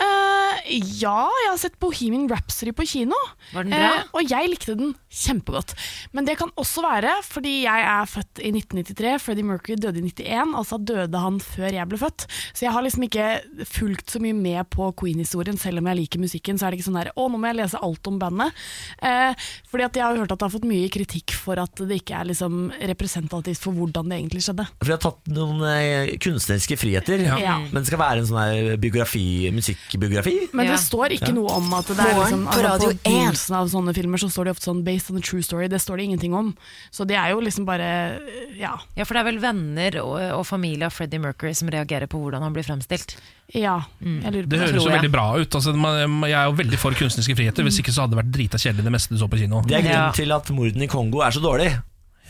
J: Eh, ja, jeg har sett Bohemian Rhapsody på kino.
C: Var den bra?
J: Eh, og jeg likte den kjempegodt. Men det kan også være fordi jeg er født i 1993, Freddie Mercury døde i 91, altså døde han før jeg ble født. Så jeg har liksom ikke fulgt så mye med på Queen-historien, selv om jeg liker musikken. Så er det ikke sånn der å, nå må jeg lese alt om bandet. Eh, fordi at jeg har hørt at det har fått mye kritikk for at det ikke er liksom representativt for hvordan det egentlig skjedde.
A: For jeg har tatt noen eh, kunstneriske friheter,
J: Ja.
A: men det skal være en sånn her biografi, musikkbiografi.
J: Men
C: Ja.
J: det står ikke noe om at det er
D: Morgen
J: liksom,
D: på
J: altså,
D: Radio
J: På
D: 1.
J: begynnelsen av sånne filmer så står det ofte sånn 'based on a true story'. Det står det ingenting om. Så det er jo liksom bare Ja.
C: Ja, for det er vel venner og, og familie av Freddie Mercury som reagerer på hvordan han blir fremstilt.
J: ja jeg lurer på
B: Det høres
J: tror
B: jo
J: jeg.
B: veldig bra ut. Altså, man- jeg er jo veldig for kunstneriske friheter, hvis ikke så hadde det vært drita kjedelig det meste du så på kino.
A: Det er grunnen
C: Ja.
A: til at morden i Kongo er så dårlig.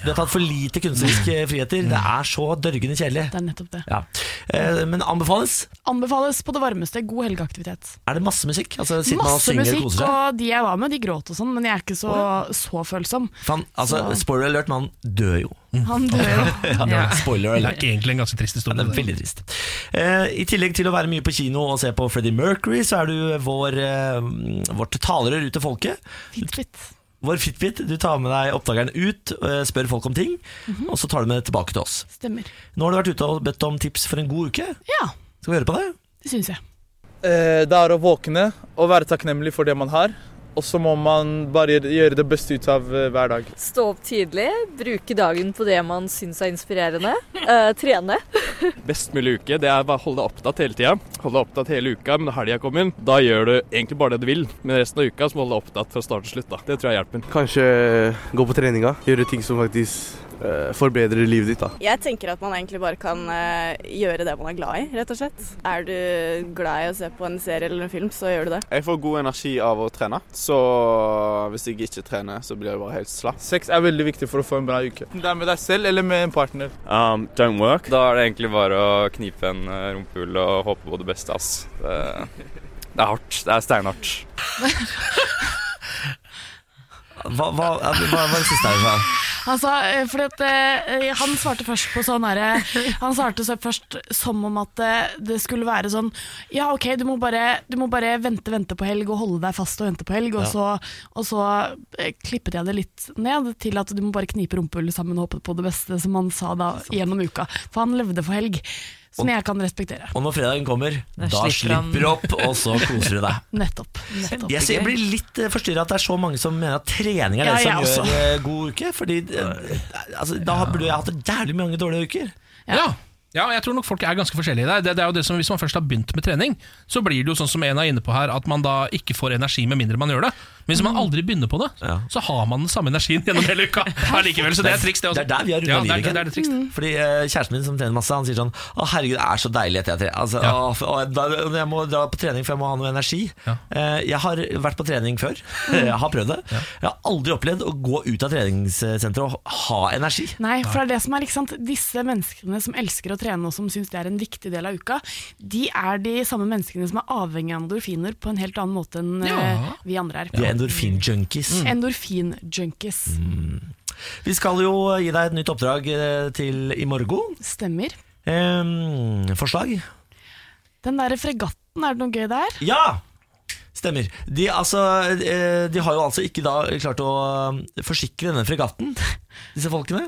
A: Du har tatt for lite
B: Mm.
A: kunstneriske friheter. Det er så dørgende kjedelig.
J: Det er nettopp det.
A: Ja. Eh, Men anbefales.
J: Anbefales på det varmeste. God helgeaktivitet.
A: Er det masse musikk? Altså, sitter man og
J: Masse
A: synger og
J: musikk,
A: koser seg?
J: og de jeg var med, de gråt og sånn, men jeg er ikke så, så følsom.
A: Fan, altså,
J: Så-
A: spoiler alert, man dør jo. Mm.
J: Han dør jo.
A: Ja. Spoiler
B: Det
A: alert.
B: er egentlig en ganske trist
A: Ja,
B: historie.
A: det er veldig trist. Eh, I tillegg til å være mye på kino og se på Freddie Mercury, så er du vår, eh, vårt talerør ut til folket.
J: Fitbit.
A: Vår Fitbit. Du tar med deg oppdageren ut, eh, spør folk om ting, og så tar du med det tilbake til oss.
J: Stemmer.
A: Nå har du vært ute og bedt om tips for en god uke.
J: Ja,
A: Skal vi høre på det?
J: det syns jeg.
K: Eh, Det er å våkne og være takknemlig for det man har. Og så må man bare gjøre det beste ut av eh, hver dag.
L: Stå opp tidlig, bruke dagen på det man syns er inspirerende. eh, trene.
K: Best mulig uke, det er bare å holde deg opptatt hele tida. Holde deg opptatt hele uka, men når helga kommer, da gjør du egentlig bare det du vil. Men resten av uka så må du holde deg opptatt fra start til slutt, da. Det tror jeg hjelper.
M: Kanskje gå på treninga. Gjøre ting som faktisk eh, forbedrer livet ditt. da.
N: Jeg tenker at man egentlig bare kan eh, gjøre det man er glad i, rett og slett. Er du glad i å se på en serie eller en film, så gjør du det.
O: Jeg får god energi av å trene, så hvis jeg ikke trener, så blir jeg bare helt slapp.
K: Sex er veldig viktig for å få en bra uke. Det er med deg selv eller med en partner.
P: Um, don't work. Da er det egentlig bare å knipe en eh, rumpehull og håpe på det beste, ass. Det, det er hardt. Det er steinhardt.
A: Hva, hva, hva, hva var det siste her? sa?
J: Altså, eh, fordi at eh, Han svarte først på sånn herre Han svarte så først som om at eh, det skulle være sånn Ja, OK, du må bare, du må bare vente, vente på helg, og holde deg fast og vente på helg. Og
Q: Ja.
J: så, og så eh, klippet jeg det litt ned til at du må bare knipe rumpehullet sammen og håpe på det beste, som han sa da gjennom uka. For han levde for helg, som jeg kan respektere.
A: Og når fredagen kommer, da,
J: slipper han-
A: slipper du opp, og så koser du deg.
J: Nettopp. nettopp.
A: Jeg, ser- jeg blir litt forstyrra at det er så mange som mener at trening er det
J: Ja,
A: som
J: jeg
A: gjør
J: også.
A: eh, god uke. Fordi eh, altså, Da burde jeg hatt jævlig mange dårlige uker.
B: Ja. ja, jeg tror nok folk er ganske forskjellige der. Det, det er jo det som, hvis man først har begynt med trening, så blir det jo sånn som en er inne på her, at man da ikke får energi med mindre man gjør det. Men hvis man aldri begynner på det, så har man den samme energien gjennom hele uka. Allikevel, så det er et triks, det også.
A: Det er der vi har runda
B: ja, det
A: livet.
B: er, det er det triks.
A: Fordi eh, Kjæresten min som trener masse, han sier sånn Å herregud, det er så deilig at jeg trener. Altså, å, for- å, da- jeg må dra på trening, for jeg må ha noe energi. Eh, jeg har vært på trening før.
B: Mm.
A: jeg har prøvd det. Jeg har aldri opplevd å gå ut av treningssenteret og ha energi.
J: Nei, for det er det som er, ikke sant Disse menneskene som elsker å trene og som syns det er en viktig del av uka, de er de samme menneskene som er avhengig av endorfiner på en helt annen måte enn
A: Ja.
J: eh, vi andre er.
A: De er endorfinjunkies.
B: Mm.
J: Endorfin-junkies.
A: Mm. Vi skal jo gi deg et nytt oppdrag eh, til i morgen.
J: Stemmer.
A: Ehm, forslag?
J: Den derre fregatten, er det noe gøy der?
A: Ja! Stemmer. De, altså, eh, de har jo altså ikke da klart å eh, forsikre denne fregatten, disse folkene.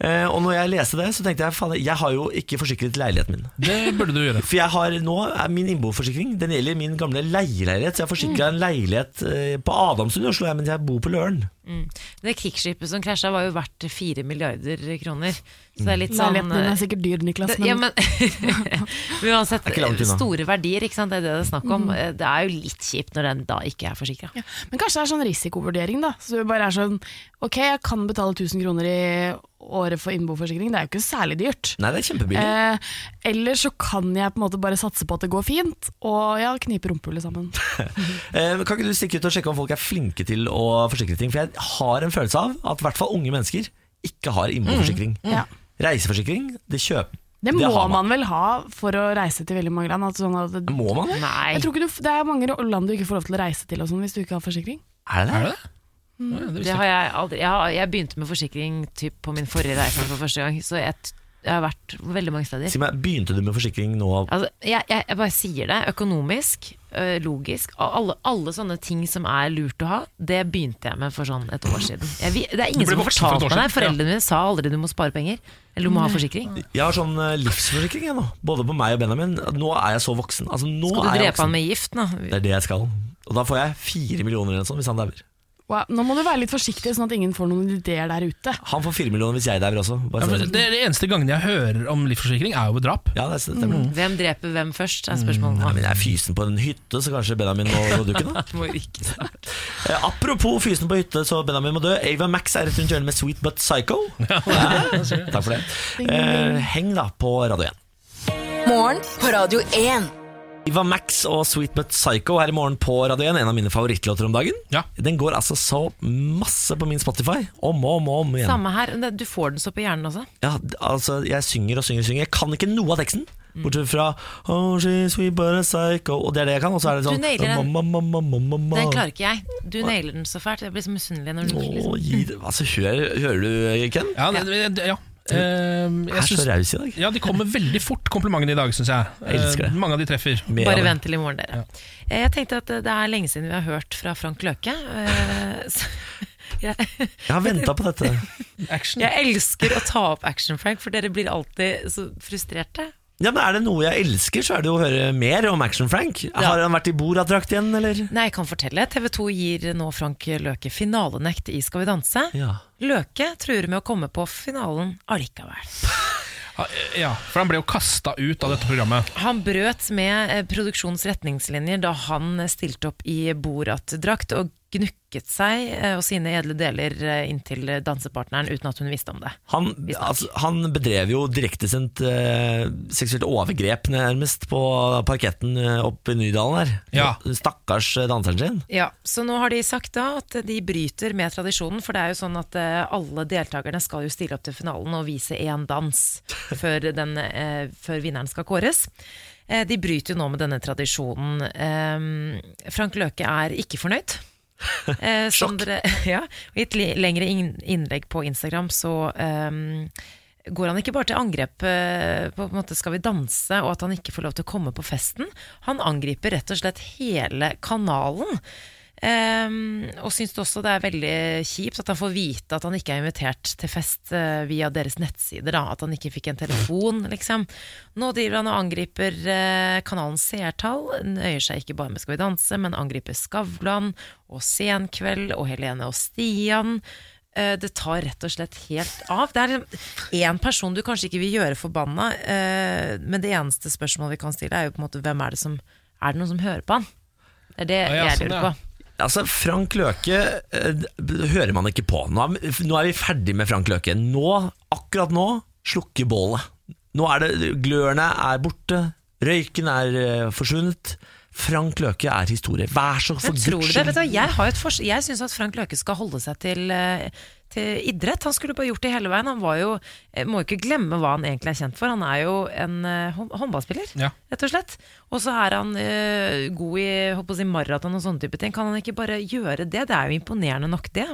A: Eh, Og når jeg leste det, så tenkte jeg faen, jeg har jo ikke forsikret leiligheten min.
B: Det burde du gjøre.
A: For jeg har nå er min innboforsikring Den gjelder min gamle leieleilighet. Så jeg har forsikra en leilighet eh, på Adamsund i Oslo, jeg, men jeg bor på Løren.
C: Mm. Det krigsskipet som krasja, var jo verdt fire milliarder kroner. Så det er litt sånn
J: Leiligheten din er sikkert dyr, Niklas.
C: det, ja, men, men uansett,
J: Det er ikke langt unna.
C: store verdier, ikke sant? det er det det er snakk om.
J: Mm.
C: Eh, Det er jo litt kjipt når den da ikke er forsikra.
J: Ja, Men kanskje det er sånn risikovurdering, da. Så du bare er sånn Ok, jeg kan betale 1000 kroner i året for innboforsikring, det er jo ikke særlig dyrt.
A: Nei, det er kjempebillig.
J: Eh, eller så kan jeg på en måte bare satse på at det går fint, og ja, knipe rumpehullet sammen.
A: Eh, Kan ikke du stikke ut og sjekke om folk er flinke til å forsikre ting? For jeg har en følelse av at i hvert fall unge mennesker ikke har innboforsikring.
J: Mm, ja.
A: Reiseforsikring, det kjøper
J: Det må
A: har
J: man. vel ha for å reise til veldig mange land? At sånn at det,
A: Må man det? Nei.
J: Jeg tror ikke du, det er mange land du ikke får lov til å reise til og sånn, hvis du ikke har forsikring.
A: Er det
B: det?
J: Mm.
C: Det har jeg aldri Jeg, har, jeg begynte med forsikring typ, på min forrige reise for første gang, så jeg, t- jeg har vært veldig mange steder.
A: Si meg, Begynte du med forsikring nå?
C: Altså, jeg, jeg, jeg bare sier det. Økonomisk, ø, logisk, og alle, alle sånne ting som er lurt å ha, det begynte jeg med for sånn et år siden. Jeg, vi- det er
A: Du
C: ingen
A: ble
C: som har
A: voksen for et
C: fortalt
A: år
C: meg det.
A: siden, ja.
C: Foreldrene mine sa aldri du må spare penger, eller du må ha forsikring.
A: Jeg har sånn eh, livsforsikring jeg nå, både på meg og Benjamin. Nå er jeg så voksen. Altså, nå
C: Skal du
A: er jeg
C: drepe
A: voksen.
C: han med gift nå?
A: Det er det jeg skal. Og da får jeg fire millioner eller noe sånt hvis han dauer.
J: Wow. Nå må du være litt forsiktig, sånn at ingen får noen ideer der ute.
A: Han får fire millioner hvis jeg dauer også. Bare
B: Ja,
A: sånn.
B: men det, det eneste gangen jeg hører om livsforsikring, er jo ved drap.
A: Ja, det stemmer.
B: Mm.
C: Hvem dreper hvem først, er spørsmålet
A: Mm, Nei,
C: nå.
A: men jeg er fysen på en hytte, så kanskje Benjamin må gå dukken, da.
C: Må ikke starte.
A: Eh, apropos fysen på hytte, så Benjamin må dø. Ava Max er rett rundt hjørnet med Sweet But Psycho. Takk for det.
D: Ding, ding, ding.
A: Eh, heng da på Radio 1.
D: Morgen på Radio 1.
A: Iva Max og Sweet But Psycho her i morgen på Radio 1, en av mine favorittlåter om dagen. Den går altså så masse på min Spotify, om og om, og om igjen.
C: Samme her. men Du får den så på hjernen også.
A: Ja, d- altså, jeg synger og synger og synger. Jeg kan ikke noe av teksten.
C: Mm.
A: Bortsett fra oh, she's sweet but a psycho Og det er det jeg kan. Og så er det
C: Du
A: sånn
C: nailer den.
A: mamma, mamma, mamma, mamma.
C: Den klarer ikke jeg. Du nailer den så fælt. Jeg blir så misunnelig når du liksom-
A: Åh, gi det- Altså, hører, hører du, Ken?
B: Ja, det, det, ja. Ehm, jeg
A: Er så
B: syns-
A: raus i dag.
B: Ja, de kommer veldig fort, komplimentene i dag, syns jeg.
A: Jeg elsker det.
B: Ehm, mange av de treffer.
C: Bare vent til i morgen, dere. Eh, Jeg tenkte at eh, det er lenge siden vi har hørt fra Frank Løke. eh, så- Jeg,
A: Jeg har venta på dette.
C: Jeg elsker å ta opp Action Frank, for dere blir alltid så frustrerte.
A: Ja, men Er det noe jeg elsker, så er det jo å høre mer om Action Frank. Har han vært i Borat-drakt igjen, eller?
C: Nei, jeg kan fortelle. TV 2 gir nå Frank Løke finalenekt i Skal vi danse.
A: Ja.
C: Løke truer med å komme på finalen allikevel.
B: Ja, for han ble jo kasta ut av dette programmet.
C: Han brøt med eh, produksjonens retningslinjer da han eh, stilte opp i Borat-drakt og gnukket seg eh, og sine edle deler eh, inntil eh, dansepartneren uten at hun visste om det.
A: Han, altså, han bedrev jo direktesendt eh, seksuelt overgrep nærmest på parketten eh, oppe i Nydalen der. Stakkars eh, danseren sin.
C: Ja, Så nå har de sagt da at de bryter med tradisjonen, for det er jo sånn at eh, alle deltakerne skal jo stille opp til finalen og vise én dans før, den, eh, før vinneren skal kåres. Eh, de bryter jo nå med denne tradisjonen. Eh, Frank Løke er ikke fornøyd. Eh, som dere, ja, og I et li- lengre inn- innlegg på Instagram så eh, går han ikke bare til angrep eh, på en måte skal vi danse, og at han ikke får lov til å komme på festen. Han angriper rett og slett hele kanalen. Ehm, og syns også det er veldig kjipt at han får vite at han ikke er invitert til fest eh, via deres nettsider. Da. At han ikke fikk en telefon, liksom. Nå driver han og angriper eh, kanalens seertall. Nøyer seg ikke bare med Skal vi danse, men angriper Skavlan og Senkveld og Helene og Stian. Eh, Det tar rett og slett helt av. Det er én person du kanskje ikke vil gjøre forbanna, eh, men det eneste spørsmålet vi kan stille, er jo på en måte hvem er det som Er det noen som hører på han? Det er det
A: Ja, ja,
C: jeg
A: sånn,
C: lurer
A: ja.
C: på.
A: Altså, Frank Løke eh, d- hører man ikke på. Nå er, nå er vi ferdig med Frank Løke. Nå, akkurat nå, slukker bålet. Nå er det, Glørne er borte, røyken er eh, forsvunnet. Frank Løke er historie. Vær så for
C: Men tror du
A: guds
C: det? Vet du,
A: skyld.
C: hva, jeg har et fors- jeg syns at Frank Løke skal holde seg til, eh, til idrett. Han skulle bare gjort det hele veien. Han var jo, eh, må jo ikke glemme hva han egentlig er kjent for. Han er jo en eh, hå- håndballspiller,
B: Ja.
C: rett og slett. Og så er han eh, god i håper å si, maraton og sånne type ting. Kan han ikke bare gjøre det? Det er jo imponerende nok, det.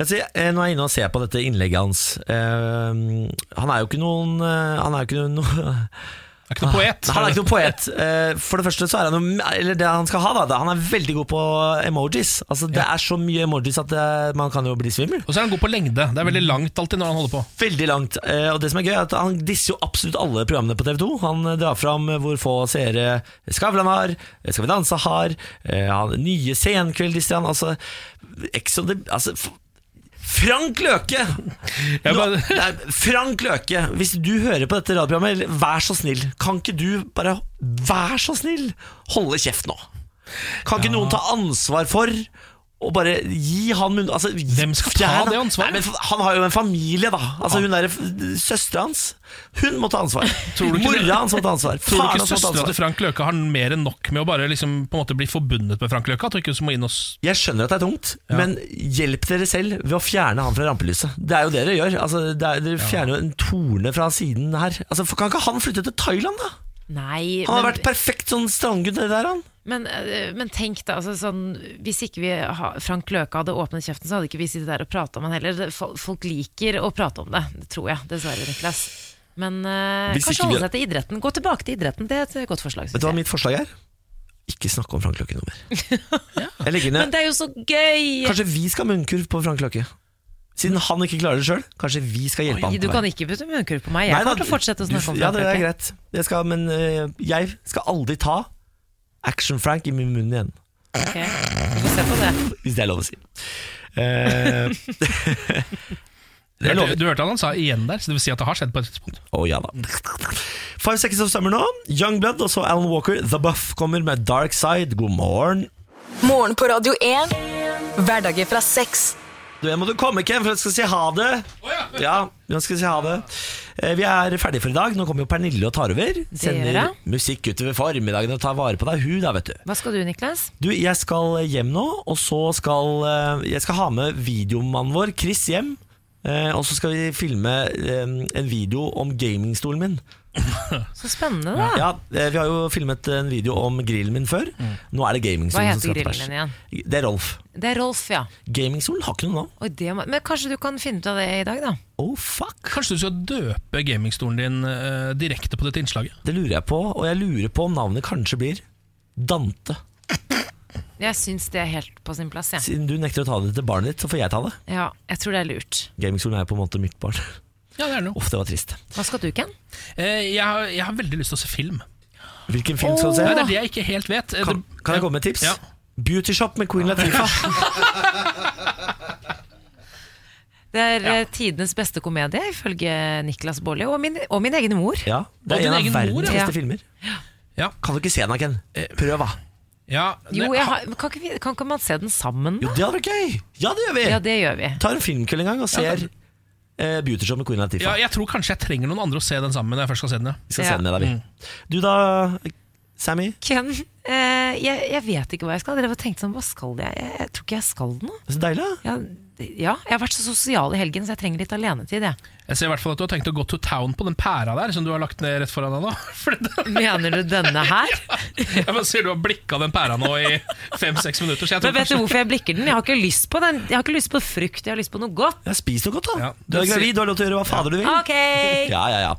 A: Altså, jeg- eh, nå er jeg inne og ser på dette innlegget hans. Eh, han er jo ikke noen eh, Han er jo ikke noen
B: er ikke noen poet.
A: Han er ikke noen poet. Eh, For det første så er han jo Eller det han skal ha, da. det er- Han er veldig god på emojis. Altså Det er så mye emojis at det, man kan jo bli svimmel.
B: Og så er han god på lengde. Det er veldig langt alltid når han holder på.
A: Veldig langt. Eh, Og det som er gøy, er at han disser jo absolutt alle programmene på TV 2. Han eh, drar fram eh, hvor få seere Skavlan har, eh, Skal vi danse har, eh, han, nye Senkveld disser han. Altså, Ex on the altså, f- Frank Løke! Nå, nei, Frank Løke, hvis du hører på dette radioprogrammet, eller vær så snill, kan ikke du bare Vær så snill, holde kjeft nå? Kan ikke noen ta ansvar for og bare gi han munn... Altså, Hvem skal
B: ta det ansvaret?
A: Nei, men han har jo en familie, da. Altså, hun der, Søstera hans hun må ta ansvar.
B: Tror du ikke det-
A: Mora hans må ta ansvar.
B: Tror du
A: Faren
B: ikke
A: hans må ta
B: søstera til
A: ansvar.
B: Frank Løke har mer enn nok med å bare liksom på en måte bli forbundet med Frank Løke? At hun ikke må inn og s-
A: Jeg skjønner at det er tungt, men hjelp dere selv ved å fjerne han fra rampelyset. Det er jo det dere gjør. Altså, det er, dere fjerner jo en torne fra siden her. Altså, for- kan ikke han flytte til Thailand, da?
C: Nei,
A: Han har
C: men-
A: vært perfekt sånn strandgutt, det der, han.
C: Men, eh, men tenk da, altså, sånn, hvis ikke vi ha, Frank Løke hadde åpnet kjeften, så hadde ikke vi sittet der og prata om han heller. Det- fol- Folk liker å prate om det, det tror jeg, dessverre, Niklas. Men eh,
A: Hvis
C: kanskje
A: ikke vi-
C: holde seg til idretten. Gå tilbake til idretten, det er et godt forslag.
A: Vet
C: Synes
A: du hva
C: jeg.
A: mitt forslag er? Ikke snakke om Frank Løkke noe mer. Jeg legger
C: Men
A: ned.
C: det er jo så gøy!
A: Kanskje vi skal ha munnkurv på Frank Løkke? Siden han ikke klarer det sjøl, kanskje vi skal hjelpe ham.
C: du kan ikke putte munnkurv på meg. Jeg
A: Nei, da,
C: kommer til å fortsette å
A: du-
C: snakke om
A: Ja,
C: Frank
A: det er
C: Løke.
A: greit. Jeg skal, men øh, jeg skal aldri ta Action-Frank i min munn igjen.
C: Ok, Vi får se på det.
A: Hvis det er lov å si. Eh,
B: Du hørte, du hørte han, han sa igjen der, så det vil si at det har skjedd på et tidspunkt.
A: Å ja da. Five Seconds of Summer nå. Youngblood og så Alan Walker. The Buff kommer med Dark Side. God morgen.
D: Morgen på Radio 1. Hverdager fra seks.
A: Du, jeg måtte komme, Ken, for jeg skal si ha det. Ja, jeg skal si ha det. Eh, Vi er ferdige for i dag. Nå kommer jo Pernille og tar over.
C: gjør
A: Sender
C: jeg.
A: musikk utover formiddagen og tar vare på deg. Hun, da, vet du.
C: Hva skal du, Niklas?
A: Du, jeg skal hjem nå, og så skal eh, jeg skal ha med videomannen vår, Chris, hjem. Eh, Og så skal vi filme eh, en video om gamingstolen min.
C: Så spennende, da.
A: Ja, eh, Vi har jo filmet en video om grillen min før. Nå er
C: Mm. Hva
A: det gamingstolen som
C: heter
A: skal til
C: grillen
A: pers.
C: din igjen?
A: Det er Rolf.
C: Det er Rolf, ja.
A: Gamingstolen har ikke noe navn.
C: Oi, det må, men kanskje du kan finne ut av det i dag, da?
A: Oh, fuck.
B: Kanskje du skal døpe gamingstolen din eh, direkte på dette innslaget?
A: Det lurer jeg på, og jeg lurer på om navnet kanskje blir Dante.
C: Jeg syns det er helt på sin plass, jeg.
A: Siden du nekter å ta det til barnet ditt, så får jeg ta det.
C: Ja, jeg tror det er lurt.
A: Gamingstolen er jo på en måte mitt barn.
B: Ja, det er det jo.
A: Uff, det var trist.
C: Hva skal du, Ken?
B: Eh, jeg, har, jeg har veldig lyst til å se film.
A: Hvilken film skal du se?
B: Nei, det er det jeg ikke helt vet. Eh,
A: Kan,
B: det-
A: kan jeg komme med et tips?
B: Ja.
A: Beauty Shop med Queen Latifah.
C: Det er eh, tidenes beste komedie, ifølge Niklas Baarli. Og, min- og min egen mor.
A: Ja, det
C: Og
A: er
C: din
A: en av
C: egen
A: verdens
C: mor, ja.
A: beste filmer. Kan du ikke se den, da, Ken? Prøv, da.
C: Jo, jeg har, men kan, ikke vi, kan ikke man se den sammen?
A: Jo, det hadde vært gøy! Ja, det gjør vi!
C: Ja, det gjør vi.
A: Tar en filmkveld en gang og ser eh, Beauty Shop med Queen
B: Ja,
A: Latifah.
B: jeg tror kanskje jeg trenger noen andre å se den sammen med når jeg først skal se den. Ja.
A: Vi skal se den med deg, vi. Du da, Sammy?
C: Ken, eh, jeg, jeg vet ikke hva jeg skal. Dere har tenkt sånn, hva skal jeg? jeg? Jeg tror ikke jeg skal noe.
A: Så deilig, da.
C: Ja, det- ja, jeg har vært så sosial i helgen, så jeg trenger litt alenetid, jeg.
B: Jeg ser i hvert fall at du har tenkt å gå to town på den pæra der som du har lagt ned rett foran deg nå.
C: Mener du denne her?
B: Jeg bare ser du har blikka den pæra nå i fem-seks minutter. Så jeg tror
C: Men vet du
B: kanskje-
C: hvorfor jeg blikker den? Jeg har ikke lyst på den Jeg har ikke lyst på frukt, jeg har lyst på noe godt.
A: Ja, spis noe godt, da. Du
B: det
A: er
B: ser-
A: gravid, du har lov til å gjøre hva fader du vil.
C: Ok.
A: Ja, ja, ja.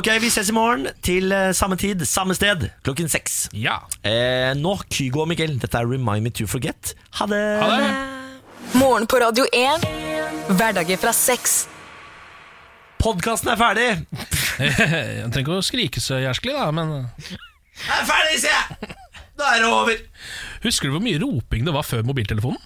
A: Ok, vi ses i morgen til eh, samme tid, samme sted, klokken seks. Eh, nå, Kygo og Mikkel, dette er Remind Me To Forget. Ha det!
D: Morgen på Radio 1. Hverdager fra seks.
A: Podkasten er ferdig!
B: Jeg trenger ikke å skrike så jærskelig, da, men
A: Jeg er ferdig, sier jeg! Da er det over!
B: Husker du hvor mye roping det var før mobiltelefonen?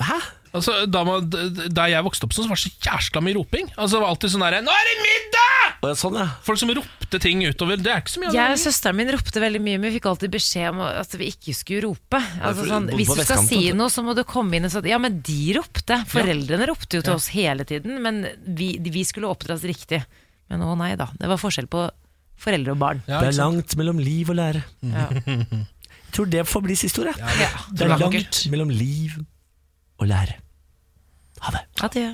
A: Hæ?
B: Altså, da, man, d- da jeg vokste opp sånn, så var det så jæskla mye roping. Altså, det var alltid sånn derre 'Nå er det middag!'
A: Og sånn, ja.
B: Folk som ropte ting utover. Det er ikke så mye av det
C: Jeg og
B: lenger.
C: søsteren min ropte veldig mye, men vi fikk alltid beskjed om at vi ikke skulle rope. Altså,
B: for du
C: sånn,
B: bodde
C: hvis
B: på
C: du skal
B: vestkanten,
C: si
B: vet du.
C: noe, så må du komme inn og si at Ja, men de ropte. Foreldrene ropte jo til oss hele tiden, men vi, vi skulle oppdras riktig. Men å nei da. Det var forskjell på foreldre og barn.
A: det er langt mellom liv og lære. Jeg tror det får bli siste ord, jeg.
C: Ja,
A: det er
C: tror jeg
A: langt mellom liv og lære. Ha det.
C: Ha det.